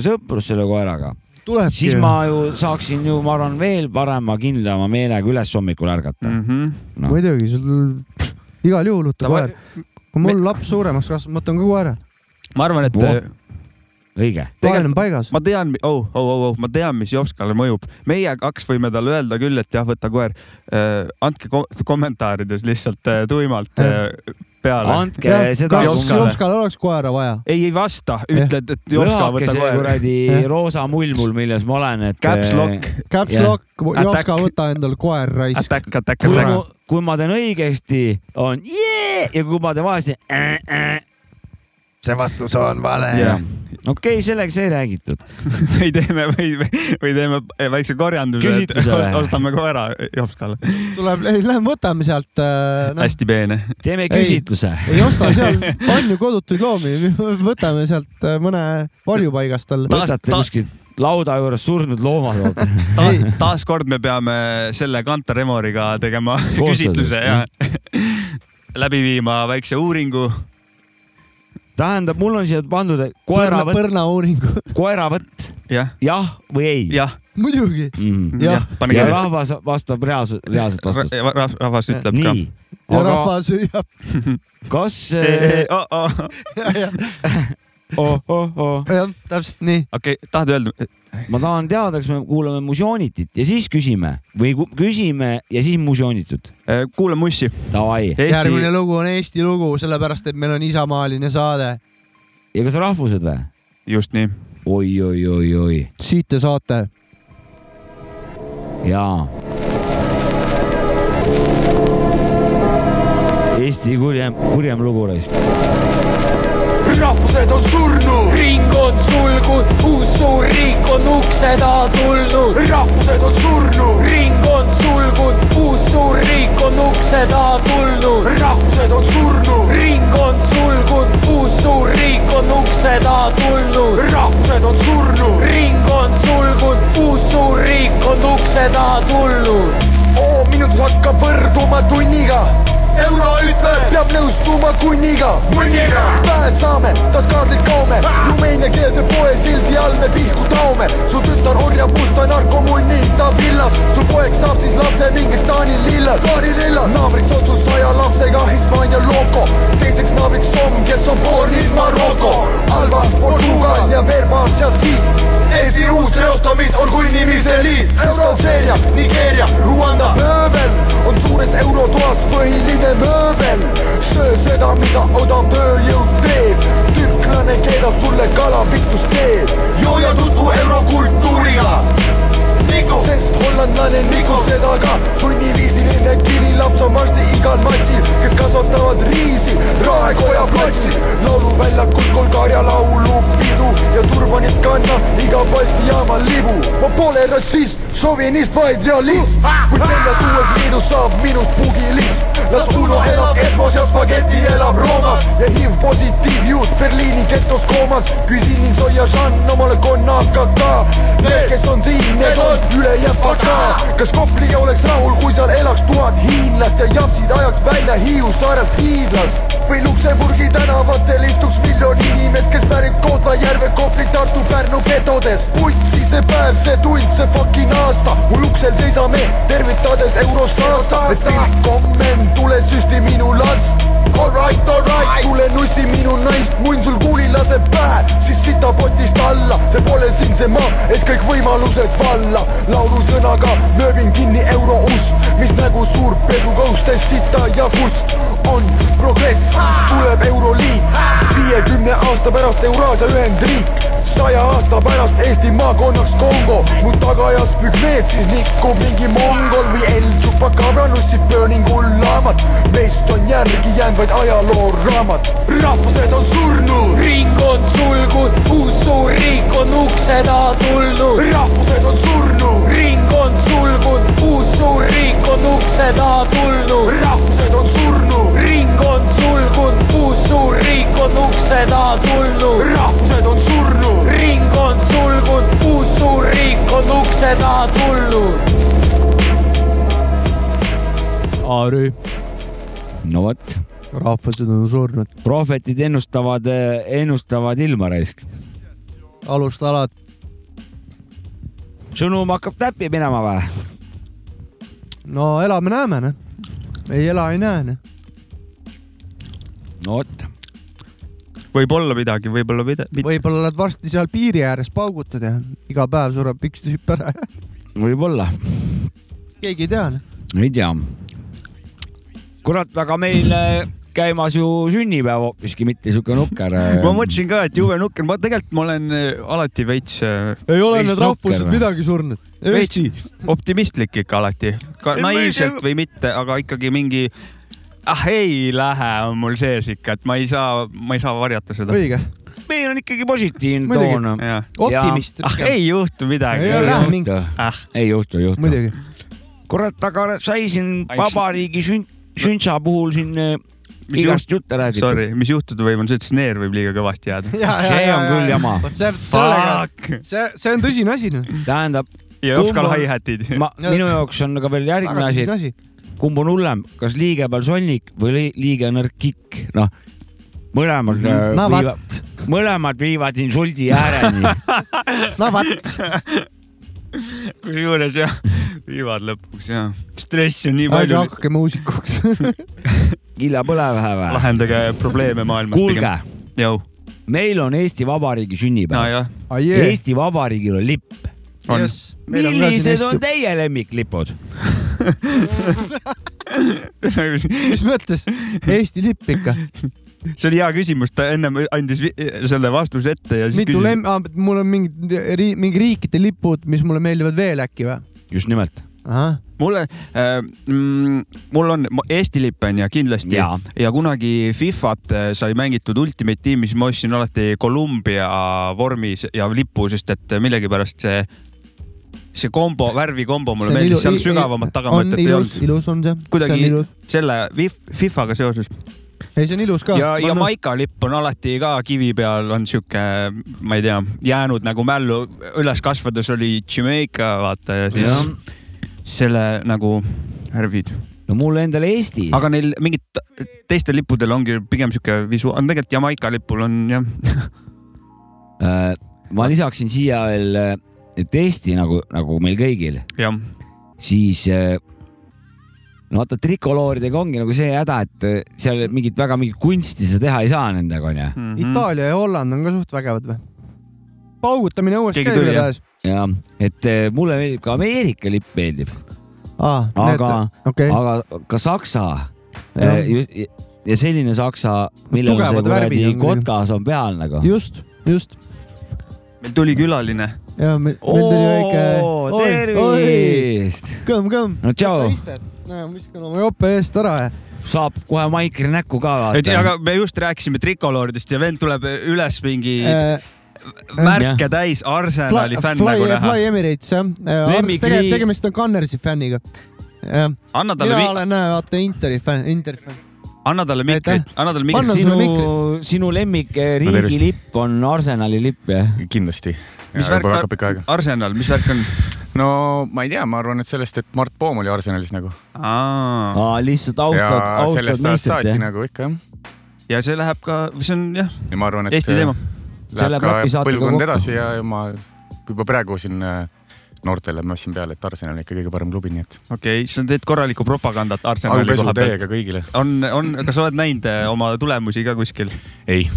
Speaker 3: sõprust selle koeraga ,
Speaker 1: tulebki .
Speaker 3: siis ma ju saaksin ju , ma arvan , veel parema , kindlama meelega üles hommikul ärgata . No.
Speaker 1: muidugi , sul igal juhul
Speaker 2: Mhm.
Speaker 1: võtta
Speaker 2: Davai.
Speaker 1: koer . kui mul laps suuremaks kasvab , ma võtan ka koera .
Speaker 2: ma arvan , et äh,
Speaker 3: Voh. õige .
Speaker 1: plaan on paigas .
Speaker 2: ma tean , oh , oh , oh , oh , ma tean , mis Jopskale mõjub . meie kaks võime talle öelda küll , et jah , võta koer . andke ko kommentaarides lihtsalt äh, tuimalt äh, peale .
Speaker 3: andke seda .
Speaker 1: kas
Speaker 2: Jopskale.
Speaker 1: Jopskal oleks koera vaja ?
Speaker 2: ei , ei vasta , ütled , et Jopska ,
Speaker 3: lõhake
Speaker 2: võta
Speaker 3: see
Speaker 2: koer .
Speaker 3: kuradi
Speaker 1: Jah.
Speaker 3: roosa mull mul , milles ma olen , et .
Speaker 2: Caps lock , Äh,
Speaker 1: Caps
Speaker 3: Jah.
Speaker 1: lock , Jopska
Speaker 2: Attack. ,
Speaker 1: võta endale koer raisk .
Speaker 2: attack , attack ,
Speaker 3: kui ma
Speaker 2: attack .
Speaker 3: kui ma teen õigesti , on jee ja kui ma teen valesti äh, . Äh. see vastus on vale
Speaker 2: Jah. .
Speaker 3: okei , sellega sai räägitud .
Speaker 2: või teeme , või , või teeme väikse korjanduse , et
Speaker 3: Küsitluse või?
Speaker 2: ostame koera Jopskale .
Speaker 1: tuleb , ei lähme võtame sealt äh, , noh ,
Speaker 2: hästi peene .
Speaker 3: teeme
Speaker 1: Ei.
Speaker 3: küsitluse .
Speaker 1: ei osta , seal on ju kodutuid loomi , võtame sealt äh, mõne varjupaigast talle .
Speaker 2: Ta-
Speaker 3: võtate kuskilt lauda juures surnud loomad vaata .
Speaker 2: ta, taaskord me peame selle Kantar Emoriga tegema
Speaker 3: Koostöös,
Speaker 2: küsitluse ja läbi viima väikse uuringu .
Speaker 3: tähendab , mul on siia pandud et
Speaker 1: põrna ,
Speaker 3: koeravõtt ,
Speaker 1: põrnauuringu .
Speaker 3: koeravõtt ,
Speaker 2: jah ,
Speaker 3: jah või ei .
Speaker 2: jah ,
Speaker 1: muidugi ,
Speaker 3: Mm.
Speaker 1: jah .
Speaker 2: pane
Speaker 3: ja
Speaker 2: kirja .
Speaker 3: rahvas vastab reaalselt , reaalset vastust .
Speaker 2: rahvas ütleb ka . E,
Speaker 3: nii ,
Speaker 1: ja
Speaker 3: aga
Speaker 1: rahvas hüüab .
Speaker 3: kas äh, ,
Speaker 1: jah ,
Speaker 3: oh, oh, oh.
Speaker 1: täpselt nii .
Speaker 2: okei , tahad öelda ?
Speaker 3: ma tahan teada , kas me kuulame Musioonitit ja siis küsime või ku- küsime ja siis Musioonitut .
Speaker 2: kuula Äh, Mussi .
Speaker 3: Davai .
Speaker 1: järgmine
Speaker 2: Eesti ,
Speaker 1: lugu on Eesti lugu , sellepärast et meil on isamaaline saade .
Speaker 3: ja kas rahvused või ?
Speaker 2: just nii .
Speaker 3: oi , oi , oi , oi
Speaker 1: siit te saate .
Speaker 3: jaa . Eesti kurjem , kurjem lugu raisk .
Speaker 7: rahvused on surnud ,
Speaker 11: ringud sulgud , uus suur riik on ukse taha tulnud .
Speaker 7: rahvused on surnud ,
Speaker 11: ring on sulgud , uus suur riik on ukse taha tulnud .
Speaker 7: rahvused on surnud ,
Speaker 11: ring on sulgud , uus suur riik on ukse taha tulnud .
Speaker 7: rahvused on surnud ,
Speaker 11: ring on sulgud , uus suur riik on ukse taha tulnud .
Speaker 7: oo minut hakkab võrduma tunniga euro ütleb , peab nõustuma kunniga , munniga pääs saame , tast kaardilt kaome , rumeeniakeelse poe sildi all me pihku taome , su tütar orjab musta narkomunni , ta villas , su poeg saab siis lapse mingil Taani lillal , Taani lillal , naabriks on su saja lapsega Hispaania loko , teiseks naabriks Somm , kes on bornil Maroko , Alba , Portugal ja veel paar sealt siit , Eesti uus reostamis on kunnimise liit , euro Alžeeria , Nigeeria , Rwanda mööbel on suures eurotoas põhiline mööbel . söö seda , mida odav tööjõud teeb , tüklane keedab sulle kalapitus teed . joo ja tutvu eurokultuuriga . sest hollandlane Nikol seda ka , sunniviisiline kirilaps on varsti igal matsil , kes kasvatavad riisi Raekoja platsil . lauluväljakul Bulgaaria laulupidu ja turbanit kannab iga Balti jaama libu . ma pole rassist , šovinist , vaid realist , kuid selles uues liidus saab minust pugilist . las Uno elab Espos ja Spaghetti elab Roomas ja HIV positiivjuut Berliini getos koomas . küsin Iso ja Jean omale konnaka ka . Need , kes on siin , need on ülejäänud aga . kas Kopli oleks rahul , kui seal elaks tuhat hiinlast ja japsid ajaks välja Hiiu saarelt hiidlast või Luksemburgi tänavatel istuks miljon inimest , kes pärit Kohtla-Järve , Kopli , Tartu , Pärnu getodes . putsi see päev , see tund , see fucking aasta , kui uksel seisame , tervitades eurosaasta . et Philip Commen , tule süsti minu last . Alright , alright , tule nussi minu naist , munn sul kuuli laseb pähe , siis sita potist alla , see pole siin see maa , et kõik võimalused valla . laulusõnaga lööbin kinni euroust , mis
Speaker 11: nagu
Speaker 7: nägu suur pesukõhustes sita ja kust on progress , tuleb Euroliit , viiekümne aasta pärast Euraasia ühendriik .
Speaker 11: saja aasta pärast Eesti maakonnaks Kongo mu tagajas pükmeed , siis nikub mingi mongol või El Chupacabra nussib burning hullamat meist on järgi jäänud vaid ajalooraamat rahvused on surnud
Speaker 12: ring on sulgunud , uus suur riik on ukse taha tulnud .
Speaker 11: rahvused on surnud .
Speaker 12: ring on sulgunud , uus suur riik on ukse taha tulnud .
Speaker 11: rahvused on surnud .
Speaker 12: ring on sulgunud , uus suur riik on ukse taha tulnud .
Speaker 11: rahvused on surnud .
Speaker 12: ring on sulgunud , uus suur riik on ukse taha tulnud .
Speaker 1: Aarü .
Speaker 3: no vot .
Speaker 1: rahvased on surnud .
Speaker 3: prohvetid ennustavad , ennustavad ilma raisk .
Speaker 1: alust alati .
Speaker 3: sõnum hakkab täppi minema või ?
Speaker 1: no elame-näeme , noh . ei ela , ei näe , noh .
Speaker 3: no vot .
Speaker 2: võib-olla midagi , võib-olla midagi .
Speaker 1: võib-olla oled varsti seal piiri ääres , paugutad ja iga päev sureb üks tüüp ära .
Speaker 3: võib-olla ,
Speaker 1: keegi ei tea , noh .
Speaker 3: ei tea . kurat , aga meil äh, käimas ju sünnipäev hoopiski , mitte siuke nukker . äh.
Speaker 2: ma mõtlesin ka , et jube nukker , ma tegelikult ma olen äh, alati veits . noh.
Speaker 1: ei ole need rahvused . midagi surnud .
Speaker 2: veits optimistlik ikka alati ,
Speaker 1: Ei, ma ei
Speaker 2: naiivselt või mitte , aga ikkagi mingi ah ei lähe on mul sees ikka , et ma ei saa , ma ei saa varjata seda .
Speaker 1: õige .
Speaker 3: meil on ikkagi positiivne
Speaker 1: Muidugi.
Speaker 3: toon .
Speaker 1: Optimist
Speaker 2: ah
Speaker 1: pigem.
Speaker 2: ei juhtu midagi .
Speaker 1: Ei ole mingi-
Speaker 2: ah. .
Speaker 3: ei juhtu , ei juhtu .
Speaker 1: muidugi .
Speaker 3: kurat , aga sai siin
Speaker 2: Ainult-
Speaker 3: vabariigi sün- , süntsa puhul siin äh, igast jutte räägitud .
Speaker 2: Sorry , mis juhtuda võib , on see , et sneer võib liiga kõvasti jääda .
Speaker 3: see on küll jama .
Speaker 1: vot see , sellega , see , see on tõsine asi , noh .
Speaker 3: tähendab .
Speaker 2: ja Oskar hi-hatid .
Speaker 3: minu jaoks on aga veel järgmine
Speaker 1: Väga tõsine
Speaker 3: asi . kumb on hullem , kas liiga peal solnik või li- liiga nõrk kikk , noh . mõlemad
Speaker 1: Mhm. No
Speaker 3: äh, viivad , mõlemad viivad insuldi ääreni .
Speaker 1: no vot .
Speaker 2: kusjuures jah , viivad lõpuks ja . stressi on nii
Speaker 1: ärge
Speaker 2: palju .
Speaker 1: hakake muusikuks .
Speaker 3: killa põle vähe või ?
Speaker 2: lahendage probleeme maailmas .
Speaker 3: kuulge ,
Speaker 2: jõu .
Speaker 3: meil on Eesti Vabariigi sünnipäev .
Speaker 2: nojah ,
Speaker 1: Ah, jee.
Speaker 3: Eesti Vabariigil on lipp .
Speaker 2: on .
Speaker 1: Meil on ka siin
Speaker 3: millised on
Speaker 1: Eesti-
Speaker 3: teie lemmiklipud ?
Speaker 1: mis mõttes ? Eesti lipp ikka .
Speaker 2: see oli hea küsimus , ta ennem andis vi- selle vastuse ette ja siis
Speaker 1: mitu
Speaker 2: küsis .
Speaker 1: lemm- , mul on mingid ri- , mingi riikide lipud , mis mulle meeldivad veel äkki või ?
Speaker 3: just nimelt .
Speaker 1: ahah ,
Speaker 2: mulle äh, , mul on ma- Eesti lipp on ju kindlasti ja,
Speaker 3: Jaa.
Speaker 2: ja kunagi Fifat äh, sai mängitud Ultimate tiimis , ma ostsin alati Columbia vormis ja lipu , sest et millegipärast see , see kombo , värvikombo mulle meeldis , seal sügavamat tagamõtet ei olnud .
Speaker 1: ilus on see . see on
Speaker 2: kuidagi
Speaker 1: ilus .
Speaker 2: selle Fif- Fifaga seoses
Speaker 1: ei , see on ilus ka .
Speaker 2: ja , ja . Maika lipp on alati ka kivi peal on sihuke , ma ei tea , jäänud nagu mällu , üles kasvades oli Jamaica , vaata ja siis
Speaker 3: Jah.
Speaker 2: selle nagu värvid .
Speaker 3: no mul endal Eesti .
Speaker 2: aga neil mingid t- teistel lippudel ongi pigem sihuke visuaal , tegelikult Jamaica lipul on jah ,
Speaker 3: Äh, ma lisaksin siia veel , et Eesti nagu , nagu meil kõigil ,
Speaker 2: jah ,
Speaker 3: siis äh, no vaata trikolooridega ongi nagu see häda , et äh, seal mingit väga mingit kunsti sa teha ei saa nendega onju .
Speaker 2: Mhm.
Speaker 1: Itaalia ja Holland on ka suht vägevad või ? paugutamine õues
Speaker 2: Keegi
Speaker 1: käib
Speaker 2: tuli,
Speaker 1: igatahes .
Speaker 3: ja et äh, mulle meeldib ka Ameerika lipp meeldib ,
Speaker 1: aa ,
Speaker 3: aga ,
Speaker 1: Ah, okei ,
Speaker 3: aga ka Saksa
Speaker 1: Jah.
Speaker 3: äh, ju- ja selline Saksa , millel on see
Speaker 1: Tugevad värvid
Speaker 3: kuradi
Speaker 1: on muidugi.
Speaker 3: kotkas on peal nagu .
Speaker 1: just , just .
Speaker 2: meil tuli külaline .
Speaker 1: ja me- meil tuli väike .
Speaker 3: tervist ,
Speaker 1: kõmm , kõmm .
Speaker 3: no tšau ,
Speaker 1: viskan oma jope eest ära ja .
Speaker 3: saab kohe maikri näkku ka vaata .
Speaker 2: aga me just rääkisime trikoloridest ja vend tuleb üles mingi
Speaker 3: Äh, jah.
Speaker 2: märke täis Arsenali fänn nagu
Speaker 1: Fly ,
Speaker 2: näha
Speaker 1: Fly . Emirates jah .
Speaker 3: Lemmikliig-
Speaker 1: tegemist on Gunnersi fänniga . mina
Speaker 2: anna talle ,
Speaker 1: olen , vaata Interi fänn , Interi fänn .
Speaker 2: anna talle mikri
Speaker 1: Aitäh. ,
Speaker 2: anna talle
Speaker 1: Annan
Speaker 2: mikri .
Speaker 1: sulle
Speaker 3: sinu , sinu lemmik eh,
Speaker 13: No tervist.
Speaker 3: riigilipp on Arsenali lipp jah ?
Speaker 13: kindlasti .
Speaker 2: mis
Speaker 13: juba
Speaker 2: värk
Speaker 13: väga pikka
Speaker 2: on
Speaker 13: aega. ,
Speaker 2: Arsenal , mis värk on ?
Speaker 13: no ma ei tea , ma arvan , et sellest , et Mart Poom oli Arsenalis nagu .
Speaker 2: Aa.
Speaker 3: lihtsalt austad ,
Speaker 13: ja
Speaker 3: austad
Speaker 13: sellest ajast
Speaker 3: meistrit
Speaker 13: saati
Speaker 3: jah ?
Speaker 13: nagu ikka jah .
Speaker 2: ja see läheb ka , see on jah ,
Speaker 13: ja ma arvan , et äh,
Speaker 2: Eesti teema .
Speaker 3: See läheb
Speaker 13: läheb
Speaker 3: Lapi
Speaker 13: ka
Speaker 3: saatega kokku.
Speaker 13: põlvkond edasi ja ja ma juba praegu siin äh, noortele mössin peale , et Arsenal on ikka kõige parem klubi , nii et
Speaker 2: okei okay, , sa teed korralikku propagandat Arsenali
Speaker 13: aupesu
Speaker 2: koha pealt .
Speaker 13: teiega kõigile .
Speaker 2: on , on , kas sa oled näinud eh, oma tulemusi ka kuskil ?
Speaker 13: ei ,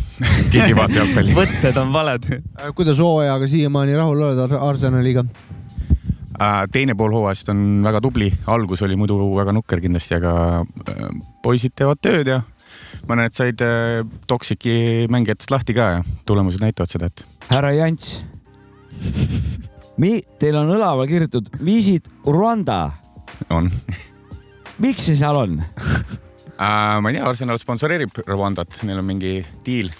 Speaker 13: keegi ei vaata jalgpalli .
Speaker 2: võtted on valed .
Speaker 1: Äh, kuidas hooajaga siiamaani rahul oled Ar- Arsenaliga ?
Speaker 13: Äh, teine pool hooajast on väga tubli , algus oli muidu väga nukker kindlasti , aga äh, poisid teevad tööd ja mõned said äh, Toxici mängijatest lahti ka ja tulemused näitavad seda , et
Speaker 3: härra Jants . Mi- , teil on õlaval kirjutatud viisid Rwanda .
Speaker 13: on .
Speaker 3: miks see seal on ?
Speaker 13: Äh, ma ei tea , Arsenal sponsoreerib Rwandat , neil on mingi diil ,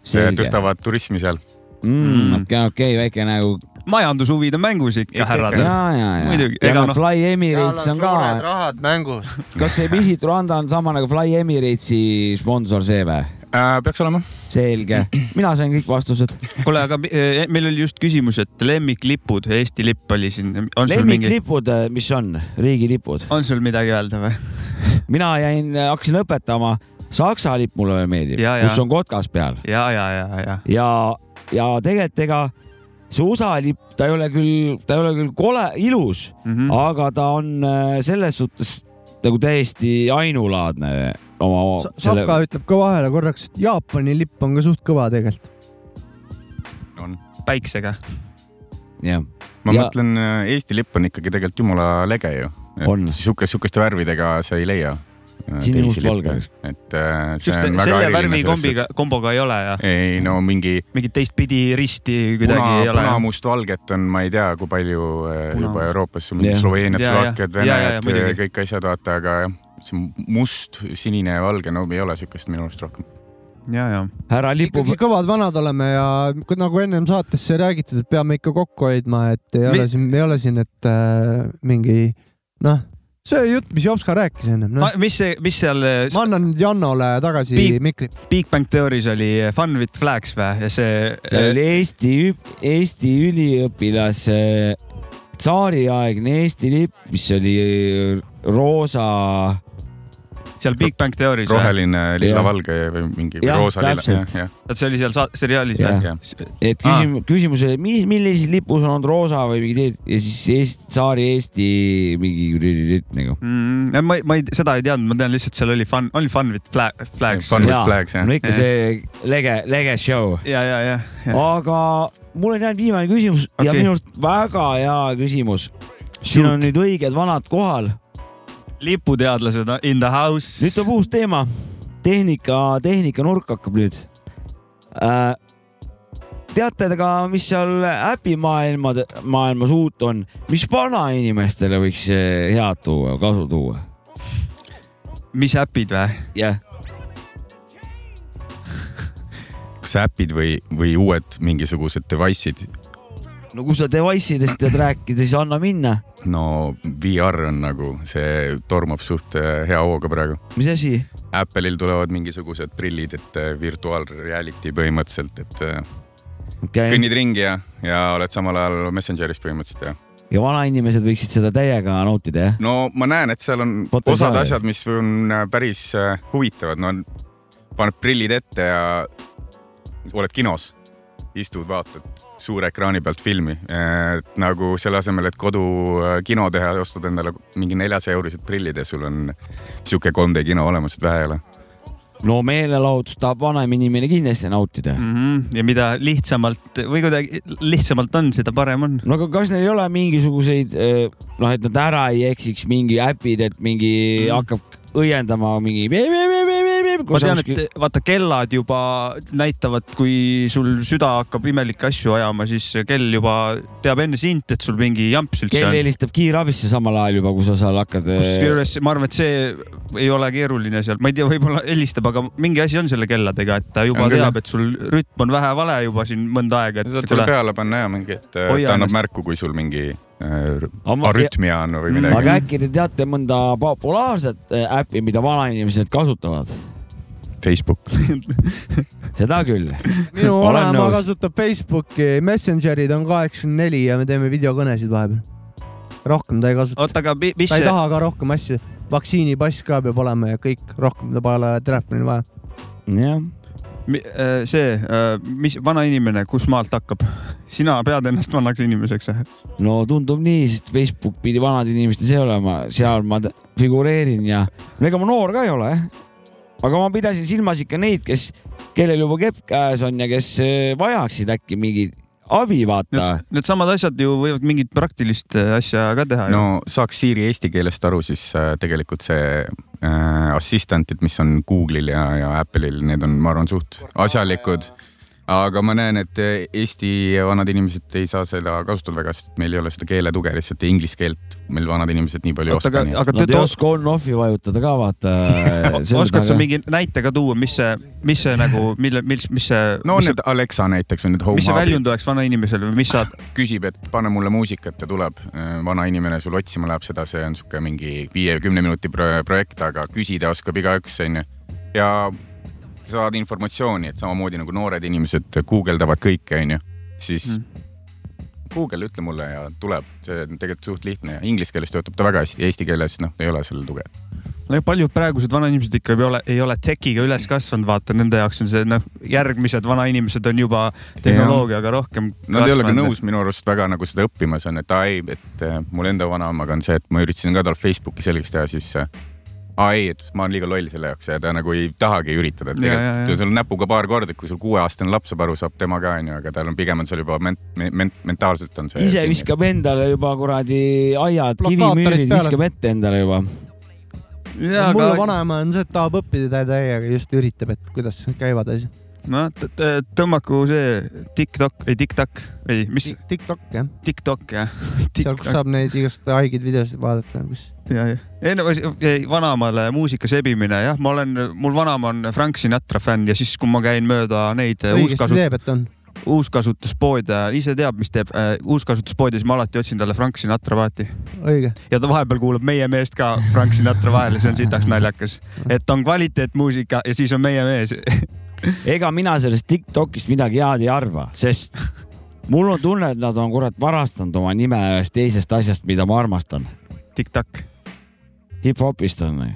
Speaker 3: Selge. Hmm.
Speaker 13: Selge. tõstavad turismi seal .
Speaker 3: Mm.
Speaker 13: Mm.
Speaker 3: okei , okei , väike nagu .
Speaker 2: Hmm. majandushuvid on mängus ikka , härrad .
Speaker 3: ja , ja , ja ,
Speaker 2: muidugi ,
Speaker 3: ja
Speaker 2: ega
Speaker 3: no
Speaker 2: noh ,
Speaker 3: Fly Emirates
Speaker 1: Seal
Speaker 3: on
Speaker 1: on
Speaker 3: ka .
Speaker 1: suured rahad mängus .
Speaker 3: kas see Visit Rwanda on sama nagu Fly Emiratesi sponsor see või
Speaker 13: äh, ? peaks olema .
Speaker 3: selge , mina sain kõik vastused .
Speaker 2: kuule , aga mi- eh, meil oli just küsimus , et lemmiklipud , Eesti lipp oli siin .
Speaker 3: lemmiklipud , mis on , riigilipud ?
Speaker 2: on sul midagi öelda või ?
Speaker 3: mina jäin , hakkasin õpetama , Saksa lipp mulle veel meeldib
Speaker 2: Ja, , ja.
Speaker 3: kus on kotkas peal .
Speaker 2: ja , ja , ja , ja .
Speaker 3: ja , ja tegelikult ega see USA lipp , ta ei ole küll , ta ei ole küll kole , ilus mm ,
Speaker 2: Mhm.
Speaker 3: -hmm. aga ta on äh, selles suhtes nagu täiesti ainulaadne oma, oma selle-
Speaker 1: Saka ütleb ka vahele korraks , et Jaapani lipp on ka suht kõva tegelikult .
Speaker 2: päiksega .
Speaker 3: jah .
Speaker 13: ma ja...
Speaker 1: Ja-
Speaker 13: mõtlen , Eesti lipp on ikkagi tegelikult jumala lege ju .
Speaker 3: on .
Speaker 13: sihukest , sihukeste värvidega sa ei leia .
Speaker 2: Sinimustvalge. .
Speaker 13: et äh, see
Speaker 2: Sihukeste-
Speaker 13: on väga
Speaker 2: selle
Speaker 13: eriline
Speaker 2: värvi
Speaker 13: sellest,
Speaker 2: kombiga , komboga ei ole ja
Speaker 13: et- ei no mingi
Speaker 2: mingit teistpidi risti kuidagi
Speaker 13: puna ,
Speaker 2: ei ole .
Speaker 13: punamustvalget on , ma ei tea , kui palju äh,
Speaker 2: Puna-
Speaker 13: juba Euroopas on mingi
Speaker 2: Jah.
Speaker 13: Sloveeniad ,
Speaker 2: Ja,
Speaker 13: Slovakkiad ,
Speaker 2: ja. Ja, ja, ja,
Speaker 13: Venejad ,
Speaker 2: muidugi.
Speaker 13: eh, kõik asjad , vaata , aga jah , see must , sinine ja valge , no ei ole sihukest minu arust rohkem .
Speaker 2: ja , ja .
Speaker 3: härra lipu
Speaker 1: ikkagi kõvad vanad oleme ja kui- nagu ennem saates sai räägitud , et peame ikka kokku hoidma , et ei ole
Speaker 2: Mi-
Speaker 1: siin , ei ole siin , et äh, mingi noh , see jutt , mis Jopska rääkis ennem noh. no. .
Speaker 2: mis see , mis seal äh,
Speaker 1: ma annan nüüd Jannole tagasi
Speaker 2: Big-
Speaker 1: mikri .
Speaker 2: Big Bang Theory's oli äh, Fun with Flags või , see . äh,
Speaker 3: see oli Eesti , Eesti üliõpilase tsaariaegne Eesti lipp , mis oli roosa .
Speaker 2: seal Big Bang Theory's .
Speaker 13: roheline , lilla-valge või mingi või
Speaker 3: Jah,
Speaker 13: roosa ,
Speaker 3: täpselt.
Speaker 13: lilla .
Speaker 2: et see oli seal sa- seriaalis
Speaker 3: Jah.
Speaker 2: või ?
Speaker 3: et
Speaker 13: Ah.
Speaker 3: küsimus , küsimus oli , mis , millises lipus on olnud roosa või mingi teine ja siis Eesti , tsaari Eesti mingi kuradi nagu .
Speaker 2: Mm, ma , ma ei , seda ei teadnud , ma tean lihtsalt seal oli fun , oli fun with fla- flags .
Speaker 3: no ikka see lege , lege show .
Speaker 2: ja , ja , ja , ja .
Speaker 3: aga mul on jäänud viimane küsimus okay. ja
Speaker 2: Okei.
Speaker 3: minu arust väga hea küsimus . siin on nüüd õiged vanad kohal
Speaker 2: liputeadlased in the house .
Speaker 3: nüüd tuleb uus teema . tehnika , tehnikanurk hakkab nüüd äh, . teate te ka , mis seal äpimaailmade , maailmas uut on , mis vanainimestele võiks äh, head tuua , kasu tuua ?
Speaker 2: mis äpid või ?
Speaker 3: jah .
Speaker 13: kas äpid või , või uued mingisugused device'id ?
Speaker 3: no kui sa device idest tead rääkida , siis anna minna .
Speaker 13: no VR on nagu , see tormab suht äh, hea hooga praegu .
Speaker 3: mis asi ?
Speaker 13: Apple'il tulevad mingisugused prillid , et äh, virtual reality põhimõtteliselt , et eh,
Speaker 3: okay.
Speaker 13: kõnnid ringi ja , ja oled samal ajal Messengeris põhimõtteliselt ja .
Speaker 3: ja vanainimesed võiksid seda täiega nautida , jah ?
Speaker 13: no ma näen , et seal on
Speaker 3: Potentsiaali.
Speaker 13: osad asjad , mis on äh, päris äh, huvitavad , no paned prillid ette ja oled kinos , istud , vaatad suure ekraani pealt filmi , et nagu selle asemel , et kodu äh, kino teha , ostad endale mingi neljasaja eurised prillid ja sul on sihuke 3D kino olemas , et vähe ei ole .
Speaker 3: no meelelahutust tahab vanem inimene kindlasti nautida .
Speaker 2: mm . -hmm. ja mida lihtsamalt või kuidagi lihtsamalt on , seda parem on .
Speaker 3: no aga kas neil ei ole mingisuguseid , noh , et nad ära ei eksiks , mingi äpid , et mingi mm. hakkab õiendama mingi .
Speaker 2: ma tean , et vaata kellad juba näitavad , kui sul süda hakkab imelikke asju ajama , siis kell juba teab enne sind , et sul mingi jamps üldse
Speaker 3: kell
Speaker 2: on .
Speaker 3: helistab kiirabisse samal ajal juba , kui sa seal hakkad . äh,
Speaker 13: Äh.
Speaker 2: kusjuures ma arvan , et see ei ole keeruline seal , ma ei tea , võib-olla helistab , aga mingi asi on selle kelladega , et ta juba
Speaker 13: On küll,
Speaker 2: teab ,
Speaker 13: jah.
Speaker 2: et sul rütm on vähe vale juba siin mõnda aega .
Speaker 13: saad selle peale panna ja mingi , et äh,
Speaker 2: Hoia
Speaker 13: ta annab
Speaker 2: ennast.
Speaker 13: märku , kui sul mingi äh,
Speaker 3: Amma-
Speaker 13: arütmia on
Speaker 2: Mm.
Speaker 13: või
Speaker 3: aga
Speaker 13: midagi .
Speaker 3: äkki te teate mõnda populaarset äh, äppi , mida vanainimesed kasutavad ?
Speaker 13: Facebook .
Speaker 3: seda küll .
Speaker 1: minu vanaema . kasutab Facebooki , Messengeri ta on kaheksakümmend neli ja me teeme videokõnesid vahepeal . rohkem ta ei kasuta .
Speaker 2: oota , aga mi- mis
Speaker 1: ta ei
Speaker 2: see ,
Speaker 1: taha ka rohkem asju , vaktsiinipass ka peab olema ja kõik , rohkem ta pole telefonil vaja .
Speaker 3: jah .
Speaker 2: äh, see , mis vana inimene , kus maalt hakkab ? sina pead ennast vanaks inimeseks või ?
Speaker 3: no tundub nii , sest Facebook pidi vanad inimesed ise olema , seal ma t- figureerin ja , no ega ma noor ka ei ole , aga ma pidasin silmas ikka neid , kes , kellel juba kepp käes on ja kes eh, vajaksid äkki mingit abi , vaata .
Speaker 2: Need , needsamad asjad ju võivad mingit praktilist äh, asja ka teha ju .
Speaker 13: no saaks Siiri eesti keelest aru , siis äh, tegelikult see äh, assistantid , mis on Google'il ja , ja Apple'il , need on , ma arvan , suht asjalikud . aga ma näen , et äh, Eesti vanad inimesed ei saa seda kasutada väga , sest meil ei ole seda keeletuge , lihtsalt inglise keelt meil vanad inimesed nii palju ei oska .
Speaker 3: Nad ei oska on-off'i vajutada ka vaata
Speaker 2: oskad sa ? mingi näite ka tuua , mis see , mis see nagu , mille , mis , mis see .
Speaker 13: no need Alexa näiteks või need Home
Speaker 2: mis see
Speaker 13: Hubid.
Speaker 2: väljund oleks vanainimesel või mis sa ?
Speaker 13: küsib , et pane mulle muusikat ja tuleb . äh, vana inimene sul otsima läheb seda , see on sihuke mingi viie-kümne minuti pro- projekt , aga küsida oskab igaüks , onju . ja saad informatsiooni , et samamoodi nagu noored inimesed guugeldavad kõike , onju . siis mm. Google , ütle mulle ja tuleb , see on tegelikult suht lihtne ja inglise keeles töötab ta väga hästi , eesti keeles noh , ei ole sellel tuge .
Speaker 2: no paljud praegused vanainimesed ikka ei ole , ei ole techiga üles kasvanud , vaata nende jaoks on see noh , järgmised vanainimesed on juba tehnoloogiaga rohkem .
Speaker 13: Nad ei ole ka nõus . minu arust väga nagu seda õppimas on , et aa ei , et äh, mul enda vanaemaga on see , et ma üritasin ka tal Facebooki selgeks teha , siis äh, aa ei , et ma olen liiga loll selle jaoks ja ta nagu ei tahagi üritada , et
Speaker 2: Ja, ja, ja.
Speaker 13: tegelikult sul on näpuga paar korda , kui sul kuueaastane laps saab aru , saab tema ka onju , aga tal on pigem on seal juba ment- , ment- , mentaalselt on see .
Speaker 3: ise viskab endale juba kuradi aiad ,
Speaker 1: Plakaatorid
Speaker 3: kivimüürid
Speaker 1: peale.
Speaker 3: viskab ette endale juba .
Speaker 2: Jaa,
Speaker 1: mul
Speaker 2: aga-
Speaker 1: vanaema on see , et tahab õppida tä- täiega , just üritab , et kuidas käivad asjad .
Speaker 2: noh , tõmmaku see TikTok , ei TikTok , ei , mis ?
Speaker 1: TikTok jah .
Speaker 2: TikTok jah .
Speaker 1: seal , kus saab neid igast haigeid videosid vaadata , kus .
Speaker 2: ja , ja , ei no ei, vanaemale muusika sebimine jah , ma olen , mul vanaema on Frank Sinatra fänn ja siis , kui ma käin mööda neid äh,
Speaker 3: Äh,
Speaker 1: õigesti teeb , et on .
Speaker 2: uuskasutuspoode , ise teab , mis teeb äh, uuskasutuspoodi , siis ma alati otsin talle Frank Sinatra paati .
Speaker 1: õige .
Speaker 2: ja ta vahepeal kuulab meie meest ka Frank Sinatra vahele , see on sitaks naljakas , et on kvaliteetmuusika ja siis on meie mees .
Speaker 3: ega mina sellest Tiktokist midagi head ei arva , sest mul on tunne , et nad on kurat varastanud oma nime ühest teisest asjast , mida ma armastan .
Speaker 2: Tiktak .
Speaker 3: hip-hopist on ju .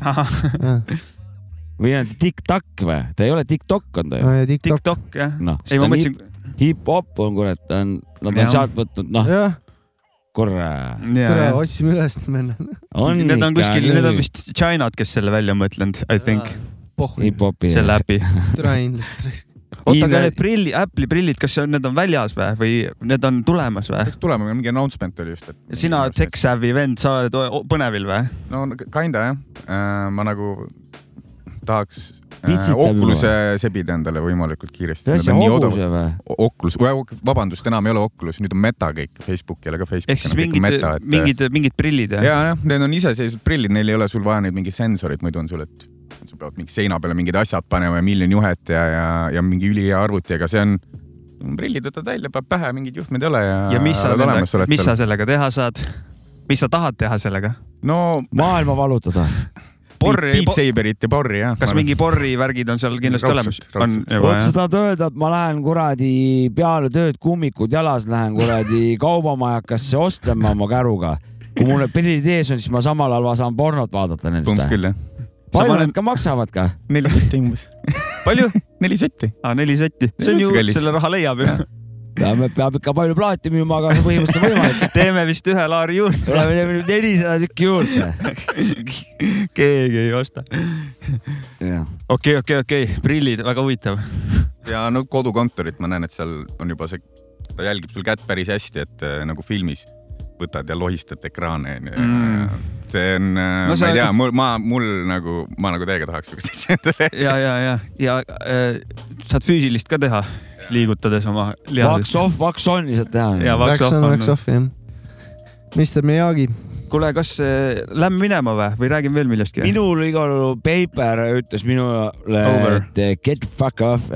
Speaker 3: või on ta Tiktak või ? ta ei ole Tiktok on ta ju .
Speaker 2: TikTok jah .
Speaker 3: noh ,
Speaker 2: ei ma mõtlesin ,
Speaker 3: hip-hop on kurat , ta on , nad
Speaker 2: Jah.
Speaker 3: on sealt võtnud , noh
Speaker 1: Jah. ,
Speaker 3: korra .
Speaker 1: tere , otsime üles , et meil on .
Speaker 2: Need on kuskil , need on vist Chinad , kes selle välja on mõtlenud , I think .
Speaker 3: Hip-hopi.
Speaker 2: selle äpi .
Speaker 1: tere hiinlast .
Speaker 2: oota , aga need prilli , Apple'i prillid , kas see on- need on väljas või , või need on tulemas või ?
Speaker 13: peaks tulema , mingi announcement oli just , et .
Speaker 2: sina oled tech-savvy vend , sa oled o- o- põnevil või ?
Speaker 13: no kinda jah , ma nagu tahaks äh,
Speaker 2: Pitsitab juba.
Speaker 13: Oculus'e sebida endale võimalikult kiiresti .
Speaker 2: Mis asja, hobuse
Speaker 3: või ?
Speaker 13: Oculus , vabandust , enam ei ole Oculus , nüüd on Meta kõik , Facebooki ei ole ka Facebooki .
Speaker 2: ehk siis mingid , mingid , mingid prillid
Speaker 13: ja , jah , need on iseseisvad prillid , neil ei ole sul vaja neid mingeid sensoreid , muidu on sul , et sa pead mingi seina peale mingid asjad panema ja miljon juhet ja , ja , ja mingi ülihea arvuti , aga see on , prillid võtad välja , paned pähe , mingeid juhtmeid ei ole ja .
Speaker 2: ja mis sa , mis sa sellega teha saad ? mis sa tahad teha sellega ?
Speaker 13: no
Speaker 3: maailma valutada .
Speaker 2: Borri-
Speaker 13: Beat Saberit ja Borri jah .
Speaker 2: kas mingi Borri värgid on seal kindlasti olemas ?
Speaker 13: Raudselt,
Speaker 2: on
Speaker 13: raudselt.
Speaker 2: juba
Speaker 3: vot sa
Speaker 2: jah ?
Speaker 3: tahad öelda , et ma lähen kuradi peale tööd kummikud jalas , lähen kuradi kaubamajakasse ostlema oma käruga . kui mul need prillid ees on , siis ma samal ajal saan pornot vaadata nendest .
Speaker 13: Kumb küll, jah.
Speaker 3: palju
Speaker 13: Samal-
Speaker 3: need ka maksavad ka ?
Speaker 13: neli sotti umbes .
Speaker 2: palju ?
Speaker 13: neli sotti .
Speaker 2: aa , neli sotti . see on ju , selle raha leiab ju .
Speaker 3: peame , peab ikka palju plaati müüma , aga see põhimõtteliselt on võimalik .
Speaker 2: teeme vist ühe laari juurde .
Speaker 3: tuleme teeme nüüd nelisada tükki juurde .
Speaker 2: keegi ei osta . okei , okei , okei , prillid , väga huvitav .
Speaker 13: ja no kodukontorit ma näen , et seal on juba see , ta jälgib sul kätt päris hästi , et äh, nagu filmis võtad ja lohistad ekraane onju
Speaker 2: Mm. .
Speaker 13: see on äh,
Speaker 2: No
Speaker 13: no, ,
Speaker 2: see
Speaker 13: ma ei tea ,
Speaker 2: on-
Speaker 13: mul , ma , mul nagu , ma nagu teiega tahaks siukest asja endale .
Speaker 2: ja , ja , ja , ja äh, saad füüsilist ka teha , liigutades oma
Speaker 3: Vaks
Speaker 2: lihaseid .
Speaker 3: off , vaks on lihtsalt
Speaker 2: Jaa,
Speaker 3: teha .
Speaker 2: vaks
Speaker 1: Läks
Speaker 2: off
Speaker 1: on ,
Speaker 2: on-
Speaker 1: läks off jah . Mr Miyagi ,
Speaker 2: kuule , kas äh, lähme minema või , või räägime veel millestki ?
Speaker 3: minul igal juhul Paper ütles minule ,
Speaker 2: Over.
Speaker 3: et eh, get fuck off .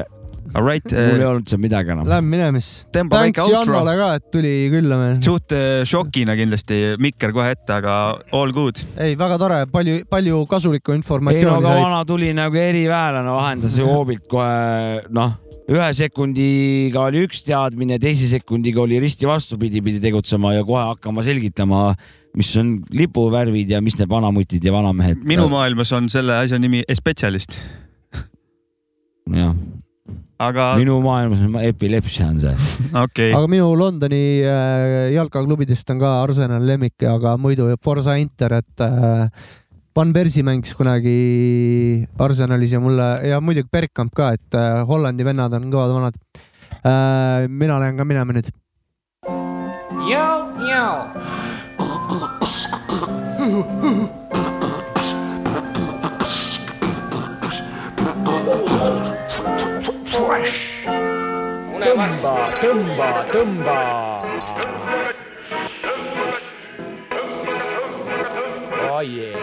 Speaker 2: All right . äh,
Speaker 3: mul ei olnud seal midagi enam .
Speaker 1: lähme minema siis .
Speaker 2: Tõmba väike
Speaker 1: tänks
Speaker 2: outro.
Speaker 1: Jannole ka , et tuli külla meil .
Speaker 2: suht äh, šokina kindlasti , mikker kohe ette , aga all good .
Speaker 1: ei , väga tore , palju , palju kasulikku
Speaker 3: ei no
Speaker 1: informatsiooni
Speaker 3: aga
Speaker 1: said .
Speaker 3: vana tuli nagu eriväelane , vahendas ju hoobilt kohe noh , ühe sekundiga oli üks teadmine , teise sekundiga oli risti vastupidi , pidi tegutsema ja kohe hakkama selgitama , mis on lipuvärvid ja mis need vanamutid ja vanamehed .
Speaker 2: minu maailmas on selle asja nimi spetsialist .
Speaker 3: jah ,
Speaker 2: aga
Speaker 3: minu maailmas on epilepsia on see .
Speaker 2: okei
Speaker 1: aga minu Londoni äh, jalkaklubidest on ka Arsenal lemmik , aga muidu Forsa Inter , et äh, Van Persie mängis kunagi Arsenalis ja mulle ja muidugi Bergkamp ka , et äh, Hollandi vennad on kõvad vanad äh, . mina lähen ka minema nüüd .
Speaker 12: Fresh. tõmba , tõmba , tõmba . Oh yeah.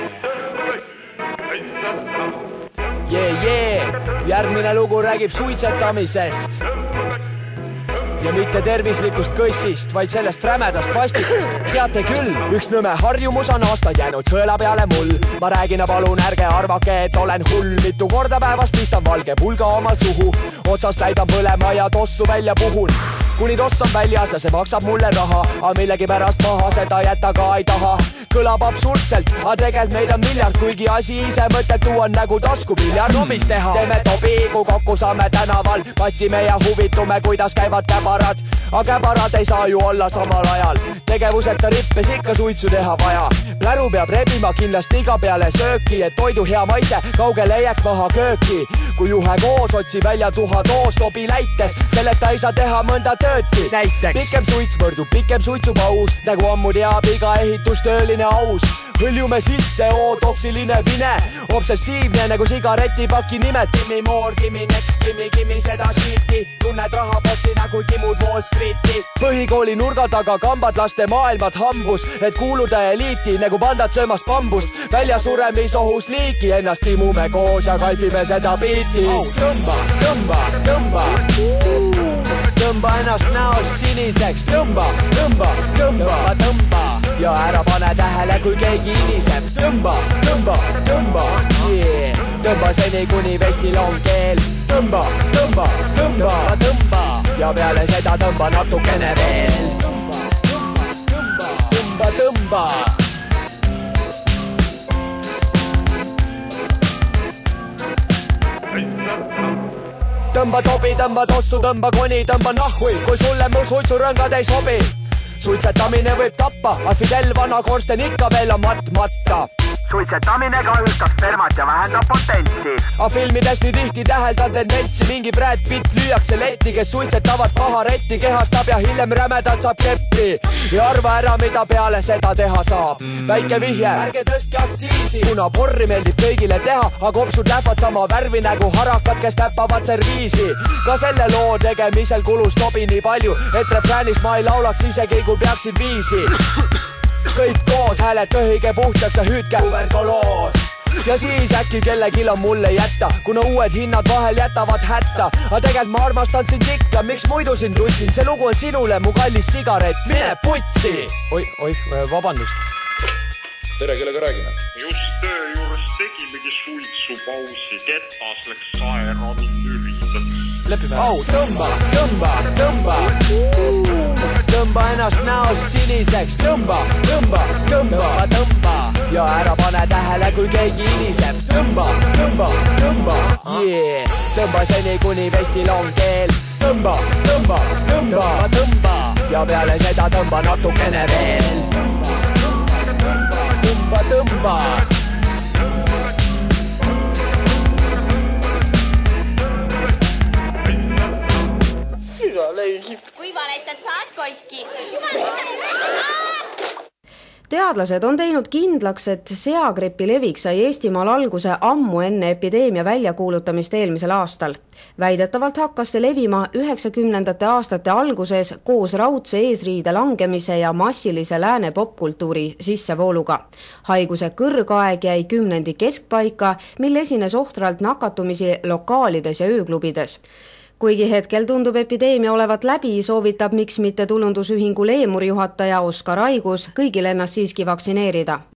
Speaker 12: Yeah, yeah. järgmine lugu räägib suitsetamisest ja mitte tervislikust kõssist , vaid sellest rämedast vastikust . teate küll , üks nõme harjumus on aastaid jäänud sõela peale mul . ma räägin ja palun ärge arvake , et olen hull , mitu korda päevas pistan valge pulga omalt suhu , otsast täidan põlema ja tossu välja puhun . kuni toss on väljas ja see maksab mulle raha , aga millegipärast maha seda jätta ka ei taha . kõlab absurdselt , aga tegelikult meid on miljard , kuigi asi ise mõttetu on nagu taskupiljard . hommist teha , teeme tobi , kui kokku saame tänaval , passime ja huvitume , kuidas käivad käbarad . aga käbarad ei saa ju olla samal ajal , tegevuseta rippes ikka suitsu teha vaja . pläru peab rebima kindlasti iga peale sööki , et toidu hea maitse kaugele ei jääks maha kööki . kui juhe koos otsi välja tuha toos tobi läites , selleta ei saa teha mõnda töödki . näiteks pikem suits võrdub pikem suitsupaus , nagu ammu teab iga ehitustööline aus hõljume sisse , oo toksiline vine , obsessiivne nagu sigaretipaki nimed . Gimme more , gimme next , gimme , gimme seda shit'i , tunned rahapassi nagu kimud Wall Street'i . põhikooli nurga taga kambad laste maailmad hambus , et kuuluda eliiti nagu pandad söömas bambust . väljasuremisohus liiki ennast timume koos ja kaifime seda biiti oh, . tõmba , tõmba , tõmba tõmba ennast näost siniseks , tõmba , tõmba , tõmba , tõmba ja ära pane tähele , kui keegi iniseb , tõmba , tõmba , tõmba yeah. , tõmba seni , kuni vestil on keel , tõmba , tõmba , tõmba , tõmba ja peale seda tõmba natukene veel . tõmba , tõmba , tõmba tobi , tõmba tossu , tõmba koni , tõmba nahhui , kui sulle mu suitsurõngad ei sobi . suitsetamine võib tappa , aga Fidel vana korsten ikka veel on matmata . suitsetamine kahjustab spermat ja vähendab potentsi . aga filmides nii tihti täheldan tendentsi , mingi Brad Pitt lüüakse letti , kes suitsetavad paha retti , kehastab ja hiljem rämedalt saab keppi . ja arva ära , mida peale seda teha saab . väike vihje , ärge tõstke aktsiisi , kuna porri meeldib kõigile teha , aga kopsud lähevad sama värvi nagu harakad , kes täpavad serviisi . ka selle loo tegemisel kulus tobi nii palju , et refräänis ma ei laulaks isegi , kui peaksin viisi . kõik koos hääled tõhige puhtaks ja hüüdke tuberkuloos ja siis äkki kellelgi on mulle jätta , kuna uued hinnad vahel jätavad hätta . aga tegelikult ma armastan sind ikka , miks muidu sind tundsin , see lugu on sinule , mu kallis sigaret , mine putsi . oi , oi , vabandust .
Speaker 14: tere , kellega räägime ?
Speaker 15: just töö juures tegimegi suitsupausi , ketas läks saera mind üritas .
Speaker 12: lepime ära . au , tõmba , tõmba , tõmba . tõmba ennast näost siniseks , tõmba , tõmba , tõmba , tõmba ja ära pane tähele , kui keegi iniseb , tõmba , tõmba , tõmba yeah. . tõmba seni , kuni vestil on keel , tõmba , tõmba , tõmba , tõmba ja peale seda tõmba natukene veel . tõmba , tõmba ,
Speaker 16: süda löösib .
Speaker 17: kui valetad , saad koski .
Speaker 18: teadlased on teinud kindlaks , et seagripi levik sai Eestimaal alguse ammu enne epideemia väljakuulutamist eelmisel aastal . väidetavalt hakkas see levima üheksakümnendate aastate alguses koos raudse eesriide langemise ja massilise lääne popkultuuri sissevooluga . haiguse kõrgaeg jäi kümnendi keskpaika , mil esines ohtralt nakatumisi lokaalides ja ööklubides kuigi hetkel tundub epideemia olevat läbi , soovitab miks mitte tulundusühingu Leemuri juhataja Oskar Aigus kõigil ennast siiski vaktsineerida